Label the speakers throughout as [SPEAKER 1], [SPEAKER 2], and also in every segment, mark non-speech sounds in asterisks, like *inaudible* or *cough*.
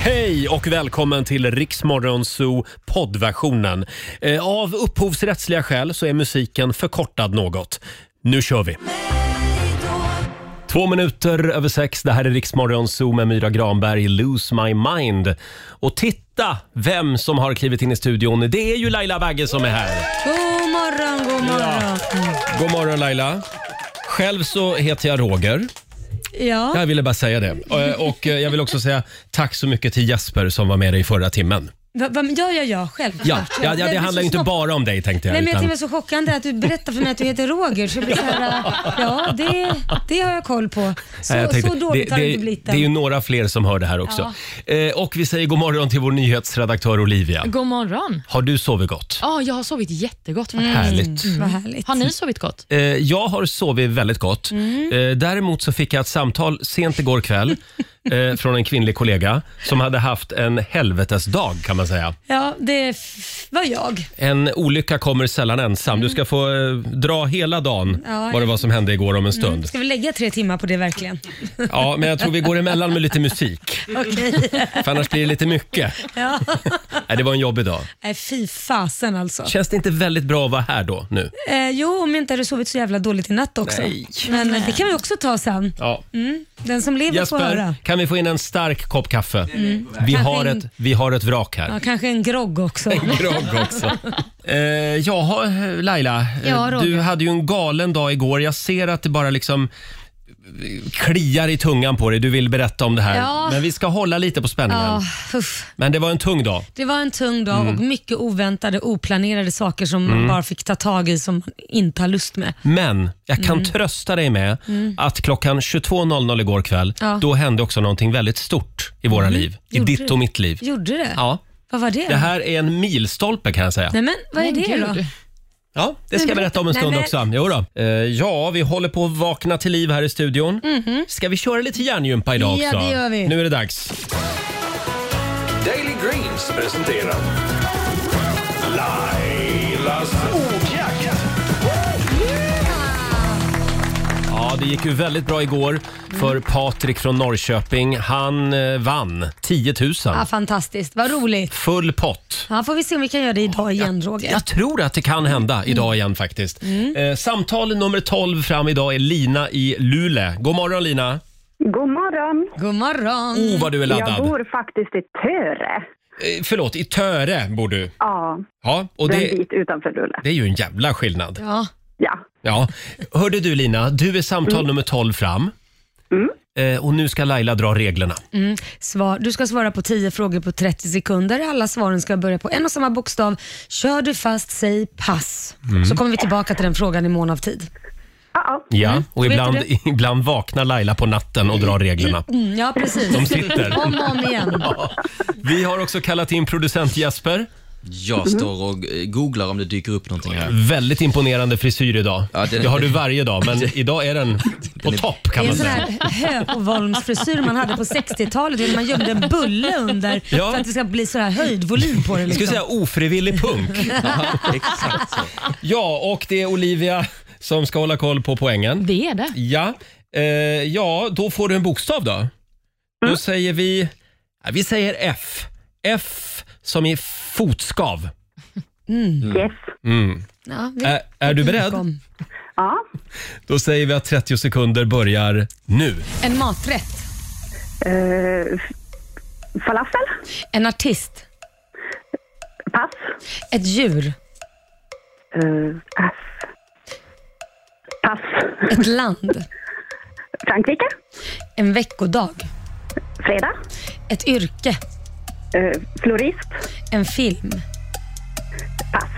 [SPEAKER 1] Hej och välkommen till Riksmorgon Zoo poddversionen. Eh, Av upphovsrättsliga skäl så är musiken förkortad något. Nu kör vi! Två minuter över sex. Det här är Riksmorgon Zoo med Myra Granberg, Lose My Mind. Och titta vem som har klivit in i studion. Det är ju Laila Bagge som är här.
[SPEAKER 2] God morgon, god morgon.
[SPEAKER 1] God morgon Laila. Själv så heter jag Roger.
[SPEAKER 2] Ja,
[SPEAKER 1] Jag ville bara säga det. Eh, Och eh, jag vill också säga tack så mycket till Jesper som var med dig förra timmen.
[SPEAKER 2] va, va, ja, ja, ja självklart. *laughs*
[SPEAKER 1] Ja, ja, ja
[SPEAKER 2] Jag
[SPEAKER 1] det
[SPEAKER 2] blir
[SPEAKER 1] handlar
[SPEAKER 2] så
[SPEAKER 1] ju inte
[SPEAKER 2] chock-
[SPEAKER 1] bara om dig tänkte jag.
[SPEAKER 2] Nej, men jag
[SPEAKER 1] utan-
[SPEAKER 2] tycker det är så chockande att du berättar för mig att du heter Roger. Så jag blir så här, äh, ja, det, det har jag koll på. Så,
[SPEAKER 1] Nej, jag tänkte-
[SPEAKER 2] så dåligt
[SPEAKER 1] det,
[SPEAKER 2] har
[SPEAKER 1] det,
[SPEAKER 2] det inte blivit
[SPEAKER 1] det är ju
[SPEAKER 2] än.
[SPEAKER 1] några fler som hör det här också. Eh, och vi säger god morgon till vår nyhetsredaktör Olivia.
[SPEAKER 3] God morgon.
[SPEAKER 1] Har du sovit gott?
[SPEAKER 3] Ja, jag har sovit jättegott. faktiskt.
[SPEAKER 1] Härligt.
[SPEAKER 2] Vad härligt.
[SPEAKER 3] Har ni sovit gott?
[SPEAKER 1] Eh, jag har sovit väldigt gott.
[SPEAKER 2] Mm.
[SPEAKER 1] Eh, däremot så fick jag ett samtal sent
[SPEAKER 2] *laughs*
[SPEAKER 1] igår kväll eh, från en kvinnlig kollega som hade haft en helvetesdag kan man säga.
[SPEAKER 2] Ja, det f- var jag.
[SPEAKER 1] En olycka kommer sällan ensam. Du ska få eh, dra hela dagen
[SPEAKER 2] Ja. Mm.
[SPEAKER 1] vad det var som hände igår om en stund.
[SPEAKER 2] Ska vi lägga tre timmar på det verkligen?
[SPEAKER 1] Ja, men jag tror vi går emellan med lite musik. För annars blir det lite mycket.
[SPEAKER 2] Ja.
[SPEAKER 1] Nej, det var en jobbig dag.
[SPEAKER 2] Nej, fy fasen alltså.
[SPEAKER 1] Känns det inte väldigt bra att vara här då nu?
[SPEAKER 2] Eh, jo, om jag inte hade sovit så jävla dåligt i natt också.
[SPEAKER 1] Nej.
[SPEAKER 2] Men eh, det kan vi också ta sen. Mm.
[SPEAKER 1] Ja.
[SPEAKER 2] Den som lever får
[SPEAKER 1] Jesper,
[SPEAKER 2] höra.
[SPEAKER 1] kan vi få in en stark kopp kaffe?
[SPEAKER 3] Mm.
[SPEAKER 1] Vi, har ett, vi har ett vrak här.
[SPEAKER 2] Ja, kanske en grogg också.
[SPEAKER 1] *laughs* Grogg också. Eh, ja, Laila. eh,
[SPEAKER 3] Ja, Roger.
[SPEAKER 1] du hade ju en galen dag igår. Jag ser att det bara liksom eh, kliar i tungan på dig. Du vill berätta om det här.
[SPEAKER 3] Ja.
[SPEAKER 1] Men vi ska hålla lite på spänningen.
[SPEAKER 2] Ja, uff.
[SPEAKER 1] Men det var en tung dag.
[SPEAKER 2] Det var en tung dag
[SPEAKER 1] Mm.
[SPEAKER 2] och mycket oväntade, oplanerade saker som man bara fick ta tag i som man inte har lust med.
[SPEAKER 1] Men jag
[SPEAKER 2] Mm.
[SPEAKER 1] kan trösta dig med att klockan 22.00 igår kväll,
[SPEAKER 2] Ja. Mm.
[SPEAKER 1] då hände också någonting väldigt stort i våra liv. I
[SPEAKER 2] Gjorde
[SPEAKER 1] ditt
[SPEAKER 2] det?
[SPEAKER 1] och mitt liv.
[SPEAKER 2] Gjorde det?
[SPEAKER 1] Ja.
[SPEAKER 2] Vad var det?
[SPEAKER 1] Det här är en milstolpe kan jag säga.
[SPEAKER 2] Nej men vad är
[SPEAKER 3] Men
[SPEAKER 2] det
[SPEAKER 3] gud.
[SPEAKER 2] då?
[SPEAKER 1] Ja, det ska jag berätta om en
[SPEAKER 2] Nej,
[SPEAKER 1] stund
[SPEAKER 2] men-
[SPEAKER 1] också. Jo då. Eh, ja, vi håller på att vakna till liv här i studion. Ska vi köra lite hjärngympa idag
[SPEAKER 2] Mhm. Ja,
[SPEAKER 1] också?
[SPEAKER 2] det gör vi.
[SPEAKER 1] Nu är det dags.
[SPEAKER 4] Daily Greens presenterar Lailas ordjakt.
[SPEAKER 1] Ja, det gick ju väldigt bra igår
[SPEAKER 2] Mm.
[SPEAKER 1] för Patrik från Norrköping. Han eh, vann 10 000.
[SPEAKER 2] Ja, fantastiskt, vad roligt.
[SPEAKER 1] Full pott.
[SPEAKER 2] Ja, får vi se om vi kan göra det idag igen Roger.
[SPEAKER 1] Jag tror att det kan hända
[SPEAKER 2] Mm.
[SPEAKER 1] idag igen faktiskt. Eh, samtal nummer 12 fram idag är Lina i Luleå. God morgon Lina!
[SPEAKER 5] God morgon!
[SPEAKER 2] God morgon.
[SPEAKER 1] Oh, vad du är
[SPEAKER 5] Jag
[SPEAKER 1] laddad!
[SPEAKER 5] bor faktiskt i Töre.
[SPEAKER 1] Eh, förlåt, i Töre bor du.
[SPEAKER 5] Ja,
[SPEAKER 1] Ja, och
[SPEAKER 5] det... en
[SPEAKER 1] det,
[SPEAKER 5] bit utanför Luleå.
[SPEAKER 1] det är ju en jävla skillnad.
[SPEAKER 2] Ja.
[SPEAKER 5] Ja.
[SPEAKER 1] Ja. Hörde du Lina, du är samtal nummer 12 fram. Eh, och nu ska Laila dra reglerna.
[SPEAKER 2] Mm. Svar. Du ska svara på 10 frågor på 30 sekunder. Alla svaren ska börja på en och samma bokstav. Kör du fast, säg pass.
[SPEAKER 1] Mm.
[SPEAKER 2] Så kommer vi tillbaka till den frågan i mån av tid.
[SPEAKER 5] Ja, ja.
[SPEAKER 1] Ja, och
[SPEAKER 2] Mm. vet
[SPEAKER 1] ibland,
[SPEAKER 2] du
[SPEAKER 1] *laughs* ibland vaknar Laila på natten och drar reglerna.
[SPEAKER 2] Mm, ja, precis.
[SPEAKER 1] De sitter.
[SPEAKER 2] Om och om igen.
[SPEAKER 1] Vi har också kallat in producent Jesper.
[SPEAKER 6] Jag står och eh, googlar om det dyker upp någonting här.
[SPEAKER 1] Väldigt imponerande frisyr idag.
[SPEAKER 6] Ja,
[SPEAKER 1] det,
[SPEAKER 6] det-
[SPEAKER 1] har du varje dag, men idag är den på topp kan
[SPEAKER 2] Det är
[SPEAKER 1] man
[SPEAKER 2] en sån
[SPEAKER 1] säga.
[SPEAKER 2] här Höpovolmsfrisyr man hade på 60-talet. vet du, Man gömde en bulle under
[SPEAKER 1] Ja.
[SPEAKER 2] för att det ska bli så här höjdvolym på det.
[SPEAKER 1] Jag
[SPEAKER 2] Liksom.
[SPEAKER 1] skulle säga ofrivillig punk.
[SPEAKER 6] Exakt så.
[SPEAKER 1] Ja, och det är Olivia som ska hålla koll på poängen.
[SPEAKER 3] Det är det.
[SPEAKER 1] Ja, eh, ja då får du en bokstav då. Då säger vi... Ja, vi säger F. F som i fotskav. Mm.
[SPEAKER 5] yes.
[SPEAKER 2] Ja, vi-
[SPEAKER 1] Ä, är du beredd?
[SPEAKER 2] kom.
[SPEAKER 5] Ja.
[SPEAKER 1] Då säger vi att 30 sekunder börjar nu.
[SPEAKER 2] En maträtt.
[SPEAKER 5] Eh, falafel?
[SPEAKER 2] En artist.
[SPEAKER 5] Pass.
[SPEAKER 2] Ett djur.
[SPEAKER 5] Eh, pass. Pass.
[SPEAKER 2] Ett land.
[SPEAKER 5] Frankrike?
[SPEAKER 2] En veckodag.
[SPEAKER 5] Fredag?
[SPEAKER 2] Ett yrke.
[SPEAKER 5] Eh, florist?
[SPEAKER 2] En film.
[SPEAKER 5] Pass.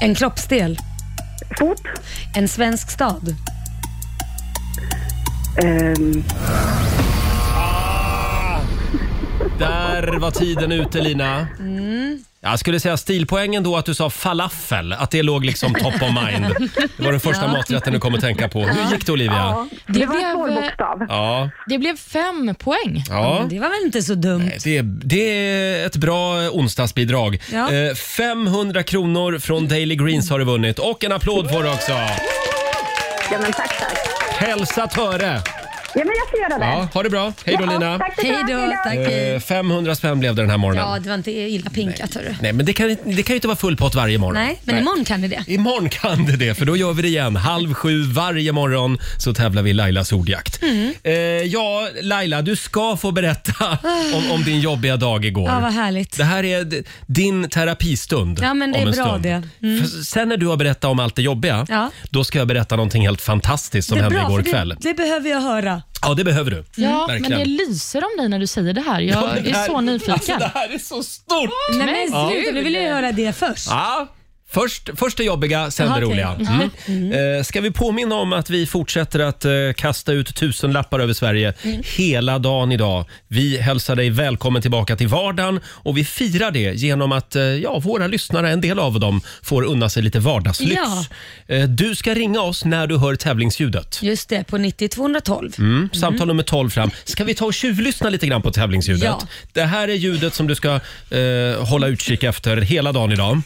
[SPEAKER 2] En kroppsdel.
[SPEAKER 5] Fot?
[SPEAKER 2] En svensk stad.
[SPEAKER 5] Eh,
[SPEAKER 1] Där var tiden ute Lina. Jag skulle säga stilpoängen då att du sa falafel, att det låg liksom top of mind. Det var
[SPEAKER 2] *laughs*
[SPEAKER 1] den första maträtten du kom att tänka på. Hur gick det Olivia?
[SPEAKER 5] det,
[SPEAKER 3] Det
[SPEAKER 5] var en svår
[SPEAKER 3] blev, eh,
[SPEAKER 5] bokstav.
[SPEAKER 1] Ja.
[SPEAKER 3] Det blev fem poäng.
[SPEAKER 1] ja.
[SPEAKER 2] Men det var väl inte så dumt?
[SPEAKER 1] Det, det är ett bra onsdagsbidrag.
[SPEAKER 2] Ja.
[SPEAKER 1] Eh, 500 kronor från Daily Greens har du vunnit och en applåd får du också.
[SPEAKER 5] Ja, men tack, tack.
[SPEAKER 1] Hälsa Töre!
[SPEAKER 5] Ja, men jag ska göra det.
[SPEAKER 1] Ja, ha det bra. Hej då
[SPEAKER 5] Ja,
[SPEAKER 1] Lina.
[SPEAKER 5] Tack
[SPEAKER 2] Hej
[SPEAKER 5] detsamma.
[SPEAKER 2] då, tack.
[SPEAKER 1] Eh, 500 spänn blev det den här morgonen.
[SPEAKER 2] Ja, det var inte illa pinkat hörru.
[SPEAKER 1] Nej, men det kan, det kan ju inte vara full pott varje morgon.
[SPEAKER 2] Nej, men imorgon kan ni det.
[SPEAKER 1] Imorgon kan det det, för då gör vi det igen. Halv sju varje morgon så tävlar vi i Lailas ordjakt.
[SPEAKER 2] Mm.
[SPEAKER 1] Eh, ja, Laila, du ska få berätta om, om din jobbiga dag igår.
[SPEAKER 2] Ja, vad härligt.
[SPEAKER 1] Det här är d- din terapistund.
[SPEAKER 2] Ja, men det är
[SPEAKER 1] om en
[SPEAKER 2] bra
[SPEAKER 1] stund.
[SPEAKER 2] det. Mm.
[SPEAKER 1] För Sen när du har berättat om allt det jobbiga,
[SPEAKER 2] Ja.
[SPEAKER 1] då ska jag berätta någonting helt fantastiskt som
[SPEAKER 2] det är
[SPEAKER 1] hände
[SPEAKER 2] bra,
[SPEAKER 1] igår
[SPEAKER 2] för
[SPEAKER 1] kväll.
[SPEAKER 2] Det, det behöver jag höra.
[SPEAKER 1] Ja, det behöver du.
[SPEAKER 3] Ja, men
[SPEAKER 1] Verkligen.
[SPEAKER 3] det lyser om dig när du säger det här. Jag
[SPEAKER 1] Ja, det
[SPEAKER 3] är
[SPEAKER 1] här-
[SPEAKER 3] så
[SPEAKER 1] Alltså,
[SPEAKER 3] nyfiken.
[SPEAKER 1] det här är så stort!
[SPEAKER 2] Nej, men sluta, nu vill jag höra det först.
[SPEAKER 1] Ja. Först, först det jobbiga, sen
[SPEAKER 2] Jaha,
[SPEAKER 1] det
[SPEAKER 2] okej.
[SPEAKER 1] roliga. Mm. Eh, ska vi påminna om att vi fortsätter att eh, kasta ut tusen lappar över Sverige hela dagen idag. Vi hälsar dig välkommen tillbaka till vardagen och vi firar det genom att eh, ja, våra lyssnare, en del av dem, får unna sig lite vardagslyx. Eh, du ska ringa oss när du hör tävlingsljudet.
[SPEAKER 2] Just det, på 90 212.
[SPEAKER 1] Mm. Samtal nummer 12 fram. Ska vi ta och tjuvlyssna lite grann på tävlingsljudet?
[SPEAKER 2] Ja.
[SPEAKER 1] Det här är ljudet som du ska eh, hålla utkik efter hela dagen idag.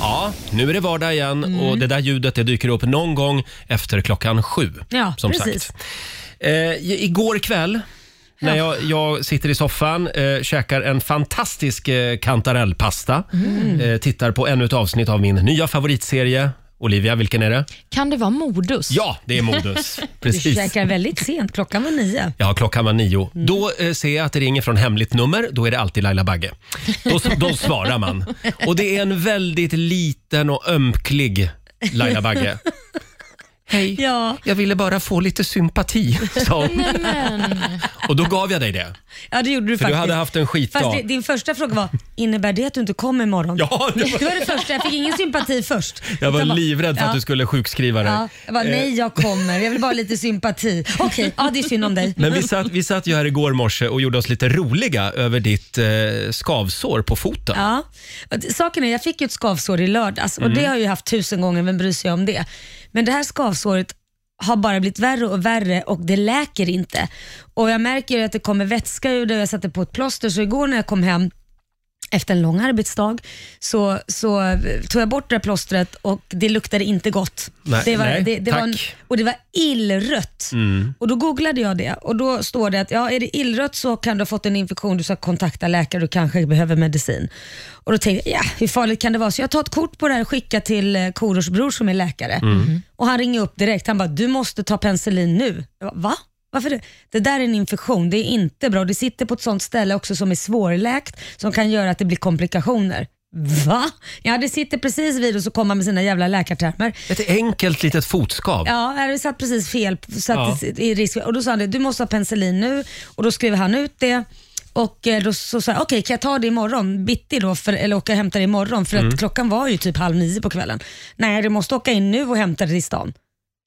[SPEAKER 1] Ja, nu är det vardag igen
[SPEAKER 2] Mm.
[SPEAKER 1] och det där ljudet det dyker upp någon gång efter klockan sju.
[SPEAKER 2] Ja,
[SPEAKER 1] som
[SPEAKER 2] precis.
[SPEAKER 1] Sagt. Eh, i- igår kväll när jag, jag sitter i soffan, eh, käkar en fantastisk eh, kantarellpasta,
[SPEAKER 2] Mm.
[SPEAKER 1] eh, tittar på ännu ett avsnitt av min nya favoritserie. Olivia, vilken är det?
[SPEAKER 3] Kan det vara modus?
[SPEAKER 1] Ja, det är Modus.
[SPEAKER 2] *laughs* Du
[SPEAKER 1] Precis.
[SPEAKER 2] käkar väldigt sent, klockan var nio.
[SPEAKER 1] Ja, klockan var nio. Då eh, ser jag att det ringer från hemligt nummer. Då är det alltid Laila Bagge. Då, då svarar man. Och det är en väldigt liten och ömklig Laila Bagge. Hej,
[SPEAKER 2] Ja.
[SPEAKER 1] jag ville bara få lite sympati, sa hon. *laughs*
[SPEAKER 3] Men,
[SPEAKER 1] Och då gav jag dig det.
[SPEAKER 2] Ja, det gjorde du
[SPEAKER 1] För
[SPEAKER 2] faktiskt.
[SPEAKER 1] du hade haft en skitdag.
[SPEAKER 2] Fast det, din första fråga var, innebär det att du inte kommer imorgon?
[SPEAKER 1] Ja, det
[SPEAKER 2] Det
[SPEAKER 1] var,
[SPEAKER 2] var det första, jag fick ingen sympati först.
[SPEAKER 1] jag var
[SPEAKER 2] Utan bara-
[SPEAKER 1] livrädd för
[SPEAKER 2] Ja.
[SPEAKER 1] att du skulle Eh. sjukskriva dig.
[SPEAKER 2] Ja, jag bara, nej jag kommer, jag vill bara ha lite sympati. Okej, ja det är synd om dig.
[SPEAKER 1] Men vi satt, vi satt ju här igår morse och gjorde oss lite roliga över ditt eh, skavsår på foten.
[SPEAKER 2] Ja. Saken är, jag fick ju ett skavsår i lördags och det
[SPEAKER 1] Mm.
[SPEAKER 2] har jag ju haft tusen gånger, vem bryr sig om det? Men det här skavsåret har bara blivit värre och värre och det läker inte. Och jag märker ju att det kommer vätska ur det och jag satte på ett plåster så igår när jag kom hem efter en lång arbetsdag så, så eh, tog jag bort det här plåstret och det luktade inte gott.
[SPEAKER 1] Nej,
[SPEAKER 2] det var,
[SPEAKER 1] nej,
[SPEAKER 2] det, det var en,
[SPEAKER 1] tack.
[SPEAKER 2] och det var illrött. Och då googlade jag det och då står det att ja, är det illrött så kan du ha fått en infektion, du ska kontakta läkare och kanske behöver medicin. Och då tänkte jag, ja, hur farligt kan det vara? Så jag tar ett kort på det här och skickar till eh, Korosh bror som är läkare. Och han ringer upp direkt, han bara, du måste ta penicillin nu. Jag bara, Va? Varför det? Det där är en infektion, det är inte bra. Det sitter på ett sånt ställe också som är svårläkt som kan göra att det blir komplikationer. Va? Ja, det sitter precis vid och så kommer han med sina jävla läkartermer.
[SPEAKER 1] Ett enkelt litet fotskav.
[SPEAKER 2] Ja, här, vi satt precis fel så att
[SPEAKER 1] Ja.
[SPEAKER 2] det är risk. Och då sa han det, du måste ha penicillin nu och då skrev han ut det. Och eh, då så sa jag, okej kan jag ta det imorgon bitti då, för, eller åka och hämta det imorgon? För
[SPEAKER 1] Mm.
[SPEAKER 2] att klockan var ju typ halv nio på kvällen. Nej, du måste åka in nu och hämta det i stan.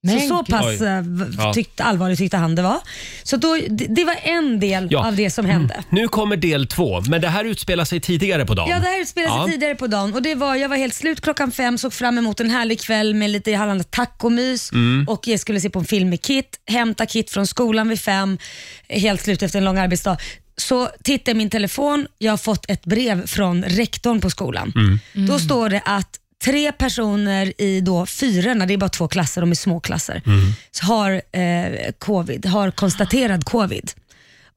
[SPEAKER 3] men
[SPEAKER 2] Så, så pass
[SPEAKER 1] Oj.
[SPEAKER 2] eh, v-
[SPEAKER 1] Ja.
[SPEAKER 2] tyckte, allvarligt tyckte han det var. Så då, det, det var en del
[SPEAKER 1] Ja.
[SPEAKER 2] av det som hände.
[SPEAKER 1] Nu kommer del två, men det här utspelar sig tidigare på dagen.
[SPEAKER 2] Ja, det här utspelade sig
[SPEAKER 1] Ja.
[SPEAKER 2] tidigare på dagen och det var, jag var helt slut klockan fem, såg fram emot en härlig kväll med lite hallande tacomys
[SPEAKER 1] Mm.
[SPEAKER 2] och jag skulle se på en film med Kit, hämta Kit från skolan vid fem, helt slut efter en lång arbetsdag. Så tittar jag i min telefon, jag har fått ett brev från rektorn på skolan.
[SPEAKER 1] Mm.
[SPEAKER 2] Då står det att tre personer i då fyrorna, det är bara två klasser, de är små klasser,
[SPEAKER 1] Mm.
[SPEAKER 2] har eh, covid, har konstaterad covid.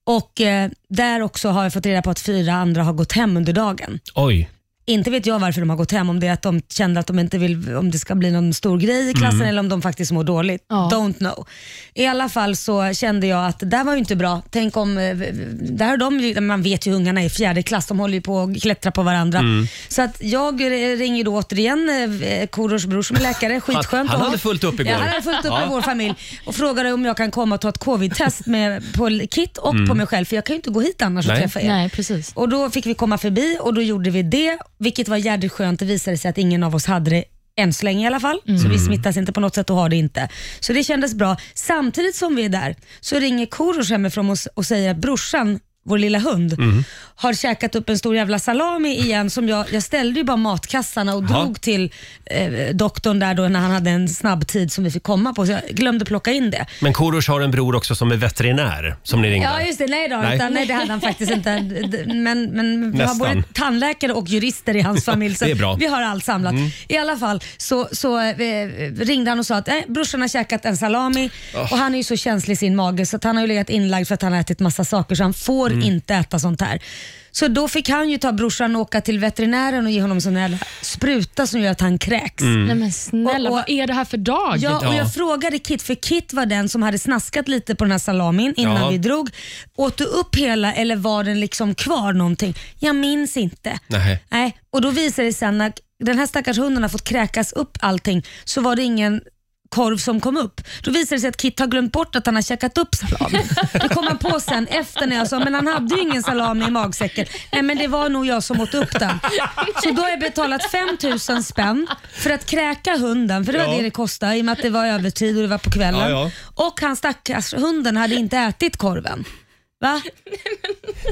[SPEAKER 2] Och eh, där också har jag fått reda på att fyra andra har gått hem under dagen.
[SPEAKER 1] Oj.
[SPEAKER 2] Inte vet jag varför de har gått hem, om det är att de kände att de inte vill, om det ska bli någon stor grej i
[SPEAKER 1] Mm.
[SPEAKER 2] klassen eller om de faktiskt mår dåligt.
[SPEAKER 3] Ja.
[SPEAKER 2] Don't know. I alla fall så kände jag att det där var ju inte bra. Tänk om, eh, där har de ju, man vet ju hur ungarna är i fjärde klass, de håller ju på att klättra på varandra.
[SPEAKER 1] Mm.
[SPEAKER 2] Så att jag eh, ringer då återigen eh, Korosh bror som är läkare, skitskönt.
[SPEAKER 1] han
[SPEAKER 2] av
[SPEAKER 1] hade
[SPEAKER 2] honom.
[SPEAKER 1] fullt upp igår.
[SPEAKER 2] Ja, han hade fullt upp
[SPEAKER 1] Ja.
[SPEAKER 2] med vår familj och frågade om jag kan komma och ta ett covid-test med, på Kit och på mig själv, för jag kan ju inte gå hit annars och
[SPEAKER 1] Mm. Nej.
[SPEAKER 2] träffa er.
[SPEAKER 3] Nej, precis.
[SPEAKER 2] Och då fick vi komma förbi och då gjorde vi det, vilket var jädrigt skönt. Det visade sig att ingen av oss hade det än så länge i alla fall. Så vi smittas inte på något sätt och har det inte. Så det kändes bra. Samtidigt som vi är där så ringer Korosh hemifrån och, och säger att brorsan vår lilla hund, har käkat upp en stor jävla salami igen. Som jag, jag ställde ju bara matkassarna och
[SPEAKER 1] Ja.
[SPEAKER 2] drog till eh, doktorn där då när han hade en snabb tid som vi fick komma på. Så jag glömde plocka in det.
[SPEAKER 1] Men Korosh har en bror också som är veterinär som ni ringde.
[SPEAKER 2] Ja just det, nej då.
[SPEAKER 1] Nej.
[SPEAKER 2] Nej, utan, nej det hade han faktiskt inte. D- Men, men vi har
[SPEAKER 1] Nästan.
[SPEAKER 2] både tandläkare och jurister i hans familj. Så
[SPEAKER 1] *laughs* Det är bra. Mm.
[SPEAKER 2] Vi har allt samlat. I alla fall så, så eh, ringde han och sa att eh, brorsan har käkat en salami
[SPEAKER 1] Oh.
[SPEAKER 2] och han är ju så känslig i sin mage så att han har ju legat inlagd för att han har ätit massa saker så han får
[SPEAKER 1] Mm.
[SPEAKER 2] inte äta sånt här. Så då fick han ju ta brorsan och åka till veterinären och ge honom sån här spruta som gör att han kräks.
[SPEAKER 1] Mm.
[SPEAKER 3] Nej men snälla,
[SPEAKER 2] Och- och-
[SPEAKER 3] vad är det här för dag?
[SPEAKER 2] Ja, och
[SPEAKER 1] Ja.
[SPEAKER 2] jag frågade Kit, för Kit var den som hade snaskat lite på den här salamin innan
[SPEAKER 1] Ja.
[SPEAKER 2] vi drog. Åt du upp hela eller var den liksom kvar någonting? Jag minns inte.
[SPEAKER 1] Nej.
[SPEAKER 2] Nej. Och då visade det sen att den här stackars hunden har fått kräkas upp allting, så var det ingen korv som kom upp. Då visade det sig att Kit har glömt bort att han har käkat upp
[SPEAKER 1] *laughs*
[SPEAKER 2] salami. Det kom han på sen efter när jag sa, men han hade ju ingen salami i magsäcken. Nej men det var nog jag som åt upp den. Så då har jag betalat 5000 spänn för att kräka hunden, för det var
[SPEAKER 1] Ja.
[SPEAKER 2] det det kostade i och med att det var övertid och det var på kvällen.
[SPEAKER 1] Ja, ja.
[SPEAKER 2] Och han stackars hunden hade inte ätit korven. Va?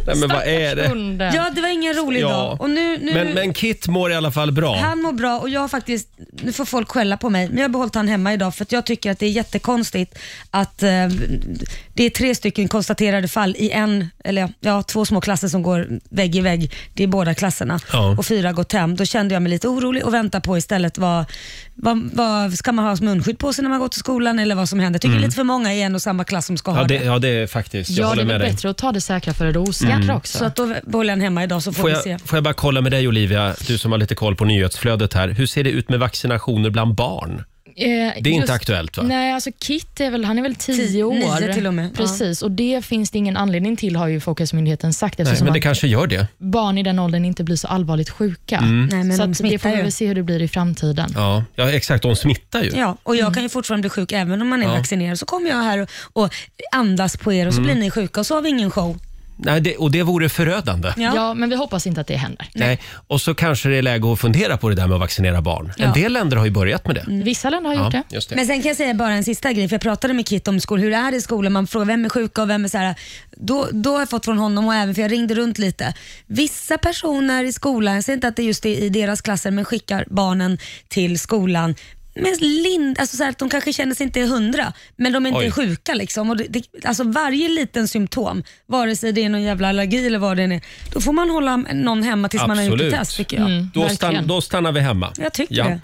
[SPEAKER 1] Nej, men vad är det?
[SPEAKER 3] Hunden.
[SPEAKER 2] Ja, det var ingen rolig
[SPEAKER 1] Ja.
[SPEAKER 2] dag. Och nu, nu,
[SPEAKER 1] Men, men Kit mår i alla fall bra.
[SPEAKER 2] Han mår bra och jag har faktiskt, nu får folk skälla på mig, men jag har behållit han hemma idag för att jag tycker att det är jättekonstigt att eh, det är tre stycken konstaterade fall i en, eller ja, två små klasser som går vägg i vägg. Det är båda klasserna
[SPEAKER 1] Ja.
[SPEAKER 2] och fyra har gått hem. Då kände jag mig lite orolig och väntar på istället vad, vad, vad ska man ha munskydd på sig när man går till skolan eller vad som händer. Jag tycker det är lite för många i en och samma klass som ska
[SPEAKER 1] Mm. Ja
[SPEAKER 2] ha
[SPEAKER 1] det,
[SPEAKER 2] det.
[SPEAKER 1] ja, det är faktiskt. Jag
[SPEAKER 3] ja det
[SPEAKER 1] håller
[SPEAKER 3] är
[SPEAKER 1] med
[SPEAKER 3] väl
[SPEAKER 1] dig. Mm.
[SPEAKER 3] bättre att ta det säkra före det osäkra också.
[SPEAKER 2] Så att då behåller jag han hemma idag så får,
[SPEAKER 1] Får
[SPEAKER 2] vi se.
[SPEAKER 1] jag, får jag bara kolla med dig Olivia, du som har lite koll på nyhetsflödet här. Hur ser det ut med vaccinationer bland barn?
[SPEAKER 3] Eh,
[SPEAKER 1] Det är inte aktuellt, va?
[SPEAKER 3] Nej, alltså Kit är väl, han är väl
[SPEAKER 2] Tio,
[SPEAKER 3] tio år.
[SPEAKER 2] nio till och med, ja.
[SPEAKER 3] Precis, och det finns det ingen anledning till har ju Folkhälsomyndigheten sagt
[SPEAKER 1] Nej,
[SPEAKER 3] eftersom
[SPEAKER 1] men det
[SPEAKER 3] att
[SPEAKER 1] kanske gör det.
[SPEAKER 3] barn i den åldern inte blir så allvarligt sjuka.
[SPEAKER 2] Nej, men
[SPEAKER 3] så
[SPEAKER 2] de
[SPEAKER 3] att det får
[SPEAKER 2] smittar
[SPEAKER 3] vi
[SPEAKER 2] ju.
[SPEAKER 3] väl se hur det blir i framtiden.
[SPEAKER 1] Ja, ja exakt. De smittar ju.
[SPEAKER 2] Ja, och jag kan ju fortfarande bli sjuk även om man är vaccinerad. Så kommer jag här och, och andas på er och så blir ni sjuka och så har vi ingen show.
[SPEAKER 1] Nej, det, och det vore förödande.
[SPEAKER 2] Ja.
[SPEAKER 3] Ja. men vi hoppas inte att det händer.
[SPEAKER 1] Nej. Och så kanske det är läge att fundera på det där med att vaccinera barn. En
[SPEAKER 2] Ja. Mm.
[SPEAKER 1] del länder har ju börjat med det.
[SPEAKER 3] Vissa länder har gjort det.
[SPEAKER 1] just det.
[SPEAKER 2] Men sen kan jag säga bara en sista grej, för jag pratade med Kit om skolan, hur det är i skolan, man frågar vem är sjuka och vem är så här. Då, då har jag fått från honom och även, för jag ringde runt lite. Vissa personer i skolan, jag säger inte att det är just det i deras klasser, men skickar barnen till skolan med lind, alltså så här, att de kanske känner sig inte hundra, men de är inte
[SPEAKER 1] Oj.
[SPEAKER 2] sjuka. Liksom. Och det, det, alltså varje liten symptom, vare sig det är någon jävla allergi eller vad det än är, då får man hålla någon hemma tills man har gjort
[SPEAKER 1] Absolut. Mm.
[SPEAKER 2] ett test tycker jag.
[SPEAKER 1] Då,
[SPEAKER 3] Verkligen.
[SPEAKER 1] stann, då stannar vi hemma.
[SPEAKER 2] Jag tycker det.
[SPEAKER 1] Eh,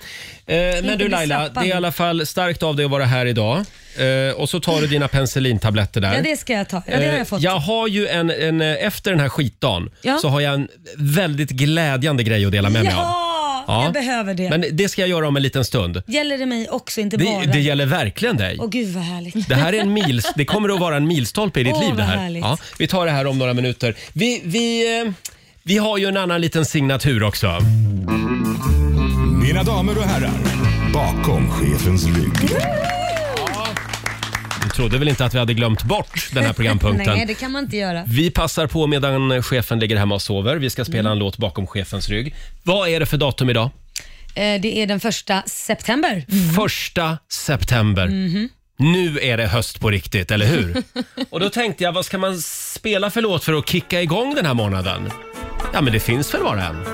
[SPEAKER 1] men
[SPEAKER 2] Inte
[SPEAKER 1] du
[SPEAKER 2] bli
[SPEAKER 1] Laila, det
[SPEAKER 2] slappad.
[SPEAKER 1] är i alla fall starkt av dig att vara här idag. Eh, och så tar du dina penicillintabletter där.
[SPEAKER 2] Ja, det ska jag ta. Ja, det har
[SPEAKER 1] Eh,
[SPEAKER 2] jag fått.
[SPEAKER 1] Jag har ju en, en, eh, efter den här skitdagen
[SPEAKER 2] Ja.
[SPEAKER 1] så har jag en väldigt glädjande grej att dela med mig av.
[SPEAKER 2] ja, jag behöver det.
[SPEAKER 1] Men det ska jag göra om en liten stund.
[SPEAKER 2] Gäller det mig också, inte bara?
[SPEAKER 1] Det, det gäller verkligen dig.
[SPEAKER 2] Åh gud vad härligt.
[SPEAKER 1] Det här är en mils, det kommer att vara en milstolpe i ditt
[SPEAKER 2] Åh,
[SPEAKER 1] liv det
[SPEAKER 2] vad
[SPEAKER 1] här.
[SPEAKER 2] härligt.
[SPEAKER 1] vi tar det här om några minuter. Vi, vi, eh, vi har ju en annan liten signatur också.
[SPEAKER 7] Mina damer och herrar, bakom chefens rygg.
[SPEAKER 1] Du trodde väl inte att vi hade glömt bort
[SPEAKER 2] *laughs*
[SPEAKER 1] den här *laughs* programpunkten?
[SPEAKER 2] Nej, det kan man inte göra.
[SPEAKER 1] Vi passar på medan chefen ligger hemma och sover. Vi ska spela
[SPEAKER 2] Mm.
[SPEAKER 1] en låt bakom chefens rygg. Vad är det för datum idag?
[SPEAKER 2] Eh, det är den första september.
[SPEAKER 1] Första september.
[SPEAKER 2] Mm-hmm.
[SPEAKER 1] Nu är det höst på riktigt,
[SPEAKER 2] *laughs*
[SPEAKER 1] eller hur? och då tänkte jag, vad ska man spela för låt för att kicka igång den här månaden? Ja, men det finns väl bara en?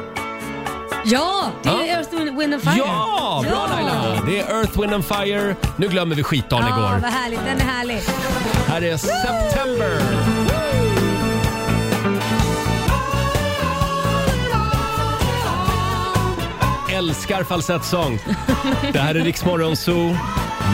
[SPEAKER 2] Ja, det
[SPEAKER 1] Ja.
[SPEAKER 2] är Earth, Wind Wind and Fire.
[SPEAKER 1] Ja, bra Laila! Det är Earth, Wind and Fire. Nu glömmer vi skitdagen
[SPEAKER 2] Ja,
[SPEAKER 1] igår.
[SPEAKER 2] vad härligt. Den är härlig.
[SPEAKER 1] Här är September. Älskar falsettsång. Det här är Rix Morgon Zoo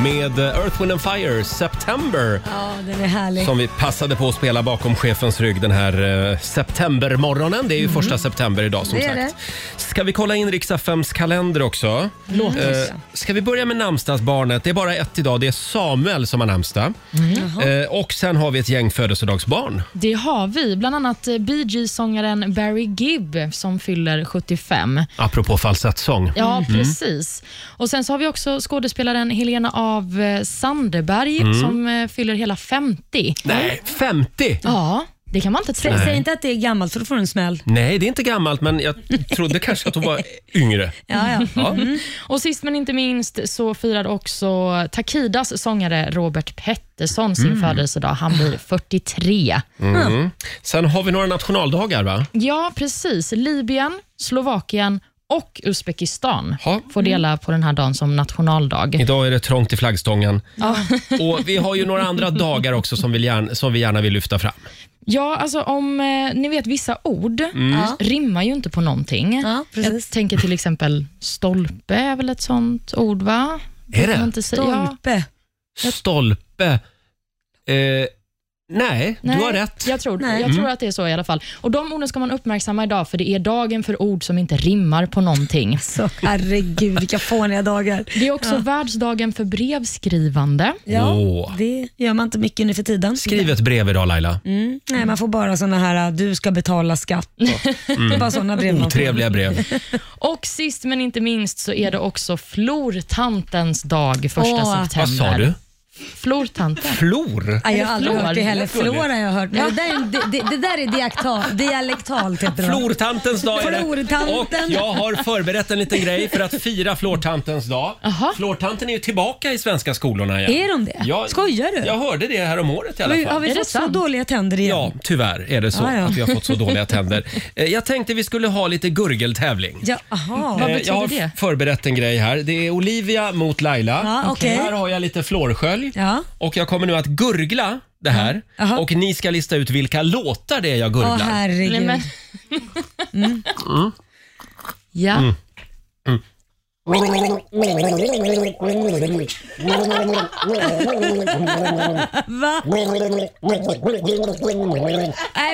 [SPEAKER 1] med eh, Earth, Wind and Fire, September.
[SPEAKER 2] Ja, den är härlig.
[SPEAKER 1] Som vi passade på att spela bakom chefens rygg den här eh, septembermorgonen. Det är ju första september idag som
[SPEAKER 2] Mhm. Det är
[SPEAKER 1] sagt. Ska vi kolla in riks kalender också?
[SPEAKER 3] Låt oss.
[SPEAKER 1] Eh, ska vi börja med namnsdagsbarnet? Det är bara ett idag. Det är Samuel som har namnsdag.
[SPEAKER 2] Mhm.
[SPEAKER 1] Eh, och sen har vi ett gäng födelsedagsbarn.
[SPEAKER 3] Det har vi. Bland annat eh, Bee Gees-sångaren Barry Gibb som fyller 75.
[SPEAKER 1] Apropå falsettsång.
[SPEAKER 3] Ja,
[SPEAKER 2] Mhm.
[SPEAKER 3] precis. Och Sen så har vi också skådespelaren Helena av eh, Sandeberg som eh, fyller hela 50.
[SPEAKER 1] Nej, 50!
[SPEAKER 3] Ja, Det kan man inte tro.
[SPEAKER 2] Sä, säg inte att det är gammalt för då får du en smäll.
[SPEAKER 1] Nej, det är inte gammalt, men jag trodde kanske att hon var yngre.
[SPEAKER 2] Ja, ja.
[SPEAKER 1] *laughs* Ja.
[SPEAKER 3] Och sist men inte minst så firar också Takidas sångare Robert Pettersson sin födelsedag. Han blir 43.
[SPEAKER 1] Sen har vi några nationaldagar, va?
[SPEAKER 3] Ja, precis. Libyen, Slovakien och Uzbekistan
[SPEAKER 1] Ja.
[SPEAKER 3] får dela på den här dagen som nationaldag.
[SPEAKER 1] Idag är det trångt i flaggstången. Och vi har ju några andra dagar också som vi gärna, som vi gärna vill lyfta fram.
[SPEAKER 3] *laughs* Ja, alltså om eh, ni vet vissa ord
[SPEAKER 1] Mm.
[SPEAKER 2] Ja.
[SPEAKER 3] rimmar ju inte på någonting.
[SPEAKER 2] Ja,
[SPEAKER 3] Jag
[SPEAKER 2] precis.
[SPEAKER 3] tänker till exempel stolpe är väl ett sånt ord, va?
[SPEAKER 1] Är
[SPEAKER 3] Kan man
[SPEAKER 1] det?
[SPEAKER 3] inte säga- Ja.
[SPEAKER 2] Stolpe.
[SPEAKER 1] Stolpe. Eh, nej, du
[SPEAKER 3] Nej,
[SPEAKER 1] har rätt. Mm.
[SPEAKER 3] Jag, tror,
[SPEAKER 2] Nej.
[SPEAKER 3] jag tror att det är så i alla fall. Och De orden ska man uppmärksamma idag, för det är dagen för ord som inte rimmar på någonting.
[SPEAKER 2] Så, herregud, vilka fåniga dagar.
[SPEAKER 3] Det är också världsdagen för brevskrivande.
[SPEAKER 2] Ja,
[SPEAKER 1] Åh.
[SPEAKER 2] Det gör man inte mycket nu för tiden.
[SPEAKER 1] Skriv ett brev idag Laila.
[SPEAKER 2] Mm. Nej, man får bara såna här äh, du ska betala skatt. Och, *laughs* Det är bara såna brev man får. *laughs*
[SPEAKER 1] Otrevliga brev.
[SPEAKER 3] Och Sist men inte minst så är det också flortantens dag, första
[SPEAKER 2] Åh.
[SPEAKER 3] september.
[SPEAKER 1] Vad sa du?
[SPEAKER 3] Flortanten.
[SPEAKER 1] Flor?
[SPEAKER 2] Nej, jag har aldrig
[SPEAKER 3] Flor?
[SPEAKER 2] hört det heller.
[SPEAKER 3] Jag
[SPEAKER 1] trodde-
[SPEAKER 2] Flor har jag hört. Men det, där är, en- det, det, det där är diaktal, dialektalt heter det. va?
[SPEAKER 1] Flortantens dag är det.
[SPEAKER 2] Flortanten.
[SPEAKER 1] Och jag har förberett en liten grej för att fira flortantens dag.
[SPEAKER 3] Aha.
[SPEAKER 1] Flortanten är ju tillbaka i svenska skolorna igen.
[SPEAKER 2] Är de det?
[SPEAKER 1] Jag-
[SPEAKER 2] Skojar du?
[SPEAKER 1] Jag hörde det här om året i alla
[SPEAKER 2] Har vi,
[SPEAKER 1] fall.
[SPEAKER 2] har vi
[SPEAKER 3] Är det
[SPEAKER 2] fått så
[SPEAKER 3] sant?
[SPEAKER 2] dåliga tänder igen?
[SPEAKER 1] Ja, tyvärr är det så
[SPEAKER 2] Ja, ja.
[SPEAKER 1] att vi har fått så dåliga tänder. Eh, Jag tänkte vi skulle ha lite gurgeltävling.
[SPEAKER 2] Ja, aha.
[SPEAKER 3] Vad
[SPEAKER 1] Eh,
[SPEAKER 3] betyder
[SPEAKER 1] jag har
[SPEAKER 3] det?
[SPEAKER 1] förberett en grej här. Det är Olivia mot Laila.
[SPEAKER 2] Ja, okej.
[SPEAKER 1] Här har jag lite flårskölj.
[SPEAKER 2] Ja.
[SPEAKER 1] Och jag kommer nu att gurgla det här.
[SPEAKER 2] Jaha.
[SPEAKER 1] Och ni ska lista ut vilka låtar det är jag gurglar.
[SPEAKER 2] Åh herregud.
[SPEAKER 3] Nej, men...
[SPEAKER 2] Mm.
[SPEAKER 3] Ja.
[SPEAKER 1] Mm.
[SPEAKER 2] Va? Nej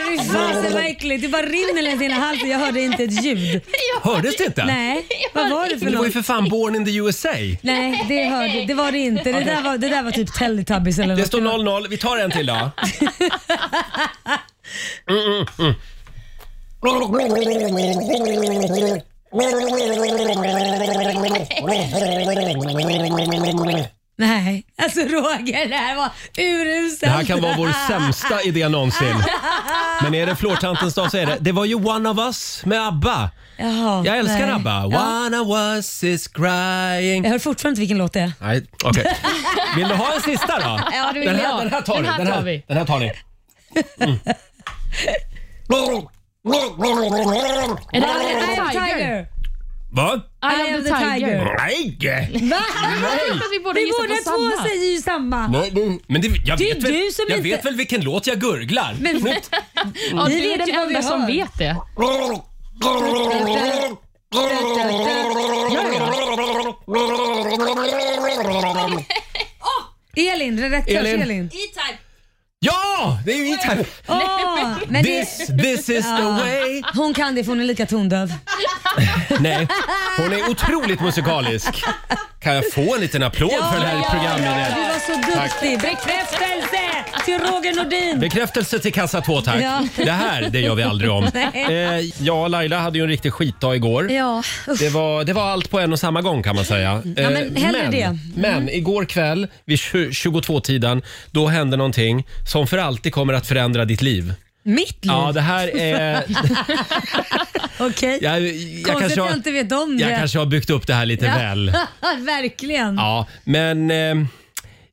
[SPEAKER 2] fy fasen vad äckligt. Det bara rinner längs hela halsen. Jag hörde inte ett ljud.
[SPEAKER 1] Hördes det inte?
[SPEAKER 2] Nej, vad var det för
[SPEAKER 1] Men det var ju
[SPEAKER 2] något?
[SPEAKER 1] för fan Born in the USA.
[SPEAKER 2] Nej, det, hörde, det var det inte. Det där var, det där var typ Teletubbies eller
[SPEAKER 1] Det
[SPEAKER 2] något.
[SPEAKER 1] står 0-0. Vi tar en
[SPEAKER 2] *laughs*
[SPEAKER 1] till då. Mm,
[SPEAKER 2] Nej, alltså Roger, det här var uruselt.
[SPEAKER 1] Det här kan vara vår sämsta idé någonsin. Men är det flårtantens dag så är det. Det var ju One of Us med ABBA.
[SPEAKER 2] Jaha,
[SPEAKER 1] Jag älskar
[SPEAKER 2] nej.
[SPEAKER 1] ABBA.
[SPEAKER 2] Ja.
[SPEAKER 1] One of us is crying.
[SPEAKER 2] Jag hör fortfarande inte vilken låt det är.
[SPEAKER 1] Nej, okej. Vill du ha en
[SPEAKER 2] *laughs*
[SPEAKER 1] sista då?
[SPEAKER 3] Ja, det vill
[SPEAKER 1] den,
[SPEAKER 3] jag.
[SPEAKER 1] här, den här tar
[SPEAKER 3] Den
[SPEAKER 1] ni.
[SPEAKER 3] här
[SPEAKER 1] Den
[SPEAKER 3] tar
[SPEAKER 1] här,
[SPEAKER 3] vi.
[SPEAKER 1] den här tar ni.
[SPEAKER 3] Är det Eye of
[SPEAKER 2] I
[SPEAKER 3] the Tiger? Eye
[SPEAKER 2] am Tiger.
[SPEAKER 1] Va?
[SPEAKER 3] of the Tiger.
[SPEAKER 1] Nej!
[SPEAKER 2] Va?
[SPEAKER 3] Jag tror att Vi borde
[SPEAKER 2] Vi
[SPEAKER 3] gissa
[SPEAKER 2] båda
[SPEAKER 3] på samma.
[SPEAKER 2] två säger ju samma.
[SPEAKER 1] Nej, det- Men det, jag,
[SPEAKER 2] Det är
[SPEAKER 1] vet väl,
[SPEAKER 2] du som
[SPEAKER 1] jag
[SPEAKER 2] inte-
[SPEAKER 1] vet väl vilken låt jag gurglar?
[SPEAKER 2] Men-
[SPEAKER 1] Nu-
[SPEAKER 3] Ja,
[SPEAKER 2] Ni
[SPEAKER 3] du är
[SPEAKER 2] vet ju
[SPEAKER 3] den
[SPEAKER 2] vad vi
[SPEAKER 3] enda som
[SPEAKER 2] hör.
[SPEAKER 3] vet det.
[SPEAKER 2] Elin, redaktörs
[SPEAKER 1] Elin.
[SPEAKER 2] Elin.
[SPEAKER 1] Ja! Det är ju E-Type.
[SPEAKER 2] Åh, men det,
[SPEAKER 1] This, this is the way.
[SPEAKER 2] hon kan det för hon är lika tondöv.
[SPEAKER 1] Nej, hon är otroligt musikalisk. Kan jag få en liten applåd för den här
[SPEAKER 2] Du
[SPEAKER 1] programledaren?
[SPEAKER 2] var så duktig. Bekräftelse till Roger Nordin.
[SPEAKER 1] Bekräftelse till kassa 2 tack.
[SPEAKER 2] Ja.
[SPEAKER 1] Det här, det gör vi aldrig om.
[SPEAKER 2] *laughs* Nej.
[SPEAKER 1] Eh, ja, Laila hade ju en riktig skitdag igår.
[SPEAKER 2] Ja, usch.
[SPEAKER 1] Det var, det var allt på en och samma gång kan man säga. Eh,
[SPEAKER 2] men hellre
[SPEAKER 1] men,
[SPEAKER 2] det. Mm.
[SPEAKER 1] men igår kväll vid 22-tiden, då hände någonting som för alltid kommer att förändra ditt liv. Mm.
[SPEAKER 2] Mitt liv?
[SPEAKER 1] Ja, det här är... *laughs*
[SPEAKER 2] Okej.
[SPEAKER 1] Jag,
[SPEAKER 2] Konstigt
[SPEAKER 1] jag, kanske,
[SPEAKER 2] att
[SPEAKER 1] har,
[SPEAKER 2] jag inte vet om det.
[SPEAKER 1] jag kanske har byggt upp det här lite
[SPEAKER 2] Ja.
[SPEAKER 1] väl.
[SPEAKER 2] *laughs* Verkligen.
[SPEAKER 1] Ja, men eh,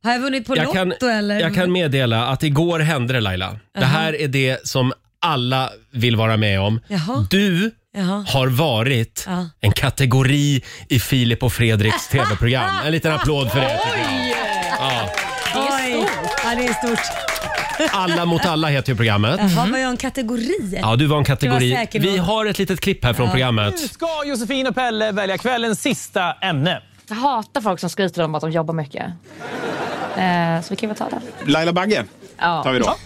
[SPEAKER 2] Har jag vunnit på
[SPEAKER 1] jag, kan,
[SPEAKER 2] Lotto eller?
[SPEAKER 1] jag kan meddela att igår hände det Laila. Det här är det som alla vill vara med om.
[SPEAKER 2] Jaha.
[SPEAKER 1] Du
[SPEAKER 2] Jaha.
[SPEAKER 1] har varit
[SPEAKER 2] Ja.
[SPEAKER 1] en kategori i Filip
[SPEAKER 2] *laughs*
[SPEAKER 1] och Fredriks TV-program. En liten applåd för det tycker jag. Ja.
[SPEAKER 2] Oj. Ja, det är stort.
[SPEAKER 1] Alla mot alla heter ju programmet.
[SPEAKER 2] Jaha,
[SPEAKER 8] Mm.
[SPEAKER 2] var jag en kategori?
[SPEAKER 1] Ja, du var en kategori.
[SPEAKER 2] Det var säkert
[SPEAKER 1] Vi
[SPEAKER 2] någon.
[SPEAKER 1] har ett litet klipp här från programmet.
[SPEAKER 9] Ska Josefin och Pelle välja kvällens sista ämne?
[SPEAKER 10] Jag hatar folk som skryter om att de jobbar mycket. Eh, så vi kan väl ta den.
[SPEAKER 8] Laila Bagge
[SPEAKER 10] Ja.
[SPEAKER 8] tar vi då.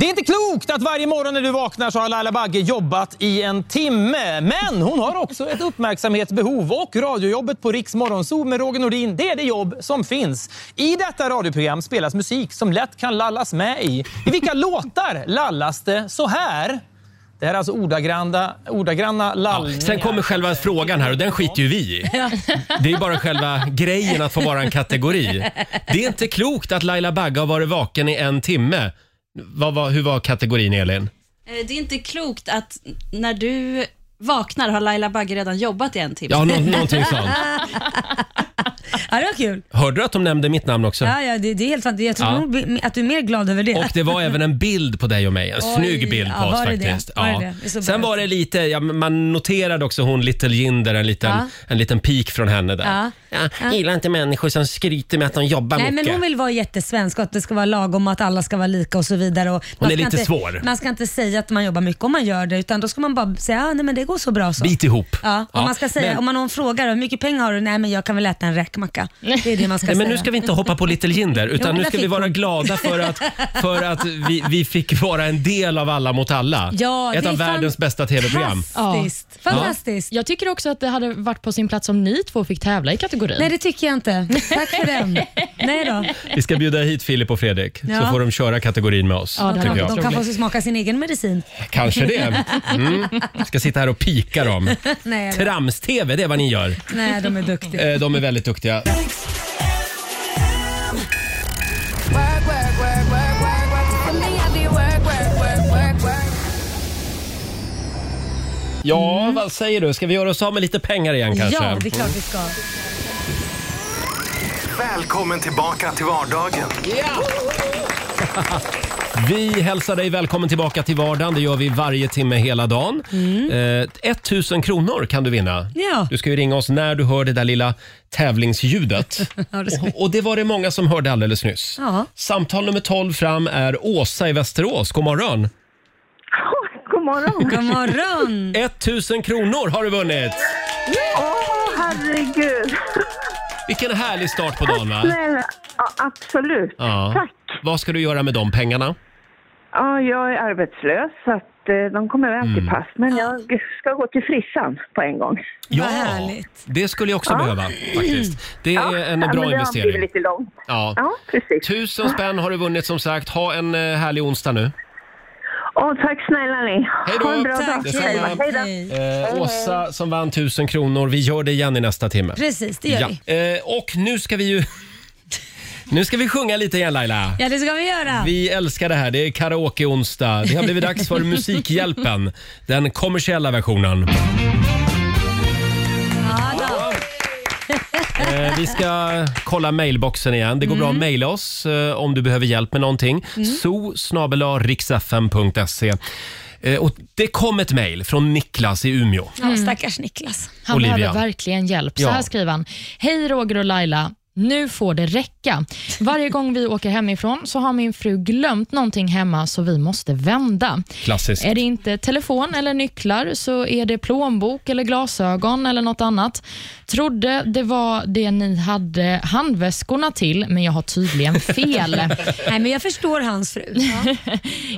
[SPEAKER 9] Det är inte klokt att varje morgon när du vaknar så har Laila Bagge jobbat i en timme. Men hon har också ett uppmärksamhetsbehov och radiojobbet på Riks Morgonzoo med Roger Nordin, det är det jobb som finns. I detta radioprogram spelas musik som lätt kan lallas med i. I vilka låtar lallas det så här? Det här är alltså ordagranna, ordagranna
[SPEAKER 1] Ja.
[SPEAKER 9] lallningar.
[SPEAKER 1] Sen kommer själva frågan här och den skiter ju vi i. Det är ju bara själva grejen att få vara en kategori. Det är inte klokt att Laila Bagge har varit vaken i en timme. Vad var, hur var kategorin Elin?
[SPEAKER 8] Eh, Det är inte klokt att när du vaknar har Laila Bagge redan jobbat i en timme.
[SPEAKER 1] Ja, nå- någonting sånt.
[SPEAKER 2] Ja, det var kul.
[SPEAKER 1] Hörde du att de nämnde mitt namn också?
[SPEAKER 2] Ja, ja, det, det är helt sant. Jag tror
[SPEAKER 1] Ja.
[SPEAKER 2] nog att du är mer glad *laughs* över det.
[SPEAKER 1] Och det var även en bild på dig och mig. En
[SPEAKER 2] Oj,
[SPEAKER 1] snygg bild
[SPEAKER 2] ja,
[SPEAKER 1] på oss
[SPEAKER 2] var det det?
[SPEAKER 1] faktiskt.
[SPEAKER 2] Var det det? Det är så
[SPEAKER 1] Sen
[SPEAKER 2] bra.
[SPEAKER 1] var det lite, ja, men man noterade också hon Little Jinder, en liten,
[SPEAKER 2] Ja.
[SPEAKER 1] en liten pik från henne där.
[SPEAKER 2] Ja.
[SPEAKER 1] Jag gillar inte människor som skryter med att de jobbar
[SPEAKER 2] Nej,
[SPEAKER 1] mycket.
[SPEAKER 2] men hon vill vara jättesvensk och att det ska vara lagom och att alla ska vara lika och så vidare. Och man
[SPEAKER 1] är
[SPEAKER 2] ska
[SPEAKER 1] lite
[SPEAKER 2] inte,
[SPEAKER 1] svår.
[SPEAKER 2] Man ska inte säga att man jobbar mycket om man gör det, utan då ska man bara säga ah, nej men det går så bra så.
[SPEAKER 1] Bit ihop.
[SPEAKER 2] Ja, om,
[SPEAKER 1] Ja,
[SPEAKER 2] man ska säga,
[SPEAKER 1] men-
[SPEAKER 2] om man någon frågar hur mycket pengar har du? Nej men jag kan väl äta en räkmacka. Det är det man ska
[SPEAKER 1] Nej,
[SPEAKER 2] säga.
[SPEAKER 1] men nu ska vi inte hoppa på Little
[SPEAKER 2] *laughs*
[SPEAKER 1] Jinder
[SPEAKER 2] Jo,
[SPEAKER 1] utan nu
[SPEAKER 2] där
[SPEAKER 1] ska vi
[SPEAKER 2] fick
[SPEAKER 1] vara
[SPEAKER 2] hon.
[SPEAKER 1] glada
[SPEAKER 2] *laughs*
[SPEAKER 1] för att, för att vi, vi fick vara en del av Alla mot alla.
[SPEAKER 3] Ja,
[SPEAKER 1] Ett
[SPEAKER 3] det
[SPEAKER 1] av
[SPEAKER 3] är
[SPEAKER 1] världens bästa tv-program.
[SPEAKER 2] Fantastiskt.
[SPEAKER 1] Ja.
[SPEAKER 2] Fantastiskt.
[SPEAKER 3] Jag tycker också att det hade varit på sin plats om ni två fick tävla i kategorin.
[SPEAKER 2] Nej det tycker jag inte. Tack
[SPEAKER 3] *laughs*
[SPEAKER 2] för den. Nej då.
[SPEAKER 1] Vi ska bjuda hit Filip och Fredrik så
[SPEAKER 2] Ja.
[SPEAKER 1] får de köra kategorin med oss.
[SPEAKER 2] Ja, de,
[SPEAKER 1] tycker
[SPEAKER 2] kan,
[SPEAKER 1] jag.
[SPEAKER 2] de kan få smaka sin egen medicin.
[SPEAKER 1] Kanske
[SPEAKER 2] *laughs*
[SPEAKER 1] det. Mm. Ska sitta här och pika dem.
[SPEAKER 2] Nej, då.
[SPEAKER 1] Trams-TV, det är vad ni gör.
[SPEAKER 2] Nej, de är duktiga.
[SPEAKER 1] *laughs* Eh, De är väldigt duktiga. Ja, vad säger du? Ska vi göra oss av med lite pengar igen kanske?
[SPEAKER 2] Mm. Ja, det är klart vi ska.
[SPEAKER 11] Välkommen tillbaka till vardagen.
[SPEAKER 1] Vi hälsar dig välkommen tillbaka till vardagen. Det gör vi varje timme hela dagen. Eh, 1000 kronor kan du vinna.
[SPEAKER 2] Mm. Ja.
[SPEAKER 1] Du ska ju ringa oss när du hör det där lilla
[SPEAKER 2] *laughs*
[SPEAKER 1] tävlingsljudet. och, och det var det många som hörde alldeles nyss.
[SPEAKER 2] Ja.
[SPEAKER 1] Samtal nummer 12 fram är Åsa i Västerås. God morgon!
[SPEAKER 5] *laughs* God morgon.
[SPEAKER 1] *laughs*
[SPEAKER 2] God morgon!
[SPEAKER 1] 1000 kronor har du vunnit!
[SPEAKER 5] Åh, herregud.
[SPEAKER 1] Vilken härlig start
[SPEAKER 5] *laughs*
[SPEAKER 1] på dagen va?
[SPEAKER 5] Snälla, ja, absolut.
[SPEAKER 1] Ja.
[SPEAKER 5] Tack.
[SPEAKER 1] Vad ska du göra med de pengarna?
[SPEAKER 5] Ja, jag är arbetslös så att eh, de kommer väl till
[SPEAKER 1] Mm.
[SPEAKER 5] pass. Men jag ska gå till frissan på en gång.
[SPEAKER 1] Ja, det skulle jag också behöva faktiskt. Det är en
[SPEAKER 5] ja, men
[SPEAKER 1] bra
[SPEAKER 5] det Det har
[SPEAKER 1] investering.
[SPEAKER 5] blivit lite långt.
[SPEAKER 1] Ja.
[SPEAKER 5] Ja, precis.
[SPEAKER 1] Tusen spänn har du vunnit som sagt. Ha en eh, härlig onsdag nu.
[SPEAKER 5] Åh, tack snälla ni.
[SPEAKER 1] Hej då.
[SPEAKER 5] Ha en bra
[SPEAKER 1] Tack.
[SPEAKER 5] dag.
[SPEAKER 1] Detsamma.
[SPEAKER 5] Hej då.
[SPEAKER 1] Eh, Åsa som vann 1000 kronor. Vi gör det igen i nästa timme.
[SPEAKER 2] Precis, det gör vi.
[SPEAKER 1] Eh, och nu ska vi ju... *laughs* Nu ska vi sjunga lite igen Laila.
[SPEAKER 2] Ja, det ska vi göra.
[SPEAKER 1] Vi älskar det här. Det är karaoke-onsdag. Det har blivit
[SPEAKER 2] *laughs*
[SPEAKER 1] dags för Musikhjälpen. Den kommersiella versionen. Eh, vi ska kolla mailboxen igen. Det går bra att mejla oss eh, om du behöver hjälp med någonting. Mm. so eh, Och Det kom ett mejl från Niklas i Umeå.
[SPEAKER 2] Ja, stackars Niklas.
[SPEAKER 3] Han
[SPEAKER 1] Olivia.
[SPEAKER 3] behöver verkligen hjälp. Så
[SPEAKER 1] Ja.
[SPEAKER 3] här skriver han. Hej Roger och Laila. Nu får det räcka. Varje gång vi åker hemifrån så har min fru glömt någonting hemma så vi måste vända.
[SPEAKER 1] Klassiskt.
[SPEAKER 3] Är det inte telefon eller nycklar så är det plånbok eller glasögon eller något annat. Trodde det var det ni hade handväskorna till, men jag har tydligen fel.
[SPEAKER 2] Nej, men jag förstår hans fru.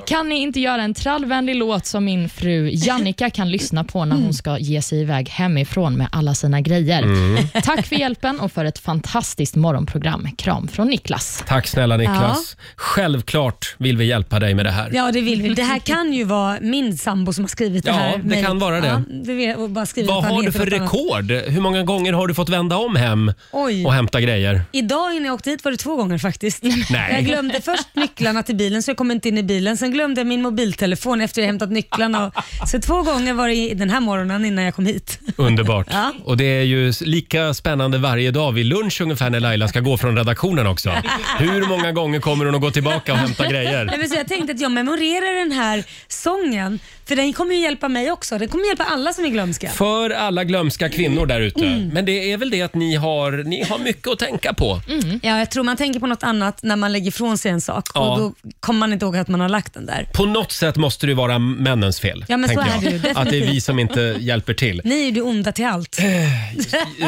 [SPEAKER 3] Kan ni inte göra en trallvänlig låt som min fru Jannica kan lyssna på när
[SPEAKER 1] Mm.
[SPEAKER 3] hon ska ge sig iväg hemifrån med alla sina grejer?
[SPEAKER 1] Mm.
[SPEAKER 3] Tack för hjälpen och för ett fantastiskt morgonprogram. Kram från Niklas.
[SPEAKER 1] Tack snälla Niklas. Självklart vill vi hjälpa dig med det här.
[SPEAKER 2] Ja, det vill vi. Det *laughs* här kan ju vara min sambo som har skrivit
[SPEAKER 1] Ja,
[SPEAKER 2] det här.
[SPEAKER 1] det
[SPEAKER 2] mejlet.
[SPEAKER 1] kan vara det.
[SPEAKER 2] Ja, det vill jag bara skriva
[SPEAKER 1] Vad
[SPEAKER 2] att han
[SPEAKER 1] har du
[SPEAKER 2] heter något
[SPEAKER 1] för
[SPEAKER 2] annat.
[SPEAKER 1] rekord? Hur många gånger har du fått vända om hem
[SPEAKER 2] Oj.
[SPEAKER 1] och hämta grejer?
[SPEAKER 2] Idag innan jag åkte hit var det två gånger faktiskt.
[SPEAKER 1] Nej.
[SPEAKER 2] *laughs* Jag glömde först nycklarna till bilen så jag kom inte in i bilen. Sen glömde jag min mobiltelefon efter jag hämtat nycklarna. Och, så två gånger var det i- den här morgonen innan jag kom hit.
[SPEAKER 1] Underbart. Och det är ju lika spännande varje dag vid lunch ungefär när Laila ska gå från redaktionen också. Hur många gånger kommer hon att gå tillbaka och hämta
[SPEAKER 2] Nej,
[SPEAKER 1] grejer?
[SPEAKER 2] men så jag tänkte att jag memorerar den här sången för den kommer ju hjälpa mig också. Den kommer hjälpa alla som är glömska.
[SPEAKER 1] För alla glömska kvinnor där ute.
[SPEAKER 2] Mm.
[SPEAKER 1] Men det är väl det att ni har, ni har mycket att tänka på.
[SPEAKER 2] Ja, jag tror man tänker på något annat när man lägger ifrån sig en sak
[SPEAKER 1] Ja.
[SPEAKER 2] och då kommer man inte ihåg att man har lagt den där.
[SPEAKER 1] På något sätt måste det ju vara männens fel.
[SPEAKER 2] Ja, men så
[SPEAKER 1] tänker
[SPEAKER 2] är det ju,
[SPEAKER 1] jag. Att det är vi
[SPEAKER 2] definitivt.
[SPEAKER 1] som inte hjälper till.
[SPEAKER 2] Ni är ju det onda till allt.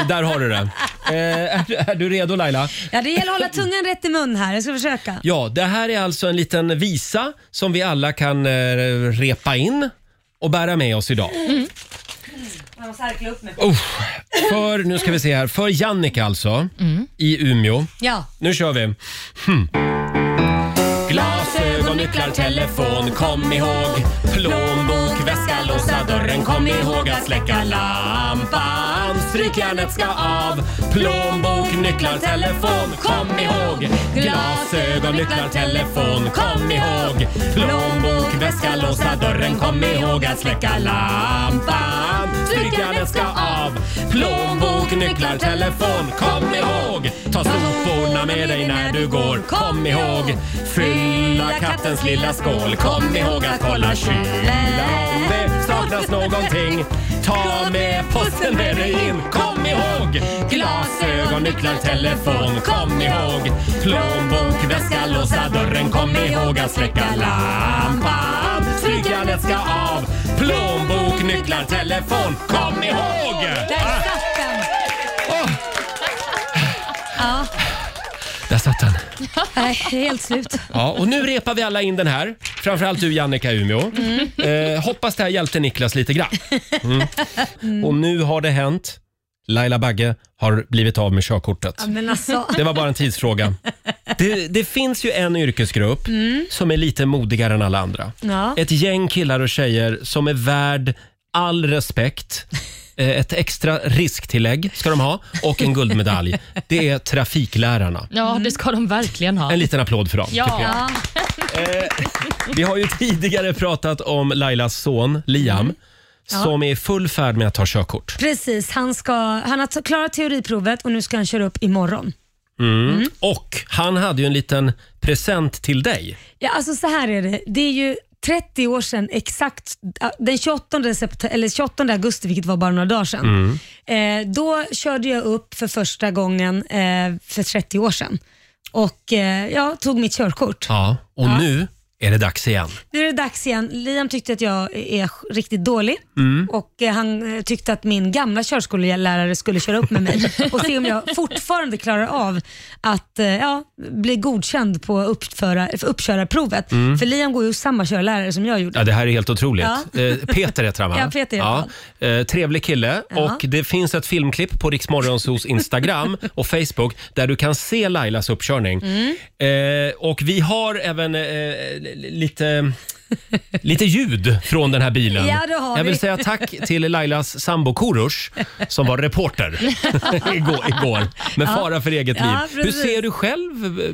[SPEAKER 1] Där har
[SPEAKER 2] *laughs*
[SPEAKER 1] du det. Eh, är, du- är du redo Laila?
[SPEAKER 2] Ja, det gäller att hålla tungan rätt i mun här. Jag ska försöka.
[SPEAKER 1] Ja, det här är alltså en liten visa som vi alla kan eh, repa in och bära med oss idag.
[SPEAKER 2] Mm. Jag måste harkla upp mig.
[SPEAKER 1] Uff. För, nu ska vi se här, för
[SPEAKER 2] Mm.
[SPEAKER 1] Jannica alltså, i Umeå.
[SPEAKER 2] Ja.
[SPEAKER 1] Nu kör vi. Hmm. Glasögon, nycklar, telefon, kom ihåg. Plånbok, väska, låsa dörren, kom ihåg att släcka lampan. Strykjärnet ska av. Plånbok, nycklar, telefon, kom ihåg. Glasögon, nycklar, telefon, kom ihåg. Plånbok, väska, låsa dörren, kom ihåg att släcka lampan. Strykjärnet ska av. Plånbok, nycklar, telefon, kom ihåg. Ta soporna med dig när du går, kom ihåg. Fylla kattens lilla skål, kom ihåg att kolla kylen. Om det saknas någonting, ta med posten med dig in, kom ihåg. Glasögon, nycklar, telefon, kom ihåg. Plånbok, väska, låsa dörren, kom ihåg att släcka lampan. Strykjärnet ska av. Plånbok, nycklar, telefon, kom ihåg!
[SPEAKER 2] Där satt den! Ja,
[SPEAKER 1] Där satt den.
[SPEAKER 2] nej, helt slut.
[SPEAKER 1] Ja, och nu repar vi alla in den här. Framförallt du Jannica i Umeå. Eh, hoppas det här hjälpte Niklas lite grann. Mm. Och nu har det hänt. Laila Bagge har blivit av med körkortet.
[SPEAKER 2] Ja, men
[SPEAKER 1] *laughs*
[SPEAKER 2] alltså.
[SPEAKER 1] Det var bara en tidsfråga. Det, det finns ju en yrkesgrupp
[SPEAKER 2] Mm.
[SPEAKER 1] som är lite modigare än alla andra.
[SPEAKER 2] Ja.
[SPEAKER 1] Ett gäng killar och tjejer som är värd all respekt. Eh, Ett extra risktillägg ska de ha och en guldmedalj. Det är trafiklärarna.
[SPEAKER 3] Ja, det ska de verkligen ha.
[SPEAKER 1] Mm. En liten applåd för dem. tycker jag.
[SPEAKER 3] Ja.
[SPEAKER 1] Vi har ju *laughs* tidigare pratat om Lailas son Liam
[SPEAKER 2] Mm. Ja.
[SPEAKER 1] som är i full färd med att ta körkort.
[SPEAKER 2] Precis, han, ska, han har t- klarat teoriprovet och nu ska han köra upp imorgon.
[SPEAKER 1] Mm. Och han hade ju en liten present till dig.
[SPEAKER 2] Ja, alltså så här är det. Det är ju 30 år sedan exakt, äh, den 28, sept- eller 28 augusti, vilket var bara några dagar sedan.
[SPEAKER 12] Mm.
[SPEAKER 2] Eh, då körde jag upp för första gången eh, för 30 år sedan och eh, jag tog mitt körkort.
[SPEAKER 1] Ja, och
[SPEAKER 2] Ja.
[SPEAKER 1] nu är det dags igen.
[SPEAKER 2] Nu är det dags igen. Liam tyckte att jag är sj- riktigt dålig
[SPEAKER 1] Mm.
[SPEAKER 2] och eh, han eh, tyckte att min gamla körskollärare skulle köra upp med
[SPEAKER 1] *laughs*
[SPEAKER 2] mig och se om jag fortfarande klarar av att eh, ja, bli godkänd på uppföra, uppkörarprovet.
[SPEAKER 1] Mm.
[SPEAKER 2] För Liam går ju hos samma körlärare som jag gjorde.
[SPEAKER 1] Ja, det här är helt otroligt.
[SPEAKER 2] Ja.
[SPEAKER 1] Eh, Peter heter han va?
[SPEAKER 2] *laughs* Ja, Peter heter
[SPEAKER 1] Eh, trevlig kille.
[SPEAKER 2] Ja.
[SPEAKER 1] Och det finns ett filmklipp på Riksmorgonsos Instagram
[SPEAKER 2] *laughs*
[SPEAKER 1] och Facebook där du kan se Lailas uppkörning.
[SPEAKER 12] Mm.
[SPEAKER 1] Eh, och vi har även eh, li- lite, lite ljud från den här bilen.
[SPEAKER 2] Ja, det har
[SPEAKER 1] Jag vill
[SPEAKER 2] vi.
[SPEAKER 1] säga tack till Lailas sambo Korosh som
[SPEAKER 2] *laughs*
[SPEAKER 1] var reporter igår, igår med
[SPEAKER 2] Ja.
[SPEAKER 1] fara för eget
[SPEAKER 2] Ja,
[SPEAKER 1] liv. Hur
[SPEAKER 2] precis.
[SPEAKER 1] ser du själv eh,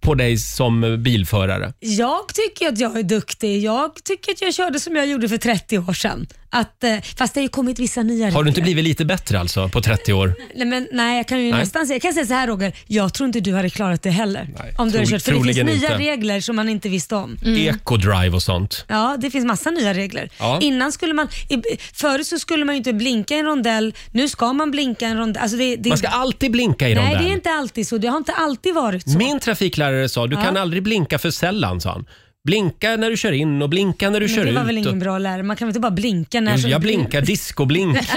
[SPEAKER 1] på dig som bilförare?
[SPEAKER 2] Jag tycker att jag är duktig. Jag tycker att jag körde som jag gjorde för 30 år sedan. Att, eh, fast det har ju kommit vissa nya
[SPEAKER 1] Har du inte
[SPEAKER 2] regler.
[SPEAKER 1] blivit lite bättre alltså på 30 år?
[SPEAKER 2] Nej, men, nej, jag kan ju
[SPEAKER 1] Nej.
[SPEAKER 2] nästan säga, jag kan säga så här Roger, jag tror inte du hade klarat det heller. om du hade
[SPEAKER 1] tro-
[SPEAKER 2] kört, för det finns
[SPEAKER 1] troligen
[SPEAKER 2] nya
[SPEAKER 1] inte.
[SPEAKER 2] regler som man inte visste om.
[SPEAKER 1] Ecodrive och sånt.
[SPEAKER 2] Ja, det finns massa nya regler.
[SPEAKER 1] Ja.
[SPEAKER 2] Innan skulle man, i- förut så skulle man ju inte blinka i en rondell, nu ska man blinka i en rondell. Alltså det, det,
[SPEAKER 1] Man ska alltid blinka i
[SPEAKER 2] Nej,
[SPEAKER 1] rondell.
[SPEAKER 2] det är inte alltid så. Det har inte alltid varit så.
[SPEAKER 1] Min trafiklärare sa, du
[SPEAKER 2] Ja.
[SPEAKER 1] kan aldrig blinka för sällan, sa han. Blinka när du kör in och blinka när du
[SPEAKER 2] Men
[SPEAKER 1] kör
[SPEAKER 2] det
[SPEAKER 1] ut.
[SPEAKER 2] var väl ingen
[SPEAKER 1] och... Mm,
[SPEAKER 2] bra lärare? Man kan väl inte bara blinka när som
[SPEAKER 1] Jag blinkar,
[SPEAKER 2] *laughs*
[SPEAKER 1] discoblink. eh,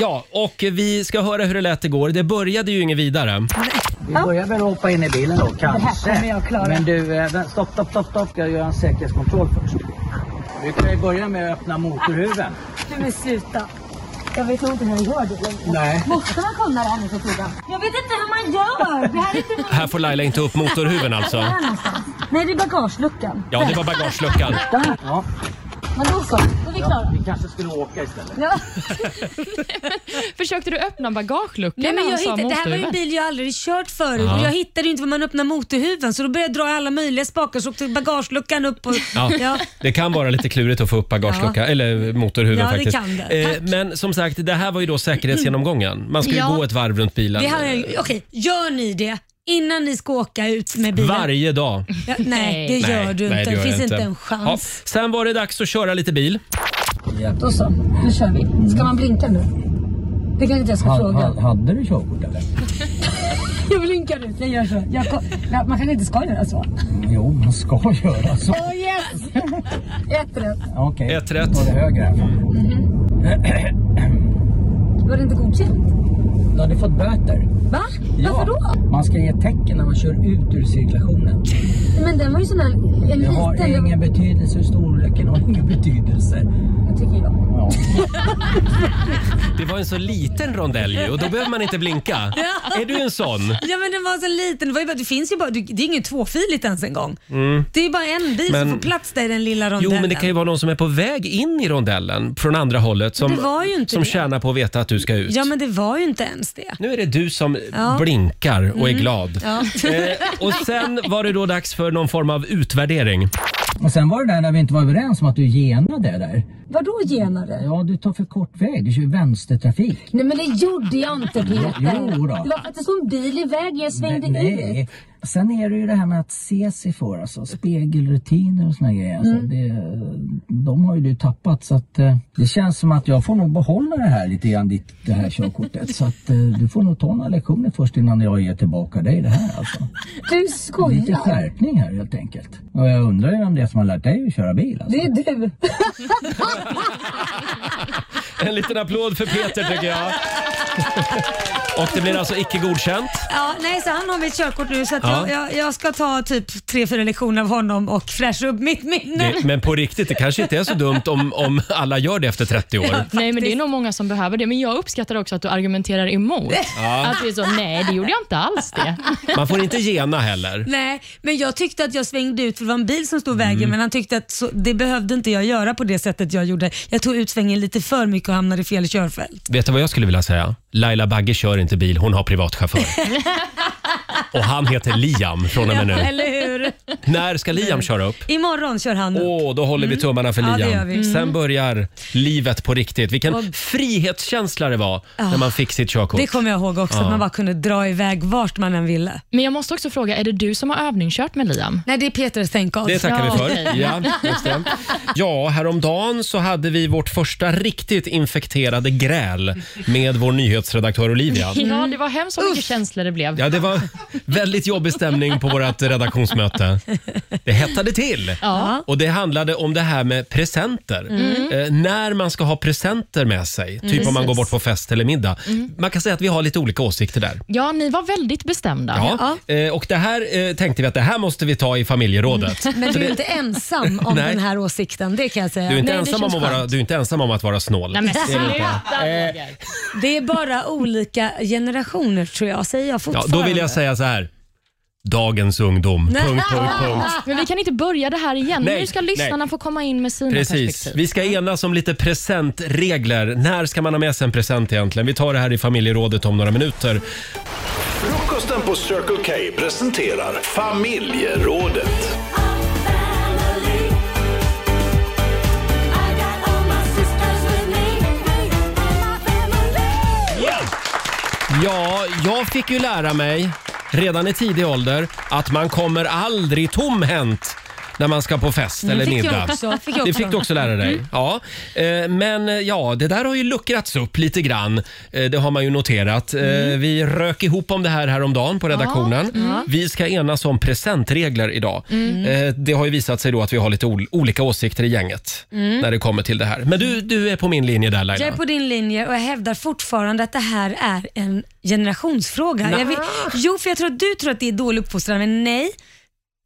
[SPEAKER 1] ja, och vi ska höra hur det lät igår. Det började ju inget vidare.
[SPEAKER 13] Vi börjar väl hoppa in i bilen då,
[SPEAKER 14] här
[SPEAKER 13] kanske.
[SPEAKER 14] kommer jag klara.
[SPEAKER 13] Men du, eh, vä- stopp, stopp, stopp, stopp. Jag gör en säkerhetskontroll först. Vi kan ju börja med att öppna motorhuven.
[SPEAKER 14] Nej men sluta. Jag vet nog inte hur jag gör det längre.
[SPEAKER 13] Nej.
[SPEAKER 14] Måste man kolla det här nu för tiden? Jag vet inte hur man gör. Det här är inte
[SPEAKER 1] Här får Laila inte upp motorhuven alltså.
[SPEAKER 14] Här någonstans. Nej det är bagageluckan.
[SPEAKER 1] Ja, det var bagageluckan.
[SPEAKER 14] Där.
[SPEAKER 13] Ja.
[SPEAKER 14] Men då så, då är vi klara.
[SPEAKER 13] Vi kanske skulle åka istället.
[SPEAKER 14] Ja.
[SPEAKER 3] Försökte du öppna bagageluckan
[SPEAKER 2] Nej, men
[SPEAKER 3] när han
[SPEAKER 2] jag
[SPEAKER 3] sa
[SPEAKER 2] hittade, det här var ju en
[SPEAKER 3] motorhuven?
[SPEAKER 2] bil jag aldrig kört förut
[SPEAKER 1] Ja.
[SPEAKER 2] och jag hittade ju inte var man öppnar motorhuven så då började jag dra i alla möjliga spakar så åkte bagageluckan upp och... *laughs*
[SPEAKER 1] Ja, Det kan vara lite klurigt att få upp
[SPEAKER 2] Ja.
[SPEAKER 1] bagageluckan, eller motorhuven
[SPEAKER 2] Ja, det
[SPEAKER 1] faktiskt.
[SPEAKER 2] kan det.
[SPEAKER 1] Eh, men som sagt, det här var ju då säkerhetsgenomgången. Man ska ju
[SPEAKER 2] Ja.
[SPEAKER 1] gå ett varv runt bilen.
[SPEAKER 2] Det här är, ju- okej, gör ni det innan ni ska åka ut med bilen?
[SPEAKER 1] Varje dag.
[SPEAKER 2] Ja, nej, det gör du inte.
[SPEAKER 1] nej,
[SPEAKER 2] det
[SPEAKER 1] gör
[SPEAKER 2] finns
[SPEAKER 1] jag
[SPEAKER 2] inte en chans.
[SPEAKER 1] Ja, sen var det dags att köra lite bil.
[SPEAKER 14] Då så, nu kör vi. Ska man blinka nu? Det kanske inte jag ska fråga.
[SPEAKER 13] hade du körkort eller?
[SPEAKER 14] *laughs* Jag blinkar nu. Jag gör så. Jag ko- Nej, man kanske inte ska göra så.
[SPEAKER 13] Jo, man ska göra så.
[SPEAKER 14] Oh yes! *laughs* Ett rätt.
[SPEAKER 13] Okej.
[SPEAKER 1] Ett rätt.
[SPEAKER 13] Var det höger här?
[SPEAKER 14] Mhm. Var det inte godkänt?
[SPEAKER 13] Du hade fått böter.
[SPEAKER 14] Va? Varför då?
[SPEAKER 13] Man ska ge tecken när man kör ut ur cirkulationen.
[SPEAKER 14] Men den var ju sån här en
[SPEAKER 13] Det har
[SPEAKER 14] liten.
[SPEAKER 13] ingen betydelse hur storleken har ingen betydelse.
[SPEAKER 14] Det tycker jag.
[SPEAKER 13] Ja.
[SPEAKER 1] Det var en så liten rondell ju, och då behöver man inte blinka. Är du en sån?
[SPEAKER 2] *laughs* Ja men den var så liten. Det, var ju bara, det finns ju bara, det är ingen tvåfiligt ens en gång.
[SPEAKER 1] Mm.
[SPEAKER 2] Det är bara en bil
[SPEAKER 1] Men-
[SPEAKER 2] som får plats där i den lilla
[SPEAKER 1] Jo,
[SPEAKER 2] rondellen.
[SPEAKER 1] men det kan ju vara någon som är på väg in i rondellen från andra hållet
[SPEAKER 2] Det var
[SPEAKER 1] som,
[SPEAKER 2] ju inte
[SPEAKER 1] som
[SPEAKER 2] det.
[SPEAKER 1] tjänar på att veta att du ska ut.
[SPEAKER 2] Ja men det var ju inte ens det.
[SPEAKER 1] Nu är det du som
[SPEAKER 2] Ja.
[SPEAKER 1] blinkar och är
[SPEAKER 2] Mm.
[SPEAKER 1] glad.
[SPEAKER 2] Ja.
[SPEAKER 1] Eh, och sen var det då dags för någon form av utvärdering.
[SPEAKER 13] Och sen var det där när vi inte var överens om att du genade där.
[SPEAKER 14] *laughs* Vadå genare?
[SPEAKER 13] Ja, du tar för kort väg. Du kör ju vänstertrafik.
[SPEAKER 14] Nej men det gjorde jag inte Peter.
[SPEAKER 13] Jo- jo då.
[SPEAKER 14] Det var för att det stod en bil i vägen jag svängde ut.
[SPEAKER 13] Nej. Sen är det ju det här med att se sig för, alltså spegelrutiner och såna grejer. Alltså,
[SPEAKER 14] Mm.
[SPEAKER 13] det, de har ju du tappat så att eh, det känns som att jag får nog behålla det här lite grann, ditt, det här körkortet. så att eh, du får nog ta några lektioner först innan jag ger tillbaka dig det här alltså.
[SPEAKER 14] Du
[SPEAKER 13] Lite
[SPEAKER 14] skojar.
[SPEAKER 13] skärpning här helt enkelt. Och jag undrar ju om det är som har lärt dig att köra bil alltså.
[SPEAKER 14] Det är du.
[SPEAKER 1] En liten applåd för Peter
[SPEAKER 2] *laughs*
[SPEAKER 1] tycker jag. Och det blir alltså icke godkänt.
[SPEAKER 2] Ja, nej, så han har mitt körkort nu så att
[SPEAKER 1] Ja.
[SPEAKER 2] jag, jag, jag ska ta typ tre, fyra lektioner av honom och fräscha upp mitt minne.
[SPEAKER 1] Det, men på riktigt, det kanske inte är så dumt om, om alla gör det efter 30 år.
[SPEAKER 3] Nej, men det är nog många som behöver det. Men jag uppskattar också att du argumenterar emot.
[SPEAKER 1] Ja.
[SPEAKER 3] Att det är så, nej, det gjorde jag inte alls det.
[SPEAKER 1] Man får inte gena heller.
[SPEAKER 2] Nej, men jag tyckte att jag svängde ut för det var en bil som stod i vägen
[SPEAKER 1] Mm.
[SPEAKER 2] men han tyckte att så, det behövde inte jag göra på det sättet jag gjorde. Jag tog ut svängen lite för mycket och hamnade i fel körfält.
[SPEAKER 1] Vet du vad jag skulle vilja säga? Laila Bagge kör inte bil, hon har
[SPEAKER 2] *laughs*
[SPEAKER 1] privatchaufför. Och han heter Liam från och med
[SPEAKER 2] Ja,
[SPEAKER 1] nu.
[SPEAKER 2] eller hur?
[SPEAKER 1] När ska Liam köra upp?
[SPEAKER 2] Imorgon kör han upp.
[SPEAKER 1] Åh, då håller vi tummarna för
[SPEAKER 2] Mm. Ja, det
[SPEAKER 1] Liam.
[SPEAKER 2] gör vi.
[SPEAKER 1] Sen
[SPEAKER 2] Mm.
[SPEAKER 1] börjar livet på riktigt. Vilken
[SPEAKER 2] Och-
[SPEAKER 1] frihetskänsla det var
[SPEAKER 2] Ja.
[SPEAKER 1] när man fick sitt körkort.
[SPEAKER 2] Det kommer jag ihåg också,
[SPEAKER 1] Ja.
[SPEAKER 2] att man bara kunde dra iväg vart man än ville.
[SPEAKER 3] Men jag måste också fråga, är det du som har övningskört med Liam?
[SPEAKER 2] Nej, det är Peter, thank God.
[SPEAKER 1] Det tackar vi för.
[SPEAKER 3] okej.
[SPEAKER 1] Ja, just det. ja, häromdagen så hade vi vårt första riktigt infekterade gräl med vår nyhetsredaktör Olivia.
[SPEAKER 3] Ja, det var hemskt så mycket känslor det blev.
[SPEAKER 1] Ja, det var väldigt jobbig stämning på vårt redaktionsmöte. Det hettade till.
[SPEAKER 3] Ja.
[SPEAKER 1] Och Det handlade om det här med presenter.
[SPEAKER 3] Mm.
[SPEAKER 1] Eh, när man ska ha presenter med sig, typ
[SPEAKER 3] Mm.
[SPEAKER 1] om man går
[SPEAKER 3] Precis.
[SPEAKER 1] bort på fest eller middag.
[SPEAKER 3] Mm.
[SPEAKER 1] Man kan säga att vi har lite olika åsikter där.
[SPEAKER 3] Ja, ni var väldigt bestämda.
[SPEAKER 1] Ja. Eh, och Det här eh, tänkte vi att det här måste vi ta i familjerådet.
[SPEAKER 2] Men
[SPEAKER 1] Så
[SPEAKER 2] du är
[SPEAKER 1] det-
[SPEAKER 2] inte ensam om
[SPEAKER 1] *laughs* Nej.
[SPEAKER 2] den här åsikten, det kan jag säga.
[SPEAKER 1] du är, inte ensam om att vara, du är inte ensam om att vara snål.
[SPEAKER 2] Nej, men
[SPEAKER 1] Det är Eh, du inte.
[SPEAKER 2] Det är bara olika generationer tror jag, säger jag
[SPEAKER 1] ja,
[SPEAKER 2] fortfarande.
[SPEAKER 1] då vill jag säga så här. Dagens ungdom. Punkt, punkt,
[SPEAKER 2] *laughs*
[SPEAKER 1] punkt.
[SPEAKER 3] Men vi kan inte börja det här igen.
[SPEAKER 1] Nej,
[SPEAKER 3] nu ska lyssnarna
[SPEAKER 1] nej.
[SPEAKER 3] få komma in med sina
[SPEAKER 1] Precis.
[SPEAKER 3] perspektiv.
[SPEAKER 1] Vi ska enas om lite presentregler. När ska man ha med sig en present egentligen? Vi tar det här i familjerådet om några minuter.
[SPEAKER 4] Frukosten på Circle K presenterar familjerådet.
[SPEAKER 1] Ja, jag fick ju lära mig redan i tidig ålder att man kommer aldrig tomhänt när man ska på fest
[SPEAKER 2] Mm,
[SPEAKER 1] eller
[SPEAKER 2] fick jag
[SPEAKER 1] middag.
[SPEAKER 2] också, fick jag
[SPEAKER 1] Det
[SPEAKER 2] också.
[SPEAKER 1] fick du också lära dig.
[SPEAKER 2] Mm.
[SPEAKER 1] Ja. Eh, Men eh, ja, det där har ju luckrats upp lite grann. Eh, Det har man ju noterat. Eh,
[SPEAKER 2] Mm.
[SPEAKER 1] Vi rök ihop om det här häromdagen på redaktionen.
[SPEAKER 4] Mm.
[SPEAKER 1] Vi ska enas om presentregler idag.
[SPEAKER 4] Mm.
[SPEAKER 1] Eh, Det har ju visat sig då att vi har lite ol- olika åsikter i gänget
[SPEAKER 2] Mm.
[SPEAKER 1] när det kommer till det här. Men du, du är på min linje där Laila.
[SPEAKER 2] Jag är på din linje och jag hävdar fortfarande att det här är en generationsfråga.
[SPEAKER 1] Nej.
[SPEAKER 2] Jag vill, jo, för jag tror att du tror att det är dålig uppfostran, men nej.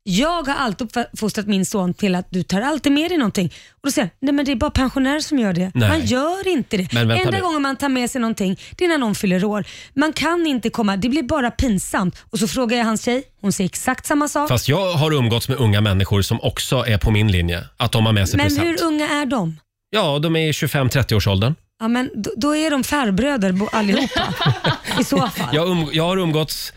[SPEAKER 2] Jag har alltid uppfostrat min son till att du tar alltid med dig någonting. Och då säger han, nej men det är bara pensionärer som gör det.
[SPEAKER 1] Nej.
[SPEAKER 2] Man gör inte det.
[SPEAKER 1] Men vänta
[SPEAKER 2] Enda
[SPEAKER 1] nu.
[SPEAKER 2] gången man tar med sig någonting, det är när någon fyller år. Man kan inte komma, det blir bara pinsamt. Och så frågar jag hans tjej, hon säger exakt samma sak.
[SPEAKER 1] Fast jag har umgåtts med unga människor som också är på min linje. Att de har med sig
[SPEAKER 2] men
[SPEAKER 1] present.
[SPEAKER 2] hur unga är de?
[SPEAKER 1] Ja, de är i 25-30 års åldern.
[SPEAKER 2] Ja, men då, då är de farbröder bo-
[SPEAKER 1] *laughs*
[SPEAKER 2] allihopa. I så fall.
[SPEAKER 1] Jag, um, jag har umgåtts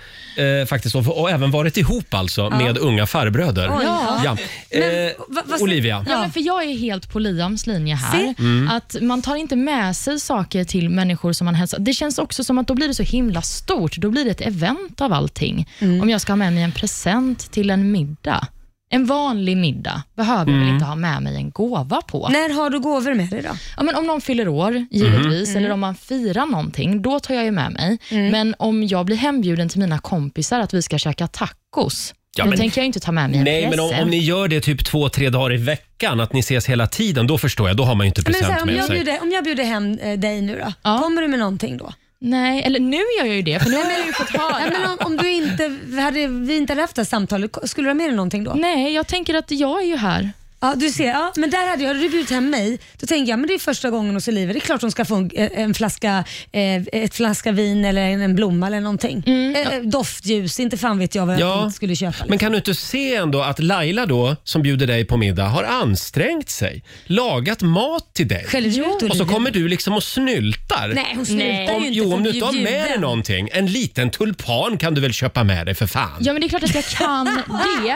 [SPEAKER 1] eh, faktiskt och, och även varit ihop alltså med unga farbröder.
[SPEAKER 3] Oj. Ja.
[SPEAKER 1] Ja. Eh, Olivia.
[SPEAKER 3] Ja, men för jag är helt på Liams linje
[SPEAKER 1] Se.
[SPEAKER 3] här.
[SPEAKER 1] Mm.
[SPEAKER 3] Att Man tar inte med sig saker till människor som man hälsar. Det känns också som att då blir det så himla stort. Då blir det ett event av allting.
[SPEAKER 2] Mm.
[SPEAKER 3] Om jag ska ha med mig en present till en middag. En vanlig middag behöver jag väl
[SPEAKER 2] Mm.
[SPEAKER 3] inte ha med mig en gåva på.
[SPEAKER 2] När har du gåvor med dig då?
[SPEAKER 3] Ja, men om någon fyller år, givetvis,
[SPEAKER 1] Mhm.
[SPEAKER 2] Mm.
[SPEAKER 3] eller om man firar någonting, då tar jag ju med mig.
[SPEAKER 1] Mm.
[SPEAKER 3] Men om jag blir hembjuden till mina kompisar att vi ska käka tacos,
[SPEAKER 1] Ja,
[SPEAKER 3] då
[SPEAKER 1] men-
[SPEAKER 3] tänker jag inte ta med mig en
[SPEAKER 1] Nej, men om,
[SPEAKER 3] present.
[SPEAKER 1] om ni gör det typ två, tre dagar i veckan, att ni ses hela tiden, då förstår jag. Då har man ju inte
[SPEAKER 2] Men så
[SPEAKER 1] present
[SPEAKER 2] här, om,
[SPEAKER 1] med
[SPEAKER 2] jag
[SPEAKER 1] sig.
[SPEAKER 2] bjuder, om jag bjuder hem eh, dig nu då, kommer du med någonting då?
[SPEAKER 3] Nej, eller nu gör jag ju det, för
[SPEAKER 1] *laughs*
[SPEAKER 3] nu har jag ju fått höra.
[SPEAKER 2] Nej, men om, om du inte hade, vi inte hade haft det här samtalet, skulle du ha med dig någonting då?
[SPEAKER 3] Nej, jag tänker att jag är ju här.
[SPEAKER 2] Ja, du ser. Ja, men där hade jag, hade du bjudit hem mig, då tänker jag men det är första gången hos Oliver. Det är klart hon ska få en, en flaska, eh, ett flaska vin eller en, en blomma eller någonting.
[SPEAKER 3] Mm.
[SPEAKER 2] Eh, doftljus, inte fan vet jag vad jag
[SPEAKER 1] Ja.
[SPEAKER 2] tänkte skulle köpa. liksom.
[SPEAKER 1] Men kan du inte se ändå att Laila då, som bjuder dig på middag, har ansträngt sig, lagat mat till dig.
[SPEAKER 2] Skäller du ut
[SPEAKER 1] Och så
[SPEAKER 2] Oliver?
[SPEAKER 1] kommer du liksom och snyltar.
[SPEAKER 2] Nej, hon snyltar ju
[SPEAKER 1] om,
[SPEAKER 2] inte,
[SPEAKER 1] Jo,
[SPEAKER 2] för
[SPEAKER 1] om du
[SPEAKER 2] hon
[SPEAKER 1] inte
[SPEAKER 2] är
[SPEAKER 1] har
[SPEAKER 2] ju
[SPEAKER 1] med dig
[SPEAKER 2] bjuden.
[SPEAKER 1] någonting. En liten tulpan kan du väl köpa med dig för fan?
[SPEAKER 3] Ja, men det är klart att jag kan det.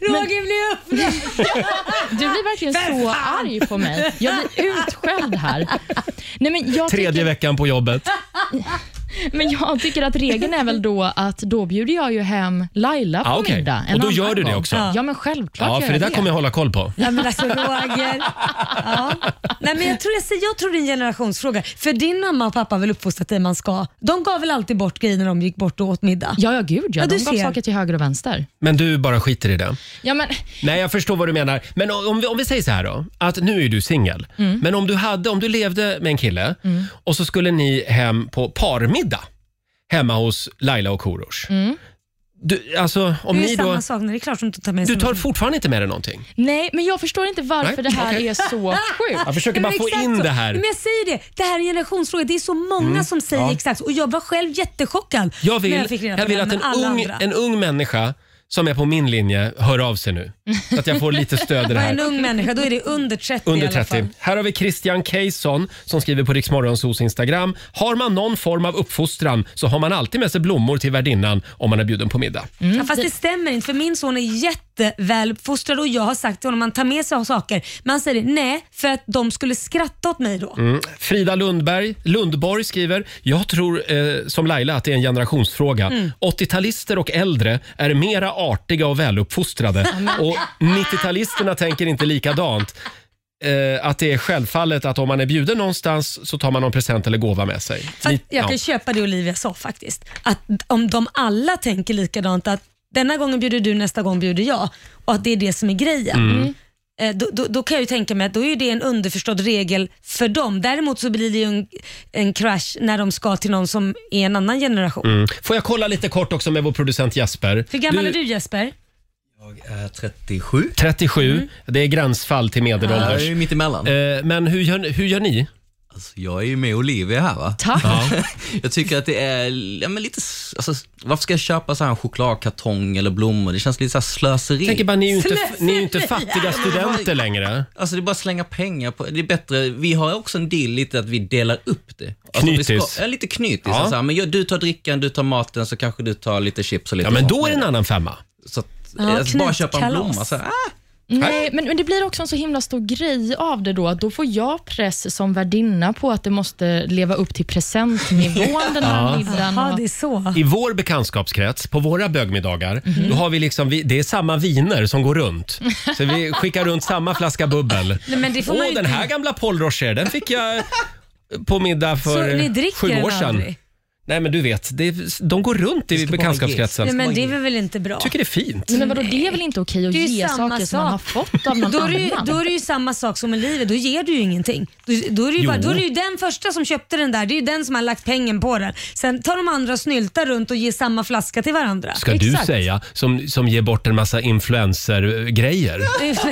[SPEAKER 2] Roger blir upprörd.
[SPEAKER 3] Du blir verkligen så arg på mig. Jag blir utskälld här. Nej, men jag
[SPEAKER 1] Tredje veckan på jobbet.
[SPEAKER 3] Men jag tycker att regeln är väl då att då bjuder jag ju hem Laila på
[SPEAKER 1] Ah, okej.
[SPEAKER 3] middag. en
[SPEAKER 1] Och då
[SPEAKER 3] annan
[SPEAKER 1] gör du det
[SPEAKER 3] gång.
[SPEAKER 1] också?
[SPEAKER 3] Ja, men självklart
[SPEAKER 1] Ja,
[SPEAKER 3] gör
[SPEAKER 1] för det
[SPEAKER 3] jag
[SPEAKER 1] där kommer jag hålla koll på.
[SPEAKER 2] Ja, men alltså Roger. Ja. Nej, men jag, tror, jag, säger- jag tror det är en generationsfråga. För din mamma och pappa har väl uppfostrat dig man ska? De gav väl alltid bort grejer när de gick bort och åt middag?
[SPEAKER 3] Ja, ja gud ja.
[SPEAKER 2] du
[SPEAKER 3] De gav
[SPEAKER 2] ser.
[SPEAKER 3] saker till höger och vänster.
[SPEAKER 1] Men du bara skiter i det.
[SPEAKER 3] Ja, men,
[SPEAKER 1] Nej, jag förstår vad du menar. Men om om vi, om vi säger så här då, att nu är du singel.
[SPEAKER 3] Mm.
[SPEAKER 1] Men om du, hade, om du levde med en kille
[SPEAKER 2] Mm.
[SPEAKER 1] och så skulle ni hem på parmiddag hemma hos Laila och Korosh.
[SPEAKER 3] Mm.
[SPEAKER 1] Du, alltså, om
[SPEAKER 2] det är
[SPEAKER 1] ni
[SPEAKER 2] ju
[SPEAKER 1] då,
[SPEAKER 2] samma sak, när det är klart som du tar med
[SPEAKER 1] du
[SPEAKER 2] samma
[SPEAKER 1] tar
[SPEAKER 2] sak.
[SPEAKER 1] fortfarande inte med dig någonting?
[SPEAKER 3] Nej, men jag förstår inte varför
[SPEAKER 1] Nej,
[SPEAKER 3] det här
[SPEAKER 1] okej.
[SPEAKER 3] är *laughs* så sjukt.
[SPEAKER 1] Jag försöker
[SPEAKER 2] Nej,
[SPEAKER 1] bara
[SPEAKER 2] men
[SPEAKER 1] få
[SPEAKER 2] exakt
[SPEAKER 1] in
[SPEAKER 2] så.
[SPEAKER 1] det här.
[SPEAKER 2] Men jag säger det, det här är en generationsfråga. Det är så många
[SPEAKER 1] Mm,
[SPEAKER 2] som säger
[SPEAKER 1] ja.
[SPEAKER 2] exakt så. och jag var själv jättechockad
[SPEAKER 1] Jag
[SPEAKER 2] när
[SPEAKER 1] vill,
[SPEAKER 2] jag fick reda
[SPEAKER 1] jag,
[SPEAKER 2] på
[SPEAKER 1] vill
[SPEAKER 2] det,
[SPEAKER 1] att
[SPEAKER 2] men
[SPEAKER 1] en
[SPEAKER 2] alla
[SPEAKER 1] ung,
[SPEAKER 2] andra.
[SPEAKER 1] en ung människa som är på min linje hör av
[SPEAKER 2] *laughs*
[SPEAKER 1] sig nu. Så att jag får lite stöd i det
[SPEAKER 2] Vad är en
[SPEAKER 1] här.
[SPEAKER 2] ung människa? Då är det under 30 i
[SPEAKER 1] Under
[SPEAKER 2] alla
[SPEAKER 1] 30.
[SPEAKER 2] fall.
[SPEAKER 1] Här har vi Christian Kejson som skriver på Riksmorgonsos Instagram. Har man någon form av uppfostran så har man alltid med sig blommor till värdinnan om man är bjuden på middag.
[SPEAKER 2] Ja, fast det stämmer inte för min son är jätteväluppfostrad och jag har sagt till honom att ta med sig av saker. Man säger det, nej för att de skulle skratta åt mig då.
[SPEAKER 1] Mm. Frida Lundberg, Lundborg skriver, jag tror eh, som Laila att det är en generationsfråga.
[SPEAKER 2] Mm.
[SPEAKER 1] 80-talister och äldre är mera artiga och väluppfostrade och 90-talisterna tänker inte likadant. Eh, att det är självfallet att om man är bjuden någonstans så tar man någon present eller gåva med sig.
[SPEAKER 2] Fast
[SPEAKER 1] Ni-
[SPEAKER 2] jag
[SPEAKER 1] ja.
[SPEAKER 2] kan köpa det Olivia sa faktiskt. Att om de alla tänker likadant att denna gången bjuder du, nästa gång bjuder jag och att det är det som är grejen.
[SPEAKER 12] Mm.
[SPEAKER 2] Eh, Då, då, då kan jag ju tänka mig att då är det en underförstådd regel för dem. Däremot så blir det ju en, en crash när de ska till någon som är en annan generation.
[SPEAKER 1] Mm. Får jag kolla lite kort också med vår producent Jesper?
[SPEAKER 2] Hur gammal är du Jesper?
[SPEAKER 1] är 37. 37.
[SPEAKER 2] Mm.
[SPEAKER 1] Det är gränsfall till medelålders.
[SPEAKER 6] Ja, det är ju mitt emellan.
[SPEAKER 1] Eh, men hur gör, hur gör ni?
[SPEAKER 6] Alltså, jag är ju med Olivia här va?
[SPEAKER 3] Tack.
[SPEAKER 1] Ja.
[SPEAKER 6] jag tycker att det är ja, men lite, s- alltså, varför ska jag köpa så här en chokladkartong eller blommor? Det känns lite så här slöseri.
[SPEAKER 1] Tänker bara, ni är ju inte, ni
[SPEAKER 2] *laughs*
[SPEAKER 1] är ju inte fattiga studenter längre.
[SPEAKER 6] Alltså det är bara att slänga pengar på, det är bättre, vi har också en deal lite att vi delar upp det. Alltså, vi ska-
[SPEAKER 1] Knytis.
[SPEAKER 6] Ja, lite knytis.
[SPEAKER 1] Ja.
[SPEAKER 6] Alltså, men jag, du tar drickan, du tar maten, så kanske du tar lite chips och lite
[SPEAKER 1] Ja, men
[SPEAKER 6] mat
[SPEAKER 1] då är
[SPEAKER 6] med
[SPEAKER 1] det en
[SPEAKER 6] dig.
[SPEAKER 1] annan femma.
[SPEAKER 6] Så att,
[SPEAKER 3] Ja,
[SPEAKER 6] alltså, bara
[SPEAKER 3] knytkalas.
[SPEAKER 6] köpa en blomma. Så här, ah,
[SPEAKER 3] Nej, men, men det blir också en så himla stor grej av det då, att då får jag press som värdinna på att det måste leva upp till *laughs* presentnivån den här
[SPEAKER 1] Ja.
[SPEAKER 3] middagen.
[SPEAKER 2] Ja,
[SPEAKER 3] och-
[SPEAKER 2] det är så.
[SPEAKER 1] I vår bekantskapskrets, på våra bögmiddagar,
[SPEAKER 2] Mhm.
[SPEAKER 1] då har vi liksom, vi, det är samma viner som går runt. Så vi skickar runt samma flaska bubbel.
[SPEAKER 2] Nej, men det får man
[SPEAKER 1] Åh,
[SPEAKER 2] ju
[SPEAKER 1] den
[SPEAKER 2] inte-
[SPEAKER 1] här gamla Paul Rocher, den fick jag på middag
[SPEAKER 2] Så ni
[SPEAKER 1] för
[SPEAKER 2] dricker
[SPEAKER 1] sju
[SPEAKER 2] den
[SPEAKER 1] år sedan.
[SPEAKER 2] aldrig?
[SPEAKER 1] Nej, men du vet, det, de går runt i bekantskapskretsen.
[SPEAKER 2] Nej, men det är väl inte bra?
[SPEAKER 1] tycker det är fint.
[SPEAKER 3] Men vadå, det är väl inte okej att
[SPEAKER 2] Det är ju
[SPEAKER 3] ge
[SPEAKER 2] samma
[SPEAKER 3] saker som man har
[SPEAKER 2] sak.
[SPEAKER 3] fått av någon
[SPEAKER 2] Då är, det
[SPEAKER 3] annan?
[SPEAKER 2] ju, då är det ju samma sak som med livet, då ger du ju ingenting. Då, då, är det ju
[SPEAKER 3] Jo.
[SPEAKER 2] bara, då är det ju den första som köpte den där, det är ju den som har lagt pengen på den. Sen tar de andra och snyltar runt och ger samma flaska till varandra.
[SPEAKER 1] Ska du säga, som, som ger bort en massa influencer-grejer.
[SPEAKER 2] *laughs*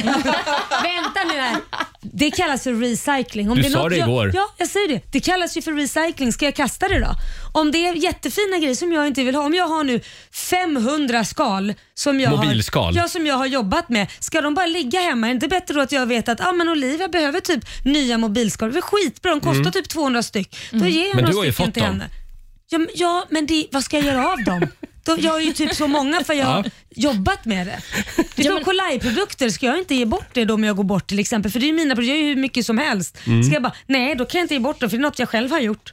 [SPEAKER 2] Vänta nu här. Det kallas för recycling.
[SPEAKER 1] Du
[SPEAKER 2] är
[SPEAKER 1] sa
[SPEAKER 2] något
[SPEAKER 1] det
[SPEAKER 2] jag-
[SPEAKER 1] igår.
[SPEAKER 2] Ja, jag säger det. Det kallas ju för recycling. Ska jag kasta det då? Om det är jättefina grejer som jag inte vill ha. Om jag har nu 500 skal som jag,
[SPEAKER 1] Mobilskal.
[SPEAKER 2] Har, ja, som jag har jobbat med. Ska de bara ligga hemma? Är det inte bättre då att jag vet att ah, men Olivia behöver typ nya mobilskal. Det är skitbra. De kostar
[SPEAKER 1] Mm.
[SPEAKER 2] typ 200 styck. Då ger jag
[SPEAKER 1] Men
[SPEAKER 2] några
[SPEAKER 1] du har ju
[SPEAKER 2] stycken
[SPEAKER 1] fått
[SPEAKER 2] till
[SPEAKER 1] dem.
[SPEAKER 2] henne. Ja, men, ja, men det, vad ska jag göra av dem? Då, jag har ju typ så många för jag har
[SPEAKER 1] Ja.
[SPEAKER 2] jobbat med det. Det är som kolajprodukter, ska jag inte ge bort det då om jag går bort till exempel? För det är ju mina produkter, jag gör ju hur mycket som helst.
[SPEAKER 1] Mm.
[SPEAKER 2] Ska jag bara, nej då kan jag inte ge bort det för det är något jag själv har gjort.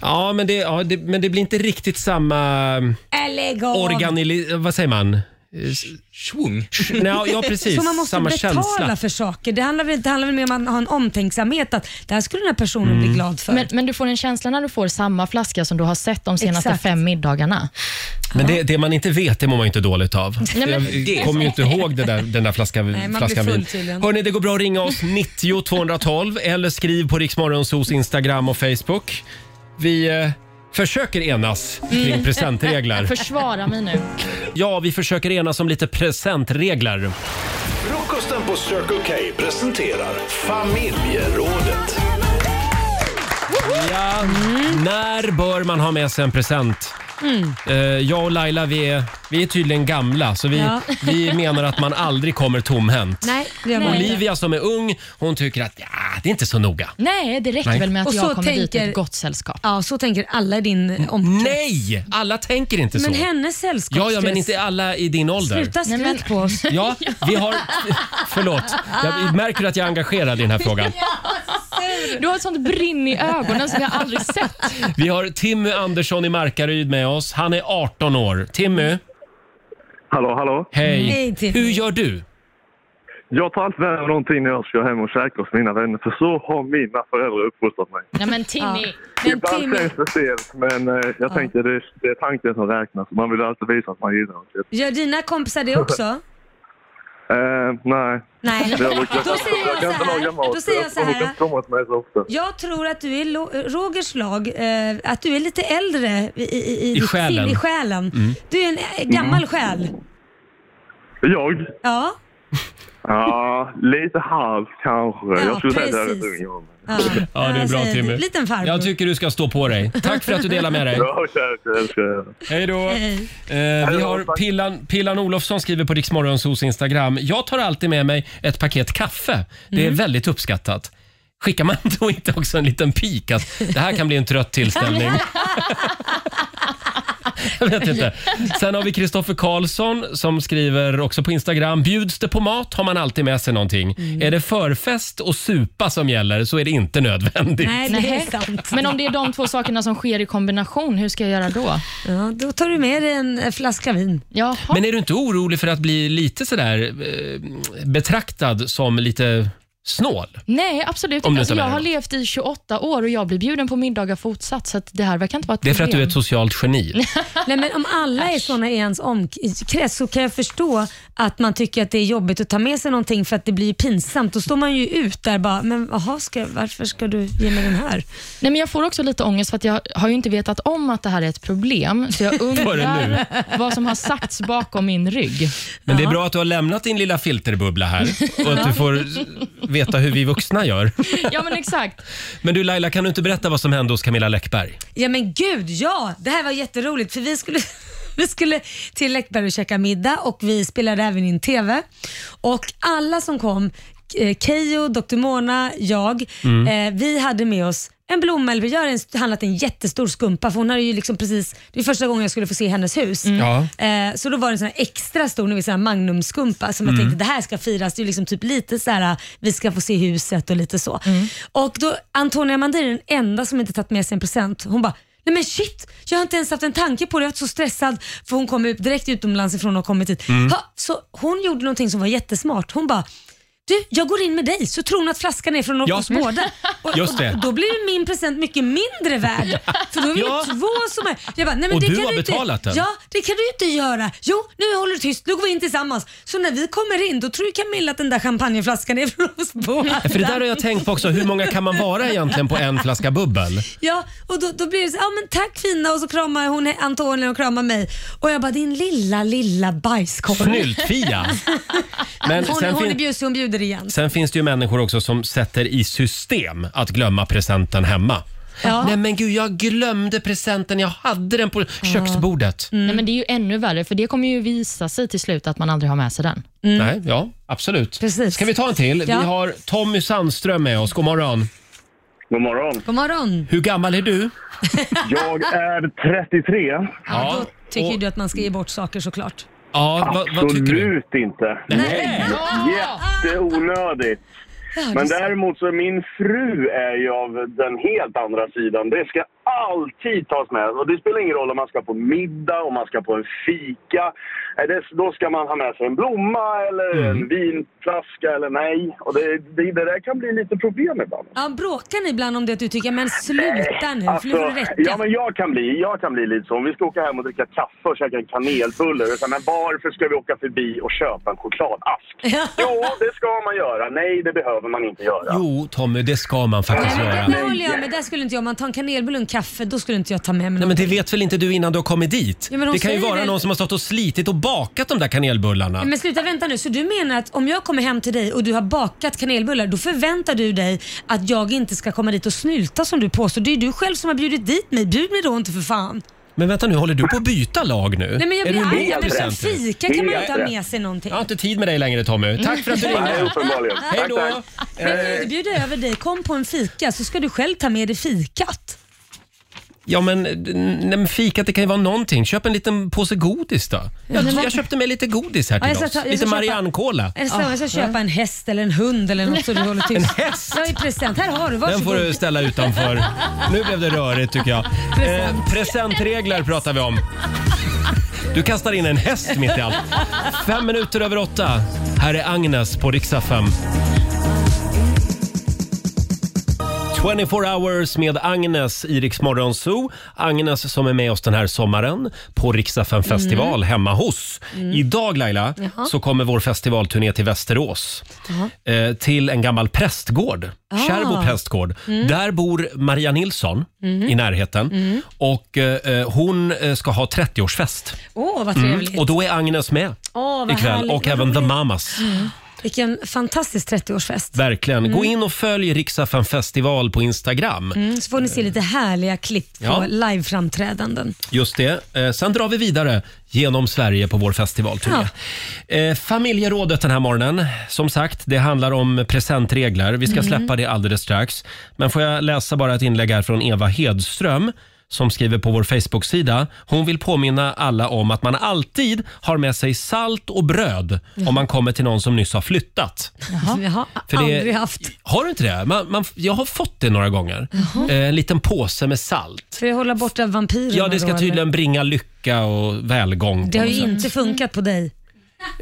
[SPEAKER 1] Ja, men det, ja det, men det blir inte riktigt samma
[SPEAKER 2] Äh, lägg av.
[SPEAKER 1] organili... Vad säger man?
[SPEAKER 6] Schwung?
[SPEAKER 1] Ja,
[SPEAKER 3] *laughs*
[SPEAKER 1] ja, precis.
[SPEAKER 2] Så man måste
[SPEAKER 1] samma
[SPEAKER 2] betala
[SPEAKER 1] känsla.
[SPEAKER 2] för saker. Det handlar väl inte- det handlar väl mer om att man har en omtänksamhet att det här skulle den här personen
[SPEAKER 1] Mm.
[SPEAKER 2] bli glad för.
[SPEAKER 3] Men, men du får en känsla när du får samma flaska som du har sett de senaste
[SPEAKER 2] Exakt.
[SPEAKER 3] fem middagarna.
[SPEAKER 1] Men det, det man inte vet, det mår man inte dåligt av.
[SPEAKER 3] Nej, men-
[SPEAKER 1] Jag kommer ju inte ihåg det där, den där flaskan,
[SPEAKER 3] Nej, man blir
[SPEAKER 1] flaskan
[SPEAKER 3] full
[SPEAKER 1] vin.
[SPEAKER 3] tydligen.
[SPEAKER 1] Hörni, det går bra att ringa
[SPEAKER 3] *laughs*
[SPEAKER 1] oss 90 212 eller skriv på Riksmorgonsos Instagram och Facebook. Vi eh, försöker enas kring
[SPEAKER 3] Mm. *laughs*
[SPEAKER 1] presentregler.
[SPEAKER 3] Försvara mig nu.
[SPEAKER 1] Ja, vi försöker enas om lite presentregler.
[SPEAKER 4] Frukosten på Circle K presenterar Familjerådet.
[SPEAKER 1] Ja, när bör man ha med sig en present?
[SPEAKER 2] Mm.
[SPEAKER 1] Eh, jag och Laila vi är, vi är tydligen gamla så vi,
[SPEAKER 2] Ja.
[SPEAKER 1] vi menar att man aldrig kommer tomhänt.
[SPEAKER 2] Nej, det gör man inte.
[SPEAKER 1] Olivia som är ung, hon tycker att ja, det är inte så noga.
[SPEAKER 3] Nej, det räcker
[SPEAKER 1] Nej.
[SPEAKER 3] väl med att
[SPEAKER 1] Och
[SPEAKER 3] jag
[SPEAKER 1] så
[SPEAKER 3] kommer dit
[SPEAKER 2] tänker-
[SPEAKER 3] i ett gott sällskap.
[SPEAKER 2] Ja, så tänker alla i din omkrets.
[SPEAKER 1] Mm. Nej, alla tänker inte så.
[SPEAKER 2] Men hennes sällskap.
[SPEAKER 1] Ja, ja, men inte alla i din ålder.
[SPEAKER 2] Sluta skryt på oss.
[SPEAKER 1] Ja,
[SPEAKER 2] *laughs*
[SPEAKER 1] vi har... Förlåt, jag märker att jag är engagerad i den här frågan.
[SPEAKER 3] *laughs* Du har ett sånt brinn i ögonen som jag aldrig sett.
[SPEAKER 1] Vi har Timmy Andersson i Markaryd med oss. Han är 18 år. Timmy?
[SPEAKER 12] Hallå, hallå.
[SPEAKER 1] Hej.
[SPEAKER 2] Hej, Timmy.
[SPEAKER 1] Hur gör du?
[SPEAKER 12] Jag tar alltid med mig någonting när jag ska hem och käka hos mina vänner, för så har mina föräldrar uppfostrat mig.
[SPEAKER 3] Nej men Timmy.
[SPEAKER 12] Ibland känns det stelt, men eh, jag tänker det, det är tanken som räknas. Man vill alltid visa att man gillar något.
[SPEAKER 2] Gör dina kompisar det
[SPEAKER 3] *laughs*
[SPEAKER 2] också?
[SPEAKER 12] Eh, nej.
[SPEAKER 2] Nej.
[SPEAKER 12] Jag brukar-
[SPEAKER 2] Då säger jag
[SPEAKER 12] kan inte
[SPEAKER 2] så här.
[SPEAKER 12] laga mat,
[SPEAKER 2] Då säger jag så
[SPEAKER 12] De brukar
[SPEAKER 2] här.
[SPEAKER 12] inte komma till mig så ofta.
[SPEAKER 2] Jag tror att du är Lo- Rogers lag, eh, att du är lite äldre i, i, i, ditt
[SPEAKER 12] själen.
[SPEAKER 2] sinne, i själen.
[SPEAKER 12] Mm.
[SPEAKER 2] Du är en eh, gammal
[SPEAKER 3] Mm.
[SPEAKER 2] själ.
[SPEAKER 12] Jag?
[SPEAKER 2] Ja.
[SPEAKER 12] Ja, lite halvt kanske. jag skulle säga att jag är rätt
[SPEAKER 2] precis.
[SPEAKER 12] ung. jag.
[SPEAKER 2] ja.
[SPEAKER 1] Ja, det är bra
[SPEAKER 2] Alltså,
[SPEAKER 1] Timmy.
[SPEAKER 2] Liten farbror.
[SPEAKER 1] Jag tycker du ska stå på dig. Tack för att du delar med dig.
[SPEAKER 12] Ja, tack. Jag älskar er.
[SPEAKER 1] Hej då. Eh, vi har Pillan, Pillan Olofsson skriver på Riksmorgonsos Instagram. Jag tar alltid med mig ett paket kaffe. Det är
[SPEAKER 15] Mm.
[SPEAKER 1] väldigt uppskattat. Skickar man då inte också en liten pik att det här kan bli en trött tillställning? Jag vet inte. Sen har vi Kristoffer Karlsson som skriver också på Instagram. Bjuds det på mat har man alltid med sig någonting. Är det förfest och supa som gäller så är det inte nödvändigt.
[SPEAKER 3] Nähä. Men om det är de två sakerna som sker i kombination, hur ska jag göra då?
[SPEAKER 2] Ja, då tar du med dig en eh, flaska vin.
[SPEAKER 3] Jaha.
[SPEAKER 1] Men är du inte orolig för att bli lite sådär eh, betraktad som lite snål?
[SPEAKER 3] Nej, absolut
[SPEAKER 1] Om
[SPEAKER 3] inte.
[SPEAKER 1] du
[SPEAKER 3] Alltså,
[SPEAKER 1] tar med
[SPEAKER 3] jag
[SPEAKER 1] dig
[SPEAKER 3] har
[SPEAKER 1] något.
[SPEAKER 3] levt i 28 år och jag blir bjuden på middagar fortsatt, så att det här verkar inte vara ett
[SPEAKER 1] Det är för att du är
[SPEAKER 3] problem.
[SPEAKER 1] ett socialt
[SPEAKER 2] *laughs*
[SPEAKER 1] geni.
[SPEAKER 2] Nej, men om alla är såna i ens omkrets så kan jag förstå att man tycker att det är jobbigt att ta med sig någonting för att det blir pinsamt. Då står man ju ut där bara, men aha, ska, varför ska du ge mig den här?
[SPEAKER 3] Nej, men jag får också lite ångest för att jag har ju inte vetat om att det här är ett problem, så
[SPEAKER 1] *laughs*
[SPEAKER 3] jag
[SPEAKER 1] Förrän nu.
[SPEAKER 3] undrar vad som har sagts bakom min rygg.
[SPEAKER 1] Men det är bra att du har lämnat din lilla filterbubbla här och att du får veta hur vi vuxna gör.
[SPEAKER 3] Ja, men exakt.
[SPEAKER 1] Men du Laila, kan du inte berätta vad som hände hos Camilla Läckberg?
[SPEAKER 2] Ja men gud ja, det här var jätteroligt för vi skulle, *laughs* vi skulle till Läckberg och käka middag och vi spelade även in TV. Och alla som kom, eh, Keyyo, Dr Mona, jag,
[SPEAKER 16] Mm.
[SPEAKER 2] eh, vi hade med oss en blomma, eller vi har en- handlat en jättestor skumpa för hon hade ju liksom precis, det är första gången jag skulle få se hennes hus.
[SPEAKER 16] Mm. Ja.
[SPEAKER 2] Eh, så då var det en sån här extra stor, ni vet sån här magnumskumpa som
[SPEAKER 16] Mm.
[SPEAKER 2] jag tänkte det här ska firas. Det är ju liksom typ lite så här, vi ska få se huset och lite så.
[SPEAKER 1] Mm.
[SPEAKER 2] Och då Antonia Mandir är den enda som inte tagit med sig en present. Hon bara, nej men shit, jag har inte ens haft en tanke på det. Jag har varit så stressad för hon kom ut direkt utomlands ifrån och kommit hit.
[SPEAKER 16] Mm.
[SPEAKER 2] Ha, så hon gjorde någonting som var jättesmart. Hon bara, du, jag går in med dig så tror hon att flaskan är från
[SPEAKER 1] Ja.
[SPEAKER 2] oss båda.
[SPEAKER 1] *laughs*
[SPEAKER 2] Och,
[SPEAKER 1] Just det.
[SPEAKER 2] och då blir ju min present mycket mindre värd. För då är vi
[SPEAKER 1] *laughs* Ja.
[SPEAKER 2] ju två som är... Jag bara, nej men
[SPEAKER 1] Och
[SPEAKER 2] det
[SPEAKER 1] du
[SPEAKER 2] kan
[SPEAKER 1] har
[SPEAKER 2] du inte,
[SPEAKER 1] betalat den.
[SPEAKER 2] Ja, det kan du inte göra. Jo, nu håller du tyst. Nu går vi in tillsammans. Så när vi kommer in, då tror ju Camilla att den där champagneflaskan är från oss båda.
[SPEAKER 1] *laughs* Ja, För det där har jag tänkt på också. Hur många kan man vara egentligen på en flaska bubbel?
[SPEAKER 2] Ja, och då, då blir det så ja men tack fina och så kramar hon Antonija och kramar mig. Och jag bara, din lilla, lilla bajskorv. *laughs*
[SPEAKER 1] Snyltfia. Men
[SPEAKER 2] hon
[SPEAKER 1] sen
[SPEAKER 2] hon är
[SPEAKER 1] fin-
[SPEAKER 2] bjussig, hon bjuder igen.
[SPEAKER 1] Sen finns det ju människor också som sätter i system att glömma presenten hemma. Nej men gud, jag glömde presenten. Jag hade den på köksbordet.
[SPEAKER 2] Mm.
[SPEAKER 3] Nej, men det är ju ännu värre, för det kommer ju visa sig till slut att man aldrig har med sig den.
[SPEAKER 1] Nej, ja, absolut.
[SPEAKER 2] Precis.
[SPEAKER 1] Ska vi ta en till?
[SPEAKER 3] Ja.
[SPEAKER 1] Vi har Tommy Sandström med oss. God morgon.
[SPEAKER 12] God morgon.
[SPEAKER 2] God morgon.
[SPEAKER 1] Hur gammal är du?
[SPEAKER 12] Jag är 33.
[SPEAKER 2] Ja, då tycker ju du att man ska ge bort saker såklart.
[SPEAKER 1] Ja,
[SPEAKER 12] Absolut
[SPEAKER 1] vad tycker
[SPEAKER 12] inte. Nej.
[SPEAKER 2] Ah.
[SPEAKER 12] Jätteonödigt.
[SPEAKER 2] Ja, det
[SPEAKER 12] Men
[SPEAKER 2] är så.
[SPEAKER 12] däremot så min fru är ju av den helt andra sidan. Det ska alltid tas med. Och det spelar ingen roll om man ska på middag, om man ska på en fika. Eh, Det, då ska man ha med sig en blomma eller
[SPEAKER 2] Mm.
[SPEAKER 12] en vinflaska eller nej. Och det, det, det där kan bli lite problem ibland.
[SPEAKER 2] Ja, bråkar ni ibland om det att du tycker, men sluta nu, för nu får det räcka.
[SPEAKER 12] Alltså, ja, men jag, kan bli, jag kan bli lite så. Om vi ska åka hem och dricka kaffe och käka en kanelbulle. då säger jag, Men varför ska vi åka förbi och köpa en
[SPEAKER 2] *laughs*
[SPEAKER 12] chokladask? jo, det ska man göra. Nej, det behöver man inte göra.
[SPEAKER 1] Jo, Tommy, det ska man faktiskt
[SPEAKER 12] Nej, men
[SPEAKER 1] göra.
[SPEAKER 2] Det håller jag med, där skulle inte jag. Man tar en kanelbulle och en kaffe, då skulle inte jag ta med mig
[SPEAKER 1] Nej,
[SPEAKER 2] någon.
[SPEAKER 1] men det vet väl inte du innan du har kommit dit?
[SPEAKER 2] Ja, men de
[SPEAKER 1] det kan ju
[SPEAKER 2] säger
[SPEAKER 1] vara
[SPEAKER 2] väl-
[SPEAKER 1] någon som har stått och slitit och bakat de där kanelbullarna.
[SPEAKER 2] Ja, Men sluta vänta nu, så du menar att om jag kommer hem till dig och du har bakat kanelbullar, då förväntar du dig att jag inte ska komma dit och snylta som du påstår? Det är ju du själv som har bjudit dit mig, bjud mig då inte för fan.
[SPEAKER 1] Men vänta nu, håller du på att byta lag nu?
[SPEAKER 2] Nej men jag
[SPEAKER 1] Är
[SPEAKER 2] blir
[SPEAKER 1] du
[SPEAKER 2] arg,
[SPEAKER 1] emot
[SPEAKER 2] jag blir så
[SPEAKER 1] presenter?
[SPEAKER 2] fika kan man ju inte ha med sig någonting.
[SPEAKER 1] Jag har inte tid med dig längre Tommy. Tack för att du
[SPEAKER 2] Nej,
[SPEAKER 1] ringde.
[SPEAKER 2] uppenbarligen.
[SPEAKER 1] Hej då.
[SPEAKER 2] Tack, Men
[SPEAKER 1] eh.
[SPEAKER 2] kan jag inte bjuda över dig, kom på en fika så ska du själv ta med dig fikat.
[SPEAKER 1] Ja men, nej, men fikat det kan ju vara någonting. Köp en liten påse godis då. Jag,
[SPEAKER 2] men vad-
[SPEAKER 1] jag köpte med lite godis här
[SPEAKER 2] Ja,
[SPEAKER 1] till
[SPEAKER 2] jag ska
[SPEAKER 1] oss.
[SPEAKER 2] ta- jag ska
[SPEAKER 1] lite
[SPEAKER 2] köpa-
[SPEAKER 1] Mariannekola.
[SPEAKER 2] Eller så, jag ska
[SPEAKER 1] Ah.
[SPEAKER 2] köpa en häst eller en hund eller något så du håller tyst.
[SPEAKER 1] *laughs* En häst?
[SPEAKER 2] Ja, i present. Här har du,
[SPEAKER 1] Den
[SPEAKER 2] varsågod.
[SPEAKER 1] får du ställa utanför. Nu blev det rörigt tycker jag.
[SPEAKER 2] Present.
[SPEAKER 1] Eh, presentregler pratar vi om. Du kastar in en häst mitt i allt. Fem minuter över åtta. Här är Agnes på riksdag 5. 24 hours med Agnes i Rix Morgon Zoo. Agnes som är med oss den här sommaren på Riksaffen festival
[SPEAKER 15] Mm.
[SPEAKER 1] hemma hos.
[SPEAKER 15] Mm.
[SPEAKER 1] Idag Laila
[SPEAKER 15] Jaha.
[SPEAKER 1] så kommer vår festivalturné till Västerås. Eh, till en gammal prästgård,
[SPEAKER 15] Ah.
[SPEAKER 1] Kärrbo prästgård.
[SPEAKER 15] Mm.
[SPEAKER 1] Där bor Maria Nilsson
[SPEAKER 2] Mm.
[SPEAKER 1] i närheten
[SPEAKER 2] Mm.
[SPEAKER 1] och eh, eh, hon eh, ska ha 30-årsfest.
[SPEAKER 2] Åh, vad trevligt.
[SPEAKER 1] Mm, Och då är Agnes med
[SPEAKER 2] Åh, vad
[SPEAKER 1] ikväll
[SPEAKER 2] härligt,
[SPEAKER 1] och
[SPEAKER 2] vad
[SPEAKER 1] även The
[SPEAKER 2] roligt.
[SPEAKER 1] Mamas.
[SPEAKER 2] Mm. Vilken fantastisk 30-årsfest.
[SPEAKER 1] Verkligen. Gå
[SPEAKER 2] Mm.
[SPEAKER 1] in och följ Riksaffen festival på Instagram.
[SPEAKER 2] Mm, så får ni se lite härliga klipp på
[SPEAKER 1] Ja.
[SPEAKER 2] liveframträdanden.
[SPEAKER 1] Just det. Eh, Sen drar vi vidare genom Sverige på vår festivalturné. Eh, Familjerådet den här morgonen. Som sagt, det handlar om presentregler. Vi ska
[SPEAKER 15] Mm.
[SPEAKER 1] släppa det alldeles strax. Men får jag läsa bara ett inlägg här från Eva Hedström som skriver på vår Facebook-sida. Hon vill påminna alla om att man alltid har med sig salt och bröd
[SPEAKER 2] Jaha.
[SPEAKER 1] om man kommer till någon som nyss har flyttat.
[SPEAKER 2] Jaha. Jag har
[SPEAKER 1] För det-
[SPEAKER 2] aldrig haft.
[SPEAKER 1] Har du inte det? Man, man, jag har fått det några gånger.
[SPEAKER 2] Jaha.
[SPEAKER 1] Eh, En liten påse med salt.
[SPEAKER 2] För att hålla borta vampyrerna
[SPEAKER 1] Ja, det
[SPEAKER 2] då,
[SPEAKER 1] ska
[SPEAKER 2] eller?
[SPEAKER 1] tydligen Mm. bringa lycka och välgång. på
[SPEAKER 2] Det har
[SPEAKER 1] något
[SPEAKER 2] ju
[SPEAKER 1] sätt.
[SPEAKER 2] inte funkat på dig.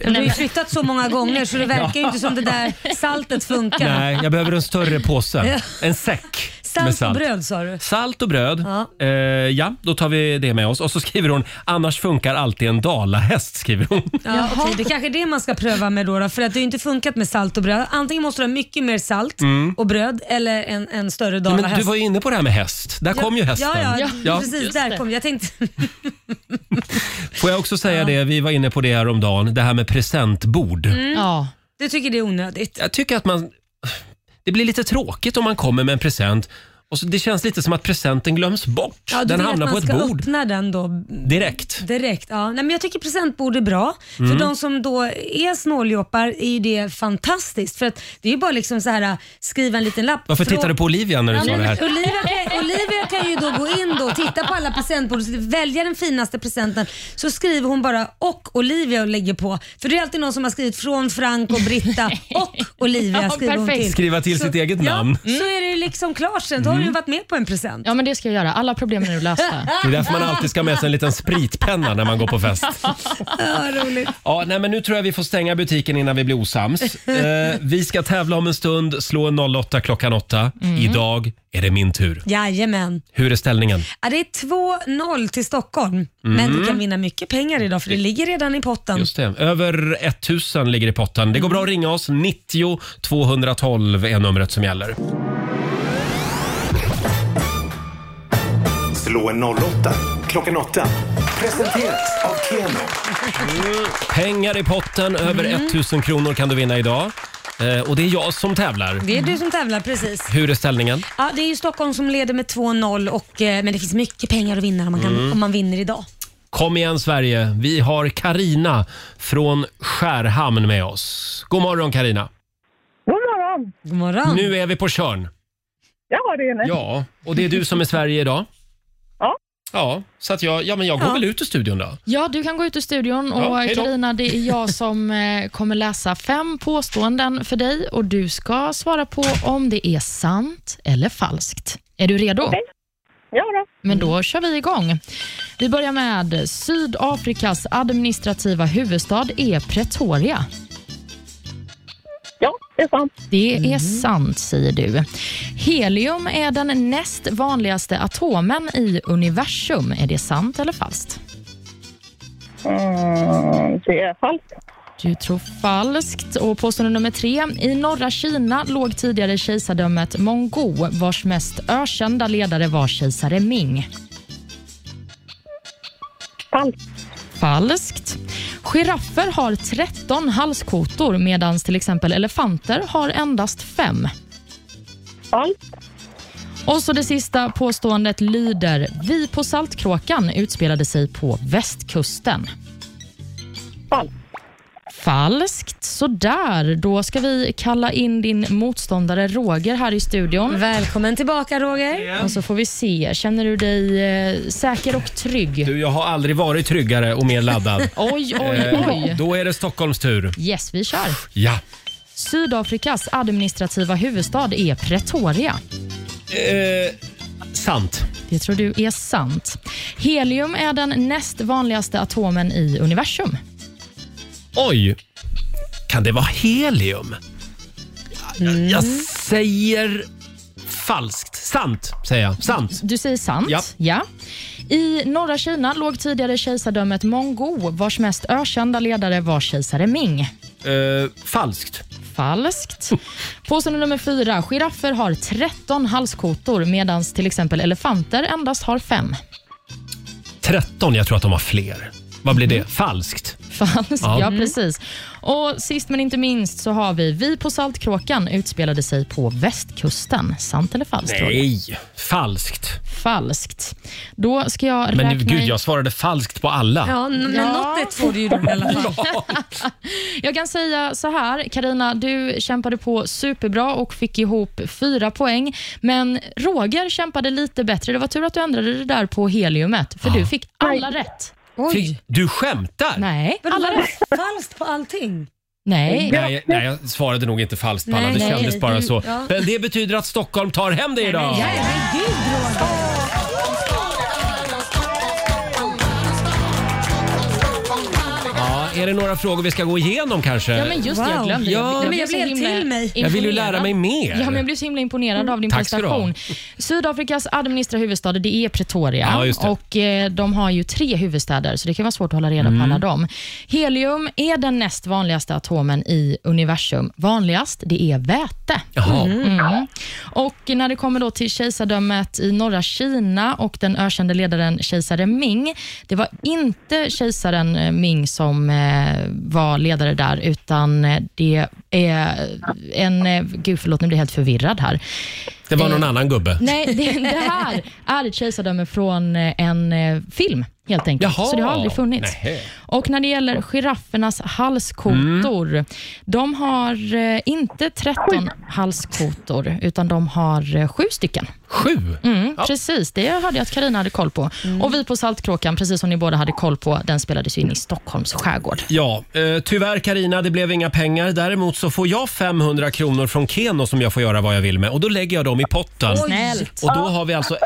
[SPEAKER 2] Du har ju flyttat så många gånger så det verkar ju inte som det där saltet funkar.
[SPEAKER 1] Nej, jag behöver en större
[SPEAKER 2] *laughs*
[SPEAKER 1] påse.
[SPEAKER 2] Ja.
[SPEAKER 1] En säck med
[SPEAKER 2] Salt och
[SPEAKER 1] salt.
[SPEAKER 2] bröd sa du?
[SPEAKER 1] Salt och bröd. Ja. Eh, ja, då tar vi det med oss. Och så skriver hon, annars funkar alltid en dalahäst, skriver hon.
[SPEAKER 2] *laughs* Ja, okej, det är kanske är det man ska pröva med då, då för att det har ju inte funkat med salt och bröd. Antingen måste du ha mycket mer salt
[SPEAKER 1] Mm.
[SPEAKER 2] och bröd eller en, en större
[SPEAKER 1] Ja,
[SPEAKER 2] dalahäst.
[SPEAKER 1] men du var ju inne på det här med häst. Där kom ju hästen.
[SPEAKER 2] Ja, ja,
[SPEAKER 1] Ja.
[SPEAKER 2] precis. Där kom jag. tänkte... *laughs*
[SPEAKER 1] Får jag också säga det, vi var inne på det här om dagen, det här med presentbord.
[SPEAKER 2] Mm. Du tycker det är onödigt?
[SPEAKER 1] Jag tycker att man... Det blir lite tråkigt om man kommer med en present och så, det känns lite som att presenten glöms bort.
[SPEAKER 2] Ja, du
[SPEAKER 1] den
[SPEAKER 2] vill
[SPEAKER 1] hamnar
[SPEAKER 2] att
[SPEAKER 1] på
[SPEAKER 2] man
[SPEAKER 1] ett
[SPEAKER 2] ska
[SPEAKER 1] bord.
[SPEAKER 2] öppna den då
[SPEAKER 1] Direkt.
[SPEAKER 2] Direkt, ja. Nej, men jag tycker presentbord är bra.
[SPEAKER 1] Mm.
[SPEAKER 2] För de som då är snåljåpar är ju det fantastiskt. För att det är ju bara liksom så här, skriva en liten lapp.
[SPEAKER 1] Varför
[SPEAKER 2] Frå-
[SPEAKER 1] tittar du på Olivia när du
[SPEAKER 2] Ja,
[SPEAKER 1] sa
[SPEAKER 2] men
[SPEAKER 1] det här?
[SPEAKER 2] Olivia kan, Olivia kan ju då gå in då och titta på alla presentbord och välja den finaste presenten. Så skriver hon bara och Olivia och lägger på. För det är alltid någon som har skrivit från Frank och
[SPEAKER 1] *laughs*
[SPEAKER 2] Britta och Olivia
[SPEAKER 3] Ja,
[SPEAKER 2] skriver hon
[SPEAKER 3] perfekt.
[SPEAKER 2] till.
[SPEAKER 1] Skriva till sitt eget namn.
[SPEAKER 2] Så är det ju liksom klart sen. Då har du ju
[SPEAKER 1] Mm.
[SPEAKER 2] varit med på en present.
[SPEAKER 3] Ja, men det ska jag göra. Alla problem är nu lösta.
[SPEAKER 1] Det är därför man alltid ska ha med sig en liten spritpenna när man går på
[SPEAKER 2] *laughs*
[SPEAKER 1] fest.
[SPEAKER 2] Ja, roligt.
[SPEAKER 1] Ja, nej, men nu tror jag vi får stänga butiken innan vi blir osams. Eh, vi ska tävla om en stund, slå en 08 klockan 8.
[SPEAKER 2] Mm.
[SPEAKER 1] Idag är det min tur.
[SPEAKER 2] Jajamän.
[SPEAKER 1] Hur är ställningen?
[SPEAKER 2] Ja, det är 2-0 till Stockholm, men
[SPEAKER 1] Mm.
[SPEAKER 2] du kan vinna mycket pengar idag för det ligger redan i potten.
[SPEAKER 1] Just det. Över 1000 ligger i potten. Det går bra att ringa oss. 90 212 är numret som gäller.
[SPEAKER 11] Slå en 08 klockan 8. Presenteras av Keno.
[SPEAKER 1] Pengar i potten, över
[SPEAKER 2] Mm.
[SPEAKER 1] 1000 kronor kan du vinna idag. Eh, och det är jag som tävlar.
[SPEAKER 2] Det är du som tävlar, precis.
[SPEAKER 1] Hur är ställningen?
[SPEAKER 2] Ja, det är ju Stockholm som leder med 2-0, och, eh, men det finns mycket pengar att vinna om man, kan,
[SPEAKER 1] Mm.
[SPEAKER 2] om man vinner idag.
[SPEAKER 1] Kom igen Sverige, vi har Karina från Skärhamn med oss. God morgon Karina.
[SPEAKER 16] God morgon!
[SPEAKER 2] God morgon.
[SPEAKER 1] Nu är vi på körn.
[SPEAKER 16] Ja, det är ni.
[SPEAKER 1] Ja, och det är du som är Sverige idag?
[SPEAKER 16] Ja.
[SPEAKER 1] Ja, så att jag, ja, men jag går
[SPEAKER 3] Ja.
[SPEAKER 1] väl ut ur studion då.
[SPEAKER 3] Ja, du kan gå ut ur studion
[SPEAKER 1] Ja, hej
[SPEAKER 3] och
[SPEAKER 1] då.
[SPEAKER 3] Karina, det är jag
[SPEAKER 1] *laughs*
[SPEAKER 3] som eh, kommer läsa fem påståenden för dig och du ska svara på om det är sant eller falskt. Är du redo?
[SPEAKER 16] Ja då.
[SPEAKER 3] Men då kör vi igång. Vi börjar med Sydafrikas administrativa huvudstad är Pretoria.
[SPEAKER 16] Ja, det är sant.
[SPEAKER 3] Det
[SPEAKER 1] Mm.
[SPEAKER 3] är sant, säger du. Helium är den näst vanligaste atomen i universum. Är det sant eller falskt?
[SPEAKER 16] Mm, det är falskt.
[SPEAKER 3] Du tror falskt. Och påstående nummer tre. I norra Kina låg tidigare kejsardömet Mongo vars mest ökända ledare var kejsare Ming.
[SPEAKER 16] Falskt.
[SPEAKER 3] Falskt. Giraffer har 13 halskotor medan till exempel elefanter har endast fem.
[SPEAKER 16] Falskt.
[SPEAKER 3] Och så det sista påståendet lyder Vi på Saltkråkan utspelade sig på västkusten.
[SPEAKER 16] Falskt.
[SPEAKER 3] Falskt. Sådär, då ska vi kalla in din motståndare Roger här i studion.
[SPEAKER 1] Mm.
[SPEAKER 2] Välkommen tillbaka Roger.
[SPEAKER 3] Och så får vi se. Känner du dig eh, säker och trygg?
[SPEAKER 1] Du, jag har aldrig varit tryggare och mer laddad.
[SPEAKER 3] Oj, oj, *laughs*
[SPEAKER 1] Eh,
[SPEAKER 3] oj.
[SPEAKER 1] Då är det Stockholms tur.
[SPEAKER 3] Yes, vi kör.
[SPEAKER 1] Ja.
[SPEAKER 3] Sydafrikas administrativa huvudstad är Pretoria.
[SPEAKER 1] Eh, sant.
[SPEAKER 3] Det tror du är sant. Helium är den näst vanligaste atomen i universum.
[SPEAKER 1] Oj! Kan det vara helium? Jag,
[SPEAKER 3] Mm.
[SPEAKER 1] jag säger falskt. Sant, säger jag. Sant.
[SPEAKER 3] Du säger sant.
[SPEAKER 1] Ja.
[SPEAKER 3] I norra Kina låg tidigare kejsardömet Mongo vars mest ökända ledare var kejsare Ming.
[SPEAKER 1] Eh, falskt. *laughs*
[SPEAKER 3] Falskt. Påstående nummer fyra. Giraffer har 13 halskotor medan till exempel elefanter endast har fem. *laughs*
[SPEAKER 1] 13, jag tror att de har fler. Vad blir det?
[SPEAKER 3] Mm.
[SPEAKER 1] Falskt.
[SPEAKER 3] Falskt,
[SPEAKER 1] Ja.
[SPEAKER 3] ja.
[SPEAKER 1] Mm.
[SPEAKER 3] precis. Och Sist men inte minst så har vi Vi på Saltkråkan utspelade sig på västkusten. Sant eller falskt? Roger?
[SPEAKER 1] Nej, falskt.
[SPEAKER 3] Falskt. Då ska jag räkna
[SPEAKER 1] Men gud,
[SPEAKER 3] i-
[SPEAKER 1] jag svarade falskt på alla.
[SPEAKER 3] Ja, n- men något rätt får du ju då i alla fall. Jag kan säga så här, Karina, du kämpade på superbra och fick ihop fyra poäng. Men Roger kämpade lite bättre. Det var tur att du ändrade det där på heliumet, för du fick alla rätt.
[SPEAKER 1] Fick- Du skämtar?
[SPEAKER 3] Nej,
[SPEAKER 2] Vadå,
[SPEAKER 3] alla
[SPEAKER 2] var det
[SPEAKER 3] rätt.
[SPEAKER 2] Falskt på allting.
[SPEAKER 3] Nej.
[SPEAKER 1] Nej, nej, jag svarade nog inte falskt på alla. Det
[SPEAKER 2] Nej, nej.
[SPEAKER 1] kändes bara så.
[SPEAKER 2] Ja.
[SPEAKER 1] Men det betyder att Stockholm tar hem det idag.
[SPEAKER 2] Herregud Roger.
[SPEAKER 1] Ja, är det några frågor vi ska gå igenom kanske?
[SPEAKER 3] Ja, men just det, jag glömde.
[SPEAKER 1] Ja.
[SPEAKER 3] blev
[SPEAKER 2] men jag
[SPEAKER 3] så
[SPEAKER 2] blev
[SPEAKER 3] himla
[SPEAKER 2] till mig.
[SPEAKER 1] Jag vill ju
[SPEAKER 3] imponerad.
[SPEAKER 1] lära mig mer.
[SPEAKER 3] Ja, men jag blev så himla imponerad av din
[SPEAKER 1] Tack ska du ha.
[SPEAKER 3] prestation. Sydafrikas administrativa huvudstad, det är Pretoria.
[SPEAKER 1] Ja, just det.
[SPEAKER 3] Och eh, De har ju tre huvudstäder, så det kan vara svårt att hålla
[SPEAKER 1] Mm.
[SPEAKER 3] reda på alla dem. Helium är den näst vanligaste atomen i universum. Vanligast, det är väte.
[SPEAKER 1] Jaha.
[SPEAKER 3] Mm. Och när det kommer då till kejsardömet i norra Kina och den ökände ledaren kejsare Ming. Det var inte kejsaren eh, Ming som eh, var ledare där, utan eh, det är en... eh, Gud, förlåt, nu blir jag helt förvirrad här.
[SPEAKER 1] Det var någon annan gubbe.
[SPEAKER 3] Mm. *laughs* Nej, det, det här är ett kejsardöme från eh, en eh, film, helt enkelt.
[SPEAKER 1] Jaha.
[SPEAKER 3] Så det har aldrig funnits.
[SPEAKER 1] Nähä.
[SPEAKER 3] Och när det gäller giraffernas halskotor,
[SPEAKER 1] Mm.
[SPEAKER 3] de har eh, inte 13 halskotor, utan de har eh, sju stycken.
[SPEAKER 1] Sju?
[SPEAKER 3] Mm, Precis, det hörde jag att Karina hade koll på. Och vi på Saltkråkan, precis som ni båda hade koll på, den spelades ju in i Stockholms skärgård.
[SPEAKER 1] Ja, eh, tyvärr Karina, det blev inga pengar. Däremot så får jag 500 kronor från Keno som jag får göra vad jag vill med och då lägger jag dem i potten.
[SPEAKER 3] Snällt.
[SPEAKER 1] Och då har vi alltså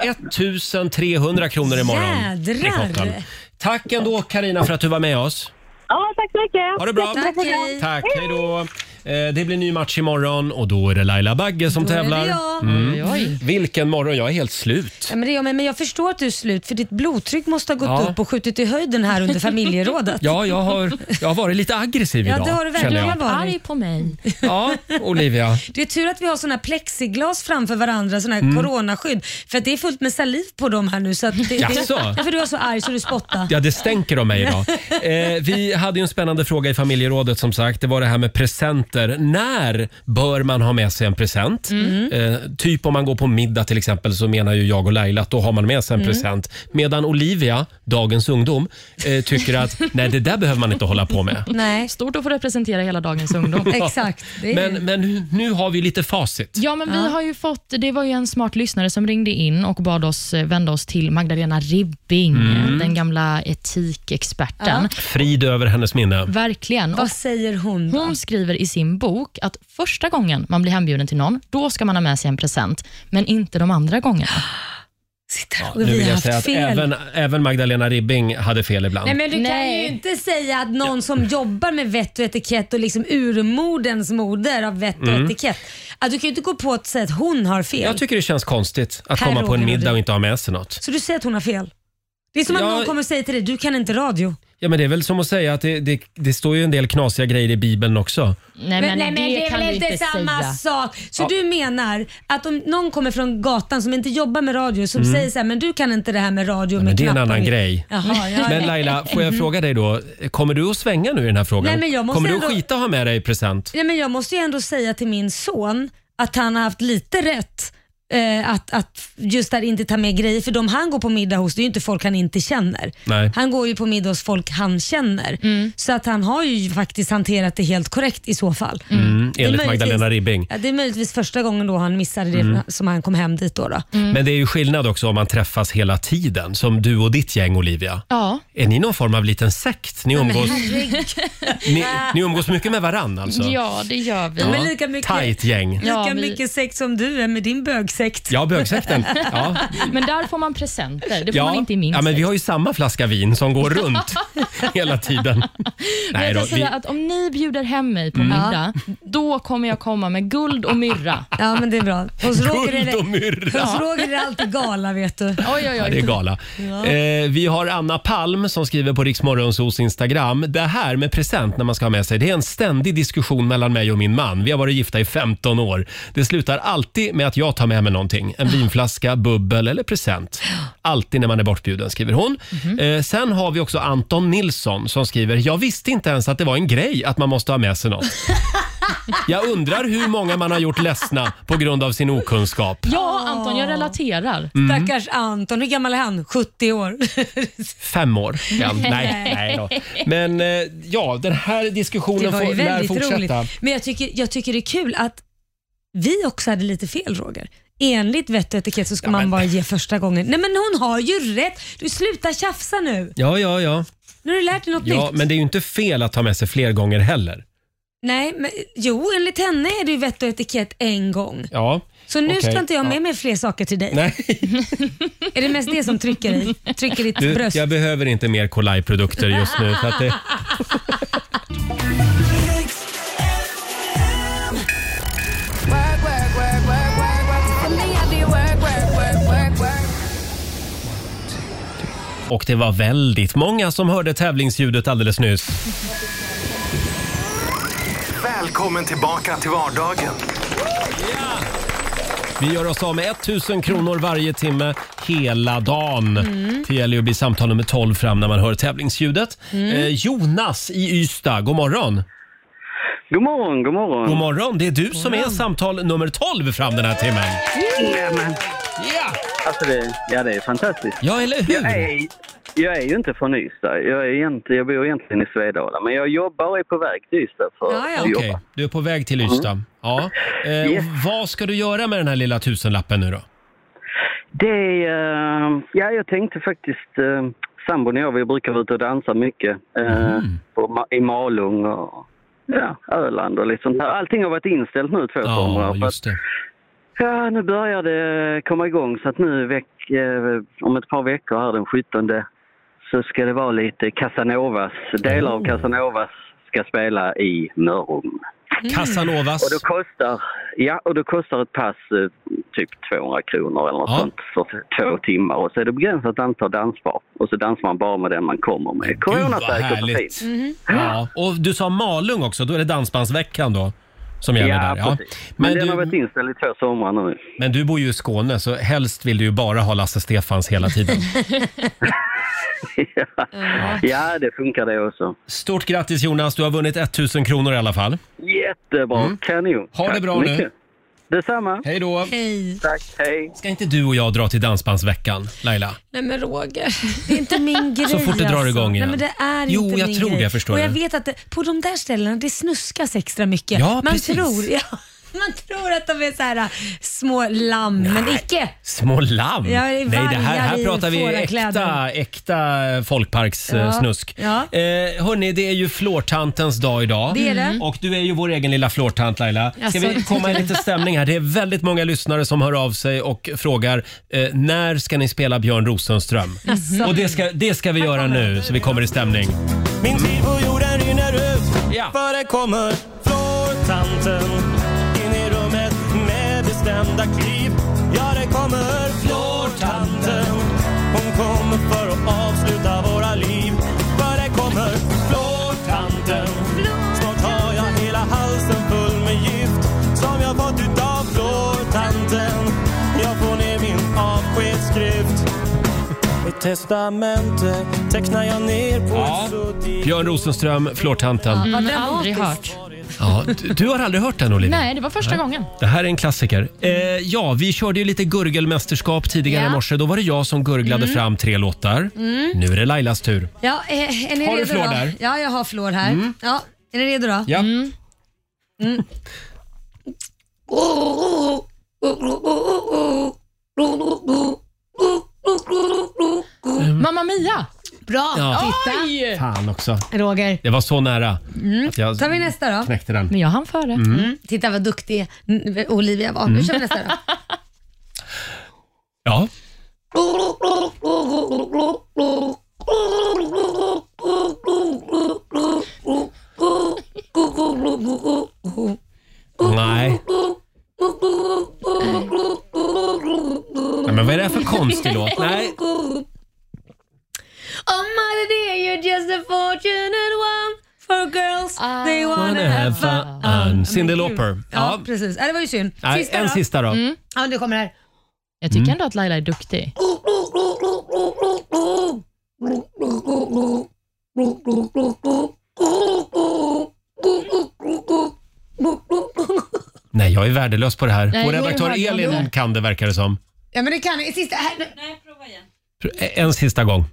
[SPEAKER 1] 1300 kronor imorgon.
[SPEAKER 2] Jädrar.
[SPEAKER 1] i potten. Tack ändå Karina för att du var med oss.
[SPEAKER 16] Ja, tack så mycket.
[SPEAKER 1] Ha det bra.
[SPEAKER 2] Tack, hej.
[SPEAKER 1] Tack, hej då. Eh, Det blir ny match imorgon och då är det Laila Bagge som
[SPEAKER 2] Då är det
[SPEAKER 1] tävlar.
[SPEAKER 2] jag. Oj,
[SPEAKER 1] Mm.
[SPEAKER 2] oj.
[SPEAKER 1] Vilken morgon, jag är helt slut.
[SPEAKER 2] *laughs* Ja, men det gör mig, men jag förstår att du är slut för ditt blodtryck måste ha gått
[SPEAKER 1] Ja.
[SPEAKER 2] upp och skjutit i höjden här
[SPEAKER 1] *laughs*
[SPEAKER 2] under familjerådet.
[SPEAKER 1] Ja, jag har, jag har varit lite aggressiv
[SPEAKER 2] Ja,
[SPEAKER 1] idag.
[SPEAKER 2] det har du verkligen
[SPEAKER 1] känner jag.
[SPEAKER 2] varit.
[SPEAKER 3] Arg på mig.
[SPEAKER 1] Ja, Olivia.
[SPEAKER 2] Det är tur att vi har såna här plexiglas framför varandra, såna här
[SPEAKER 1] Mm.
[SPEAKER 2] coronaskydd. För att det är fullt med saliv på dem här nu. Så att det,
[SPEAKER 1] Jaså?
[SPEAKER 2] det, ja, för du var så arg så du spottade.
[SPEAKER 1] Ja, det stänker om
[SPEAKER 2] *laughs*
[SPEAKER 1] mig idag. Eh, vi hade ju en spännande fråga i familjerådet som sagt. Det var det här med presenter. När bör man ha med sig en present?
[SPEAKER 15] Mm.
[SPEAKER 1] Eh, typ om man går på middag till exempel så menar ju jag och Laila att då har man med sig en
[SPEAKER 15] Mm.
[SPEAKER 1] present. Medan Olivia, dagens ungdom, eh, tycker att
[SPEAKER 2] *laughs*
[SPEAKER 1] nej, det där behöver man inte hålla på med.
[SPEAKER 2] Nej.
[SPEAKER 3] Stort att få representera hela dagens ungdom.
[SPEAKER 1] Men, men nu, nu har vi lite facit.
[SPEAKER 3] Ja, men vi har ju fått, det var ju en smart lyssnare som ringde in och bad oss eh, vända oss till Magdalena Ribbing, eh,
[SPEAKER 1] Mm.
[SPEAKER 3] den gamla etikexperten.
[SPEAKER 1] Frid över hennes minne.
[SPEAKER 3] Verkligen. Vad
[SPEAKER 2] säger hon
[SPEAKER 3] Hon skriver i sin bok att första gången man blir hembjuden till någon, då ska man ha med sig en present, men inte de andra gångerna.
[SPEAKER 1] Nu
[SPEAKER 2] vi
[SPEAKER 1] vill
[SPEAKER 2] har
[SPEAKER 1] jag
[SPEAKER 2] haft
[SPEAKER 1] säga att
[SPEAKER 2] fel.
[SPEAKER 1] även, även Magdalena Ribbing hade fel ibland.
[SPEAKER 2] Nej men du kan ju inte säga att någon som jobbar med vett och etikett och liksom urmodens moder av vett och
[SPEAKER 1] Mm.
[SPEAKER 2] etikett. Att du kan ju inte gå på att säga att hon har fel.
[SPEAKER 1] Jag tycker det känns konstigt att
[SPEAKER 2] Per
[SPEAKER 1] komma på en
[SPEAKER 2] Roger
[SPEAKER 1] middag
[SPEAKER 2] Nordin.
[SPEAKER 1] och inte ha med sig något.
[SPEAKER 2] Så du säger att hon har fel? Det är som att
[SPEAKER 1] Ja.
[SPEAKER 2] någon kommer och säger till dig, du kan inte radio.
[SPEAKER 1] Ja, men det är väl som att säga att det, det, det står ju en del knasiga grejer i Bibeln också.
[SPEAKER 3] Nej,
[SPEAKER 2] men, nej, men det, är väl inte samma sak? Så
[SPEAKER 1] Ja.
[SPEAKER 2] du menar att om någon kommer från gatan som inte jobbar med radio som
[SPEAKER 1] Mm.
[SPEAKER 2] säger så här, men du kan inte det här med radio med
[SPEAKER 1] men det är en
[SPEAKER 2] knappar."
[SPEAKER 1] annan grej.
[SPEAKER 2] Jaha, ja,
[SPEAKER 1] Men Laila, får jag
[SPEAKER 2] Mhm.
[SPEAKER 1] fråga dig då, kommer du att svänga nu i den här frågan?
[SPEAKER 2] Nej, men jag måste
[SPEAKER 1] kommer du att
[SPEAKER 2] ändå-
[SPEAKER 1] skita och ha med dig i present?
[SPEAKER 2] Nej, men jag måste ju ändå säga till min son att han har haft lite rätt. Eh, att, att just där inte ta med grejer, för de han går på middag hos, det är ju inte folk han inte känner.
[SPEAKER 15] Nej.
[SPEAKER 2] Han går ju på middag hos folk han känner.
[SPEAKER 1] Mm.
[SPEAKER 2] Så att han har ju faktiskt hanterat det helt korrekt i så fall.
[SPEAKER 1] Mm,
[SPEAKER 2] Det är
[SPEAKER 1] enligt
[SPEAKER 2] möjligtvis-
[SPEAKER 1] Magdalena Ribbing.
[SPEAKER 2] Ja, det är möjligtvis första gången då han missade det
[SPEAKER 1] Mm.
[SPEAKER 2] som han kom hem dit då. då.
[SPEAKER 1] Men det är ju skillnad också om man träffas hela tiden, som du och ditt gäng Olivia.
[SPEAKER 3] Ja.
[SPEAKER 1] Är ni någon form av liten sekt? Ni umgås, ni, ni umgås mycket med varann alltså?
[SPEAKER 3] Ja, det gör vi.
[SPEAKER 1] Ja. Men lika mycket- Tajt gäng.
[SPEAKER 2] Lika
[SPEAKER 1] Ja,
[SPEAKER 3] vi-
[SPEAKER 2] mycket sekt som du är med din bögsekt.
[SPEAKER 1] Ja, bögsekten. Ja.
[SPEAKER 3] Men där får man presenter. Det får
[SPEAKER 1] ja,
[SPEAKER 3] man inte i min
[SPEAKER 1] ja, men vi har ju samma flaska vin som går runt hela tiden. Nej
[SPEAKER 3] Nej,
[SPEAKER 1] då,
[SPEAKER 3] jag
[SPEAKER 1] vi,
[SPEAKER 3] säga att om ni bjuder hem mig på
[SPEAKER 1] Mm.
[SPEAKER 3] middag, då kommer jag komma med guld och myrra.
[SPEAKER 2] Ja, men det är bra. Hos Roger är det-
[SPEAKER 1] Guld och myrra.
[SPEAKER 2] Hos Roger är det alltid gala vet du. Oj,
[SPEAKER 3] oj, oj.
[SPEAKER 1] Ja, det är gala.
[SPEAKER 2] Ja.
[SPEAKER 1] Eh, vi har Anna Palm som skriver på Riksmorgonsos Instagram. Det här med present när man ska ha med sig, det är en ständig diskussion mellan mig och min man. Vi har varit gifta i 15 år. Det slutar alltid med att jag tar med mig någonting. En vinflaska, bubbel eller present. Alltid när man är bortbjuden, skriver hon.
[SPEAKER 2] Mhm.
[SPEAKER 1] Eh, sen har vi också Anton Nilsson som skriver, jag visste inte ens att det var en grej att man måste ha med
[SPEAKER 2] *laughs*
[SPEAKER 1] sig något. Jag undrar hur många man har gjort ledsna på grund av sin okunskap.
[SPEAKER 3] Ja, Anton, jag relaterar.
[SPEAKER 1] Mm.
[SPEAKER 2] Stackars Anton. Hur gammal är han? 70 år. *laughs*
[SPEAKER 1] Fem år ja, *laughs* Nej, nej då. Men eh, ja, den här
[SPEAKER 2] Det
[SPEAKER 1] diskussionen
[SPEAKER 2] var ju
[SPEAKER 1] får, lär
[SPEAKER 2] väldigt roligt.
[SPEAKER 1] fortsätta.
[SPEAKER 2] Men jag tycker, jag tycker det är kul att vi också hade lite fel Roger. Enligt vett och etikett så ska man bara ge första gången. Nej men hon har ju rätt. Du slutar tjafsa nu.
[SPEAKER 1] Ja, ja, ja.
[SPEAKER 2] Nu har du lärt dig något
[SPEAKER 1] ja
[SPEAKER 2] nytt.
[SPEAKER 1] men det är ju inte fel att ta med sig fler gånger heller.
[SPEAKER 2] Nej, men jo enligt henne är det ju vett och etikett en gång.
[SPEAKER 1] Ja,
[SPEAKER 2] Så nu
[SPEAKER 1] okej.
[SPEAKER 2] ska inte jag ha
[SPEAKER 1] Ja.
[SPEAKER 2] med mig fler saker till dig.
[SPEAKER 1] Nej.
[SPEAKER 2] är det mest det som trycker i? Trycker ditt
[SPEAKER 1] Du,
[SPEAKER 2] bröst?
[SPEAKER 1] jag behöver inte mer Kolaj-produkter just nu. Så att det, och det var väldigt många som hörde tävlingsljudet alldeles nyss.
[SPEAKER 11] Välkommen tillbaka till vardagen.
[SPEAKER 1] Vi gör oss av med 1000 kronor varje timme hela dagen.
[SPEAKER 11] Mm.
[SPEAKER 1] Det gäller ju att bli samtal nummer 12 fram när man hör tävlingsljudet.
[SPEAKER 17] Mm.
[SPEAKER 1] Eh, Jonas i Ystad, god morgon.
[SPEAKER 17] God morgon, god morgon.
[SPEAKER 12] Mm.
[SPEAKER 1] God morgon, det är du som är samtal nummer 12 fram den här timmen.
[SPEAKER 17] Nämen.
[SPEAKER 1] Ja!
[SPEAKER 17] Alltså det, ja, det är fantastiskt.
[SPEAKER 1] Ja, eller hur?
[SPEAKER 17] Jag är, jag är ju inte från Ystad. Jag, är egentligen, jag bor egentligen i Svedala, men jag jobbar och är på väg till Ystad för att
[SPEAKER 1] Okej,
[SPEAKER 17] jobba. Mm.
[SPEAKER 1] du är på väg till Ystad. Ja. Eh,
[SPEAKER 17] Yes.
[SPEAKER 1] och Vad ska du göra med den här lilla tusenlappen nu då?
[SPEAKER 17] Det är, eh, ja, jag tänkte faktiskt, eh, sambon och jag, vi brukar vara ute och dansa mycket. eh,
[SPEAKER 1] Mm.
[SPEAKER 17] på, Ma- I Malung och ja, Öland och lite sånt här. Allting har varit inställt nu två somrar. för att-
[SPEAKER 1] just det.
[SPEAKER 2] Mm.
[SPEAKER 17] Ja, nu börjar det komma igång så att nu veck, eh, om ett par veckor här den 17 så ska det vara lite Casanovas, delar
[SPEAKER 1] Mm.
[SPEAKER 17] av Casanovas ska spela i Mörrum.
[SPEAKER 1] Casanovas.
[SPEAKER 17] Och då kostar, ja, och då kostar ett pass eh, typ 200 kronor eller något sånt för två timmar och så är det begränsat antal dansbar och så dansar man bara med den man kommer med. Coronasäkert och fint.
[SPEAKER 1] Ja. Och du sa Malung också, då är det Dansbandsveckan då? Som gäller
[SPEAKER 17] Ja,
[SPEAKER 1] där, ja.
[SPEAKER 17] precis. Men, den har varit inställd i två somrar nu. *laughs*
[SPEAKER 1] Men du bor ju i Skåne, så helst vill du ju bara ha Lasse Stefans hela tiden.
[SPEAKER 2] *laughs*
[SPEAKER 17] Ja, det funkar det också.
[SPEAKER 1] Stort grattis Jonas, du har vunnit 1000 kronor i alla fall.
[SPEAKER 17] Jättebra, kanon.
[SPEAKER 1] Mm. Ha det
[SPEAKER 17] Tack
[SPEAKER 1] bra
[SPEAKER 17] så
[SPEAKER 1] nu.
[SPEAKER 17] mycket. Detsamma.
[SPEAKER 1] Hej då.
[SPEAKER 2] Hej.
[SPEAKER 17] Tack, hej.
[SPEAKER 1] Ska inte du och jag dra till Dansbandsveckan, Laila?
[SPEAKER 2] Nej men Roger, det är inte min grej
[SPEAKER 1] Så fort det drar
[SPEAKER 2] alltså.
[SPEAKER 1] igång igen.
[SPEAKER 2] Nej, men det är
[SPEAKER 1] Jo,
[SPEAKER 2] inte
[SPEAKER 1] jag
[SPEAKER 2] min
[SPEAKER 1] tror
[SPEAKER 2] grej.
[SPEAKER 1] det, förstår
[SPEAKER 2] Och
[SPEAKER 1] du.
[SPEAKER 2] jag vet att det, på de där ställena det snuskas extra mycket.
[SPEAKER 1] Ja,
[SPEAKER 2] man,
[SPEAKER 1] precis.
[SPEAKER 2] tror, ja, man tror att de är så här äh, små lamm, men icke.
[SPEAKER 1] Små lamm?
[SPEAKER 2] Ja, det är
[SPEAKER 1] Nej, det här,
[SPEAKER 2] vargar
[SPEAKER 1] här
[SPEAKER 2] i
[SPEAKER 1] pratar vi äkta,
[SPEAKER 2] fårakläder.
[SPEAKER 1] äkta
[SPEAKER 2] Ja,
[SPEAKER 1] folkparkssnusk.
[SPEAKER 2] ja.
[SPEAKER 1] Eh, hörni, det är ju flårtantens dag idag.
[SPEAKER 2] Det Mm. är det.
[SPEAKER 1] Och du är ju vår egen lilla flårtant Laila. Ska
[SPEAKER 2] Alltså.
[SPEAKER 1] vi komma i lite stämning här? Det är väldigt många lyssnare som hör av sig och frågar eh, när ska ni spela Björn Rosenström?
[SPEAKER 18] Alltså.
[SPEAKER 1] Och det ska, det ska vi göra nu så vi kommer i stämning.
[SPEAKER 18] Min tid på jorden rinner ut för det kommer flårtanten in i rummet med bestämda kliv. Ja, det kommer flårtanten. Hon kommer för att avsluta våra liv. För det kommer mitt testamente tecknar jag ner på
[SPEAKER 1] Ja.
[SPEAKER 18] ett suddigt
[SPEAKER 1] Björn Rosenström, Flårtanten.
[SPEAKER 3] Ja,
[SPEAKER 2] Mm,
[SPEAKER 3] aldrig hört.
[SPEAKER 1] Ja, du- du har aldrig hört den Olivia?
[SPEAKER 3] Nej, det var första
[SPEAKER 1] Nej.
[SPEAKER 3] gången.
[SPEAKER 1] Det här är en klassiker. Eh, ja, vi körde ju lite gurgelmästerskap tidigare
[SPEAKER 2] Ja.
[SPEAKER 1] i morse. Då var det jag som gurglade
[SPEAKER 2] Mm.
[SPEAKER 1] fram tre låtar.
[SPEAKER 2] Mm.
[SPEAKER 1] Nu är det Lailas tur.
[SPEAKER 2] Ja, eh, är ni
[SPEAKER 1] Har du
[SPEAKER 2] redo
[SPEAKER 1] flår
[SPEAKER 2] då?
[SPEAKER 1] där?
[SPEAKER 2] Ja, jag har flår här.
[SPEAKER 1] Mm.
[SPEAKER 2] Ja, är ni redo då?
[SPEAKER 1] Ja.
[SPEAKER 2] Mm.
[SPEAKER 1] Mm.
[SPEAKER 3] Mamma Mia!
[SPEAKER 2] Bra!
[SPEAKER 1] Ja.
[SPEAKER 2] Titta!
[SPEAKER 1] Fan också.
[SPEAKER 2] Roger.
[SPEAKER 1] Det var så nära
[SPEAKER 2] Mm.
[SPEAKER 1] att jag
[SPEAKER 2] tar vi nästa då.
[SPEAKER 1] knäckte den.
[SPEAKER 3] Men jag hann före.
[SPEAKER 1] Mm.
[SPEAKER 2] Titta vad duktig mm, Olivia var. Nu
[SPEAKER 1] Mm.
[SPEAKER 2] kör vi nästa då.
[SPEAKER 1] Ja. Nej. Nej, men vad är det här för konstig låt? Nej.
[SPEAKER 2] *laughs* Oh mother dear, you're just a fortunate one for girls they Ah. wanna have fun. Ah, Mm.
[SPEAKER 1] fun. Cyndi Lauper.
[SPEAKER 2] Ja,
[SPEAKER 1] Ja.
[SPEAKER 2] precis. Äh, det var ju synd.
[SPEAKER 1] Nej, en sista då.
[SPEAKER 2] Mm. Ja, det kommer här.
[SPEAKER 3] Jag tycker
[SPEAKER 1] Mm.
[SPEAKER 3] ändå att Laila är duktig.
[SPEAKER 1] Nej, jag är värdelös på det här.
[SPEAKER 2] Nej,
[SPEAKER 1] Vår
[SPEAKER 2] jag är
[SPEAKER 1] redaktör
[SPEAKER 2] värdelös.
[SPEAKER 1] Elin kan det verkar det som.
[SPEAKER 2] Ja, men det kan i sista. Här. Nej,
[SPEAKER 1] En sista gång.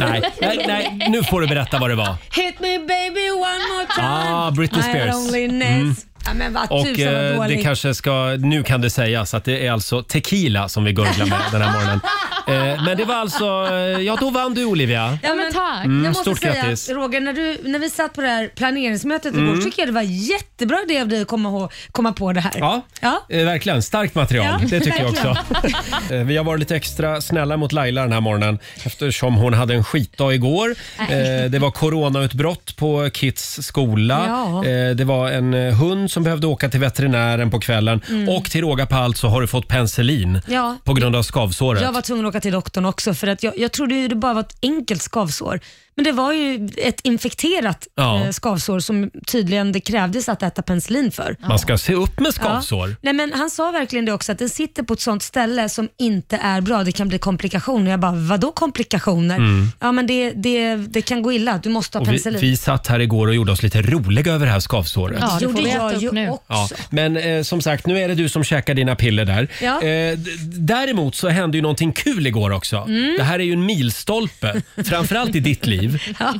[SPEAKER 1] Nej, nej, nej, nu får du berätta vad det var.
[SPEAKER 2] Hit me baby one more time.
[SPEAKER 1] Ah, Britney
[SPEAKER 2] My
[SPEAKER 1] Spears.
[SPEAKER 2] loneliness.
[SPEAKER 1] Mm.
[SPEAKER 2] Ja, men vad
[SPEAKER 1] Och
[SPEAKER 2] tusan vad
[SPEAKER 1] eh, det
[SPEAKER 2] dålig.
[SPEAKER 1] kanske ska, nu kan det sägas att det är alltså tequila som vi gurglar med den här morgonen. Eh, men det var alltså, eh, ja då vann du Olivia.
[SPEAKER 2] Ja, men tack.
[SPEAKER 1] Mm,
[SPEAKER 2] jag måste
[SPEAKER 1] stort
[SPEAKER 2] säga,
[SPEAKER 1] grattis.
[SPEAKER 2] Roger, när, du, när vi satt på det här planeringsmötet
[SPEAKER 1] Mm.
[SPEAKER 2] igår tycker jag det var jättebra idé av dig att komma, ihåg, komma på det här.
[SPEAKER 1] Ja, Eh, verkligen. Starkt material.
[SPEAKER 2] Ja,
[SPEAKER 1] det tycker jag
[SPEAKER 2] verkligen.
[SPEAKER 1] också. *laughs* Eh, Vi har varit lite extra snälla mot Laila den här morgonen eftersom hon hade en skitdag igår.
[SPEAKER 18] Nej.
[SPEAKER 1] Eh, Det var coronautbrott på Kits skola.
[SPEAKER 18] Ja.
[SPEAKER 1] Eh, Det var en eh, hund som behövde åka till veterinären på kvällen.
[SPEAKER 2] Mm.
[SPEAKER 1] Och till råga på allt så har du fått penicillin
[SPEAKER 2] Ja.
[SPEAKER 1] på grund av skavsåret.
[SPEAKER 2] Jag var tvungen att åka till doktorn också för att jag, jag trodde ju det bara var ett enkelt skavsår. Men det var ju ett infekterat
[SPEAKER 1] Ja.
[SPEAKER 2] eh, skavsår som tydligen det krävdes att äta penicillin för.
[SPEAKER 1] Man ska se upp med skavsår.
[SPEAKER 2] Ja. Nej, men han sa verkligen det också, att den sitter på ett sånt ställe som inte är bra. Det kan bli komplikationer. Jag bara, vadå komplikationer?
[SPEAKER 1] Mm.
[SPEAKER 2] Ja, men det, det, det kan gå illa. Du måste ha
[SPEAKER 1] Och vi,
[SPEAKER 2] penicillin.
[SPEAKER 1] vi satt här igår och gjorde oss lite roliga över det här skavsåret.
[SPEAKER 2] Ja, det gjorde jag ju också.
[SPEAKER 1] Ja, men eh, som sagt, nu är det du som käkar dina piller där.
[SPEAKER 2] Ja.
[SPEAKER 1] Eh, d- däremot så hände ju någonting kul igår också.
[SPEAKER 2] Mm.
[SPEAKER 1] Det här är ju
[SPEAKER 3] *laughs*
[SPEAKER 1] en milstolpe, framförallt i ditt liv.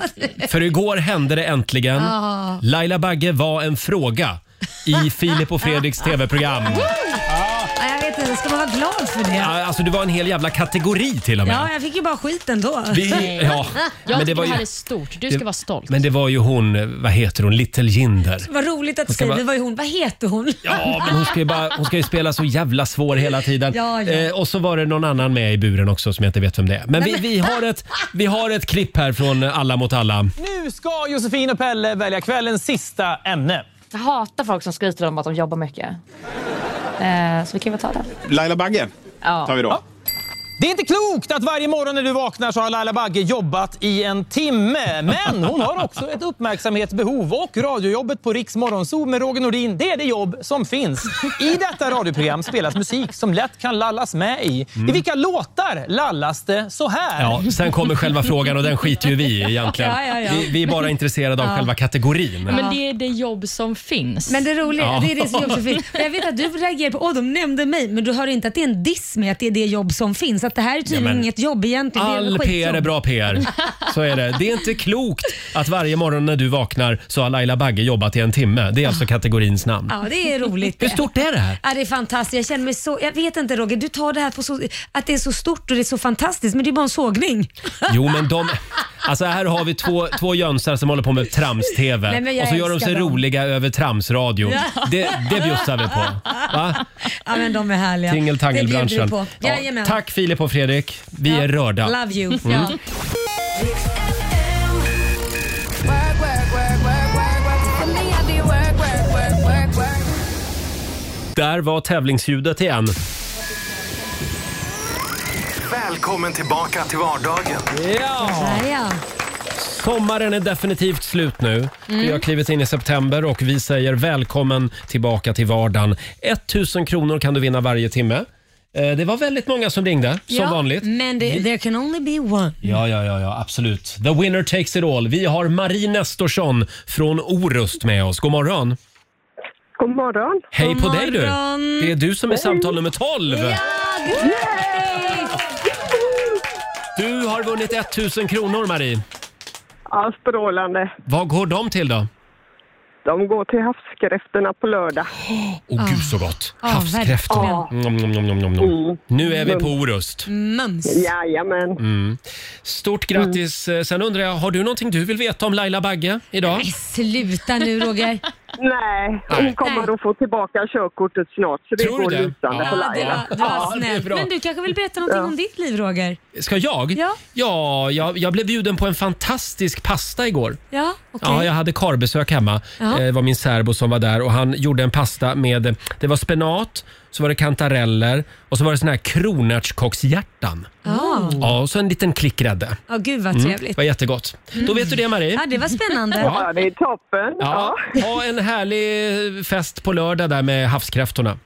[SPEAKER 2] *laughs*
[SPEAKER 1] För igår hände det äntligen.
[SPEAKER 3] Ah.
[SPEAKER 18] Ja.
[SPEAKER 1] Laila Bagge var en fråga i Filip och Fredriks
[SPEAKER 3] *laughs*
[SPEAKER 1] TV-program.
[SPEAKER 2] Ja, jag vet inte, ska man vara glad för det?
[SPEAKER 1] Ja, Alltså, du var en hel jävla kategori till och med.
[SPEAKER 2] Ja, jag fick ju bara skit ändå.
[SPEAKER 1] Vi- ja,
[SPEAKER 3] Jag
[SPEAKER 1] men det
[SPEAKER 3] tycker
[SPEAKER 1] var
[SPEAKER 3] det
[SPEAKER 1] ju-
[SPEAKER 3] här är stort. Du ska
[SPEAKER 1] det-
[SPEAKER 3] vara stolt.
[SPEAKER 1] Men det var ju hon, vad heter hon, Little Jinder.
[SPEAKER 2] Vad roligt att du
[SPEAKER 1] Ska
[SPEAKER 2] säger
[SPEAKER 1] man-
[SPEAKER 2] det. var ju hon. Vad heter hon?
[SPEAKER 1] Ja, men hon ska, ju bara, hon ska ju spela så jävla svår hela tiden.
[SPEAKER 2] Ja, ja.
[SPEAKER 1] Eh, och så var det någon annan med i buren också som jag inte vet vem det är. Men, vi,
[SPEAKER 9] Nej, men-
[SPEAKER 1] vi, har ett, vi har ett klipp här från Alla mot alla.
[SPEAKER 9] Nu ska Josefin och Pelle välja kvällens sista ämne.
[SPEAKER 10] Jag hatar folk som skryter om att de jobbar mycket. Eh, så vi kan väl ta den.
[SPEAKER 9] Laila Bagge
[SPEAKER 10] Ja. tar vi då.
[SPEAKER 9] Det är inte klokt att varje morgon när du vaknar så har Laila Bagge jobbat i en timme. Men hon har också ett uppmärksamhetsbehov och radiojobbet på Riks Morgonzoo med Roger Nordin, det är det jobb som finns. I detta radioprogram spelas musik som lätt kan lallas med i. I vilka låtar lallas det så här?
[SPEAKER 1] Ja, sen kommer själva frågan och den skiter ju vi i egentligen.
[SPEAKER 3] Ja, ja, ja.
[SPEAKER 1] Vi, vi är bara intresserade av
[SPEAKER 3] Ja.
[SPEAKER 1] själva kategorin.
[SPEAKER 3] Men det är det jobb som finns.
[SPEAKER 2] Men det roliga,
[SPEAKER 1] Ja.
[SPEAKER 2] det är det som jobb som finns. Men Jag vet att du reagerar på åh de nämnde mig, men du hör inte att det är en diss med att det är det jobb som finns. Att det här är tydligen
[SPEAKER 1] Ja, men
[SPEAKER 2] inget jobb egentligen. det
[SPEAKER 1] All
[SPEAKER 2] är
[SPEAKER 1] PR är bra PR. Så är det. Det är inte klokt att varje morgon när du vaknar så har Laila Bagge jobbat i en timme. Det är alltså kategorins namn.
[SPEAKER 2] Ja, det är roligt.
[SPEAKER 1] Hur stort är det här?
[SPEAKER 2] Ja, det är fantastiskt. Jag känner mig så... Jag vet inte Roger, du tar det här på så... Att det är så stort och det är så fantastiskt, men det är bara en sågning.
[SPEAKER 1] Jo, men de... Alltså här har vi två, två jönsar som håller på med
[SPEAKER 2] Nej,
[SPEAKER 1] trams-tv
[SPEAKER 2] men jag
[SPEAKER 1] och så gör de
[SPEAKER 2] älskar
[SPEAKER 1] sig
[SPEAKER 2] dem.
[SPEAKER 1] roliga över tramsradio.
[SPEAKER 2] Ja.
[SPEAKER 1] Det, det bjussar vi på. Va?
[SPEAKER 2] Ja, men de är härliga. Det bjuder vi
[SPEAKER 1] Tingeltangelbranschen.
[SPEAKER 2] på.
[SPEAKER 1] Ja,
[SPEAKER 2] Jajamän.
[SPEAKER 1] tack Filip och Fredrik. Vi är rörda.
[SPEAKER 2] Love you.
[SPEAKER 1] Mm.
[SPEAKER 2] Ja.
[SPEAKER 1] Där var tävlingsljudet igen.
[SPEAKER 11] Välkommen tillbaka till vardagen.
[SPEAKER 1] Ja.
[SPEAKER 2] Ja, ja.
[SPEAKER 1] Sommaren är definitivt slut nu.
[SPEAKER 2] Mm.
[SPEAKER 1] Vi har klivit in i september och vi säger välkommen tillbaka till vardagen. 1000 kronor kan du vinna varje timme. Eh, Det var väldigt många som ringde, som
[SPEAKER 2] ja,
[SPEAKER 1] vanligt. Mm.
[SPEAKER 2] Men det, there can only be one.
[SPEAKER 1] Ja, ja, ja, ja, absolut. The winner takes it all. Vi har Marie Nestorsson från Orust med oss. God morgon.
[SPEAKER 5] God morgon.
[SPEAKER 1] Hej på dig du! Det är du som är samtal nummer 12! Du har vunnit 1000 kronor Marie.
[SPEAKER 5] Ja, strålande.
[SPEAKER 1] Vad går de till då?
[SPEAKER 5] De går till havskräftorna på lördag.
[SPEAKER 1] Åh gud så gott!
[SPEAKER 5] Ja,
[SPEAKER 1] Havskräftor.
[SPEAKER 5] Ah. verkligen.
[SPEAKER 1] Mm, mm, mm, mm, mm. Nu är vi på Orust.
[SPEAKER 2] Mums.
[SPEAKER 5] Jajamän.
[SPEAKER 1] Mm. Stort grattis! Eh, Sen undrar jag, har du någonting du vill veta om Laila Bagge idag?
[SPEAKER 2] Nej, sluta nu Roger.
[SPEAKER 5] Nej,
[SPEAKER 1] Nej.
[SPEAKER 5] hon kommer att få tillbaka körkortet snart. Så det
[SPEAKER 1] Tror du
[SPEAKER 5] går
[SPEAKER 1] det?
[SPEAKER 5] lysande
[SPEAKER 1] Ja,
[SPEAKER 5] på
[SPEAKER 1] det
[SPEAKER 5] Laila.
[SPEAKER 1] var- det var Ja, snällt. det är bra.
[SPEAKER 2] Men du kanske vill berätta någonting om ditt liv Roger?
[SPEAKER 1] Ska jag?
[SPEAKER 2] Ja.
[SPEAKER 1] Ja, jag, jag blev bjuden på en fantastisk pasta igår.
[SPEAKER 2] Ja, okej.
[SPEAKER 1] Ja, jag hade karbesök hemma.
[SPEAKER 2] Ja.
[SPEAKER 1] Eh, Det var min särbo som var där och han gjorde en pasta med, det var spenat, så var det kantareller och så var det såna här kronärtskockshjärtan.
[SPEAKER 2] Ja.
[SPEAKER 1] Ja, och så en liten klick grädde.
[SPEAKER 2] Ja, gud vad
[SPEAKER 1] Mm,
[SPEAKER 2] trevligt.
[SPEAKER 1] var jättegott. Då vet du det Marie.
[SPEAKER 2] Ja, det var spännande.
[SPEAKER 1] Ja,
[SPEAKER 5] det är toppen.
[SPEAKER 1] Ja. Ha en härlig fest på lördag där med havskräftorna. Eh,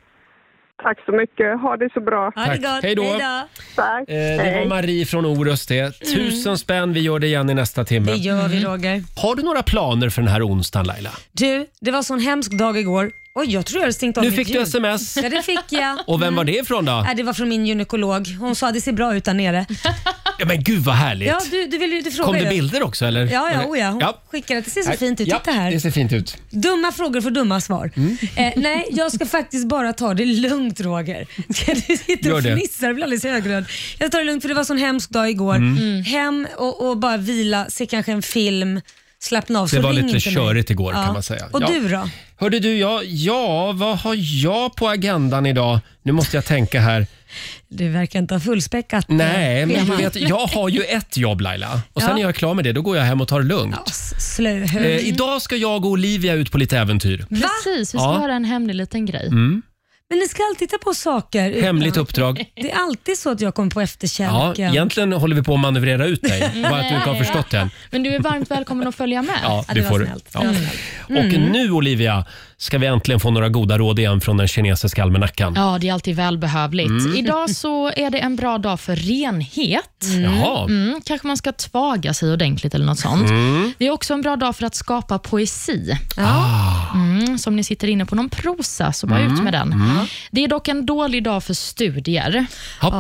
[SPEAKER 5] Tack så mycket. Ha det så bra.
[SPEAKER 1] Ha det Tack. gott. Hej då. Hej då.
[SPEAKER 5] Tack.
[SPEAKER 1] Eh, Det var Marie från Orust det. Tusen spänn, vi gör det igen i nästa timme.
[SPEAKER 2] Mm. Det gör vi Roger.
[SPEAKER 1] Har du några planer för den här onsdagen Laila?
[SPEAKER 2] Du, det var sån hemsk dag igår. Oj, jag tror jag hade stängt av
[SPEAKER 1] Nu
[SPEAKER 2] mitt
[SPEAKER 1] fick du
[SPEAKER 2] ljud.
[SPEAKER 1] sms.
[SPEAKER 2] Ja, det fick jag.
[SPEAKER 1] Och vem var det ifrån då?
[SPEAKER 2] Nej, det var från min gynekolog. Hon sa att det ser bra ut där nere.
[SPEAKER 1] Ja men gud vad härligt.
[SPEAKER 2] Ja, du, du ville ju inte fråga
[SPEAKER 1] Kom det
[SPEAKER 2] ju.
[SPEAKER 1] bilder också eller?
[SPEAKER 2] Ja, ja,
[SPEAKER 1] Eller-
[SPEAKER 2] oh ja. Hon skickade att det ser så
[SPEAKER 1] Nej,
[SPEAKER 2] fint ut.
[SPEAKER 1] ja,
[SPEAKER 2] Titta här.
[SPEAKER 1] Det ser fint ut.
[SPEAKER 2] Dumma frågor för dumma svar.
[SPEAKER 1] Mm.
[SPEAKER 2] Eh, nej, jag ska faktiskt bara ta det lugnt Roger. *laughs* Du sitter
[SPEAKER 1] Gör
[SPEAKER 2] och
[SPEAKER 1] det.
[SPEAKER 2] fnissar och blir alldeles högröd. Jag tar det lugnt för det var sån hemsk dag igår.
[SPEAKER 1] Mm. Mm.
[SPEAKER 2] Hem och, och bara vila, se kanske en film, slappna av.
[SPEAKER 1] Det
[SPEAKER 2] Så
[SPEAKER 1] var
[SPEAKER 2] ring
[SPEAKER 1] lite
[SPEAKER 2] inte mig.
[SPEAKER 1] körigt igår, kan man säga.
[SPEAKER 2] Och
[SPEAKER 1] Ja.
[SPEAKER 2] du då?
[SPEAKER 1] Hörde du, ja, ja, vad har jag på agendan idag? Nu måste jag tänka här.
[SPEAKER 2] Du verkar inte ha fullspäckat eh,
[SPEAKER 1] Nej, men du
[SPEAKER 2] schema.
[SPEAKER 1] vet, jag har ju ett jobb Laila och sen
[SPEAKER 2] Ja.
[SPEAKER 1] är jag klar med det. Då går jag hem och tar det lugnt.
[SPEAKER 2] Slöhög.
[SPEAKER 1] Eh, idag ska jag och Olivia ut på lite äventyr.
[SPEAKER 3] Precis, vi ska
[SPEAKER 1] Ja.
[SPEAKER 3] höra en hemlig liten grej.
[SPEAKER 1] Mm.
[SPEAKER 2] Men ni ska alltid titta på saker. utan-
[SPEAKER 1] Hemligt uppdrag.
[SPEAKER 2] Det är alltid så att jag kommer på
[SPEAKER 1] Ja,
[SPEAKER 2] efterkälken.
[SPEAKER 1] egentligen håller vi på att manövrera ut dig, bara att du inte har
[SPEAKER 3] Nej.
[SPEAKER 1] förstått det än.
[SPEAKER 3] Men du är varmt välkommen att följa med.
[SPEAKER 1] Ja, det får du. Ja. Och
[SPEAKER 3] Mm.
[SPEAKER 1] nu Olivia ska vi äntligen få några goda råd igen från den kinesiska almanackan.
[SPEAKER 3] Ja, det är alltid välbehövligt.
[SPEAKER 1] Mm.
[SPEAKER 3] Idag så är det en bra dag för renhet.
[SPEAKER 1] Jaha.
[SPEAKER 3] Mm, kanske man ska tvaga sig ordentligt eller något sånt.
[SPEAKER 1] Mm.
[SPEAKER 3] Det är också en bra dag för att skapa poesi.
[SPEAKER 1] Ah.
[SPEAKER 3] Mm, så om ni sitter inne på någon prosa, så bara
[SPEAKER 1] Mm.
[SPEAKER 3] ut med den.
[SPEAKER 1] Mm.
[SPEAKER 3] Det är dock en dålig dag för studier.
[SPEAKER 1] Hopp.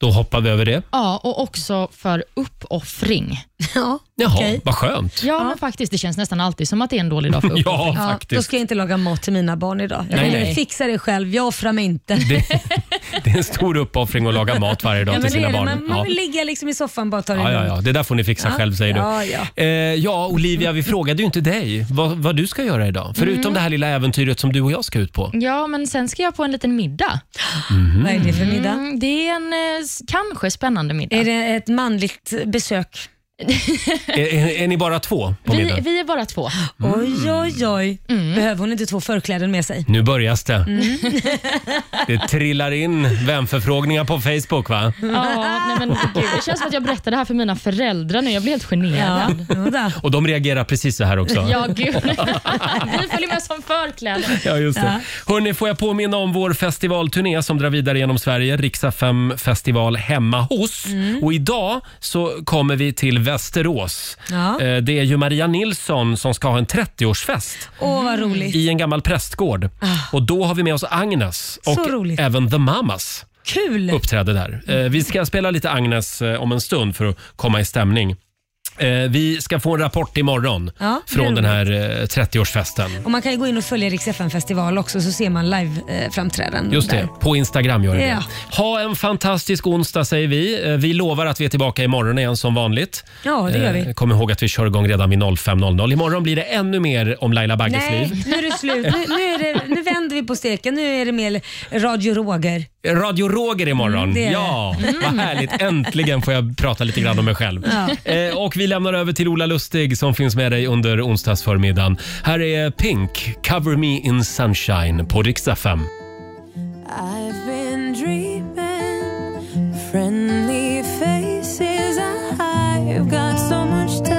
[SPEAKER 1] Då hoppar vi över det.
[SPEAKER 3] Ja, och också för uppoffring.
[SPEAKER 2] Ja,
[SPEAKER 1] Jaha, vad skönt.
[SPEAKER 3] Ja, men faktiskt. Det känns nästan alltid som att det är en dålig
[SPEAKER 1] *laughs*
[SPEAKER 3] dag för uppoffring.
[SPEAKER 1] Ja,
[SPEAKER 2] Då
[SPEAKER 1] faktiskt.
[SPEAKER 2] ska jag inte laga mat till mina barn idag. Jag
[SPEAKER 1] Nej,
[SPEAKER 2] kommer
[SPEAKER 1] nej.
[SPEAKER 2] fixa det själv. Jag offrar mig inte.
[SPEAKER 1] Det är en stor uppoffring att laga mat varje dag
[SPEAKER 2] Ja, men
[SPEAKER 1] till
[SPEAKER 2] det
[SPEAKER 1] sina
[SPEAKER 2] är det.
[SPEAKER 1] barn.
[SPEAKER 2] Man,
[SPEAKER 1] Ja.
[SPEAKER 2] man vill ligga liksom i soffan och bara ta det
[SPEAKER 1] Ja, ja, ja,
[SPEAKER 2] lugnt.
[SPEAKER 1] det där får ni fixa
[SPEAKER 2] Ja.
[SPEAKER 1] själv säger du.
[SPEAKER 2] Ja, ja.
[SPEAKER 1] Eh, ja, Olivia, vi frågade ju inte dig vad, vad du ska göra idag. Förutom
[SPEAKER 3] Mm.
[SPEAKER 1] det här lilla äventyret som du och jag ska
[SPEAKER 2] *laughs*
[SPEAKER 1] ut på.
[SPEAKER 3] Ja, men sen ska jag på en liten middag.
[SPEAKER 1] Mhm.
[SPEAKER 2] Vad är det för middag?
[SPEAKER 3] Mm, det är en eh, s- kanske spännande middag.
[SPEAKER 2] Är det ett manligt besök?
[SPEAKER 1] Är, är, är ni bara två på
[SPEAKER 3] Vi,
[SPEAKER 1] middagen?
[SPEAKER 3] vi är bara
[SPEAKER 2] *laughs*
[SPEAKER 3] två.
[SPEAKER 1] Mm.
[SPEAKER 2] Oj, oj, oj. Behöver hon inte två förkläden med sig?
[SPEAKER 1] Nu börjas det.
[SPEAKER 2] Mm.
[SPEAKER 1] Det trillar in vänförfrågningar på Facebook va?
[SPEAKER 3] Ja, nej men gud, det känns som att jag berättar det här för mina föräldrar nu. Jag blir helt generad.
[SPEAKER 2] Ja,
[SPEAKER 1] Och de reagerar precis så
[SPEAKER 2] *laughs*
[SPEAKER 1] här också.
[SPEAKER 3] ja gud. Vi följer med som förkläde.
[SPEAKER 1] Ja, just det.
[SPEAKER 3] Ja.
[SPEAKER 1] Hörrni, får jag påminna om vår festivalturné som drar vidare genom Sverige. Riksa 5 festival hemma hos.
[SPEAKER 2] Mm.
[SPEAKER 1] Och idag så kommer vi till Västerås.
[SPEAKER 2] Ja.
[SPEAKER 1] Eh, Det är ju Maria Nilsson som ska ha en 30-årsfest.
[SPEAKER 2] Åh, vad roligt.
[SPEAKER 1] I en gammal prästgård. Och då har vi med oss Agnes
[SPEAKER 2] Ah. Så
[SPEAKER 1] och
[SPEAKER 2] roligt. Mm.
[SPEAKER 1] även The Mamas
[SPEAKER 2] Kul!
[SPEAKER 1] uppträder där. Eh, Vi ska spela lite Agnes eh, om en stund för att komma i stämning. Eh, Vi ska få en rapport imorgon
[SPEAKER 2] Ja, det är
[SPEAKER 1] från den
[SPEAKER 2] roligt.
[SPEAKER 1] här eh, 30-årsfesten.
[SPEAKER 2] Och Man kan ju gå in och följa Rix FM festival också så ser man live-framträdanden.
[SPEAKER 1] Just det, på Instagram gör det
[SPEAKER 2] Ja.
[SPEAKER 1] det. Ha en fantastisk onsdag säger vi. Eh, Vi lovar att vi är tillbaka imorgon igen som vanligt.
[SPEAKER 2] Ja, det gör vi.
[SPEAKER 1] Eh, Kom ihåg att vi kör igång redan vid 05.00. Imorgon blir det ännu mer om Laila Bagges
[SPEAKER 2] Nej,
[SPEAKER 1] liv.
[SPEAKER 2] nu är det slut. Nu, nu, är det, nu vänder vi på steken. Nu är det mer Radio Roger.
[SPEAKER 1] Radio Roger imorgon.
[SPEAKER 2] Mm, det är det.
[SPEAKER 1] ja,
[SPEAKER 2] Mm.
[SPEAKER 1] vad härligt. Äntligen får jag prata lite grann om mig själv.
[SPEAKER 2] Ja.
[SPEAKER 1] Eh, Och vi lämnar över till Ola Lustig som finns med dig under onsdagsförmiddagen. Här är Pink, Cover Me In Sunshine på riksdag 5.
[SPEAKER 15] I've been dreaming friendly faces. I've got so much time.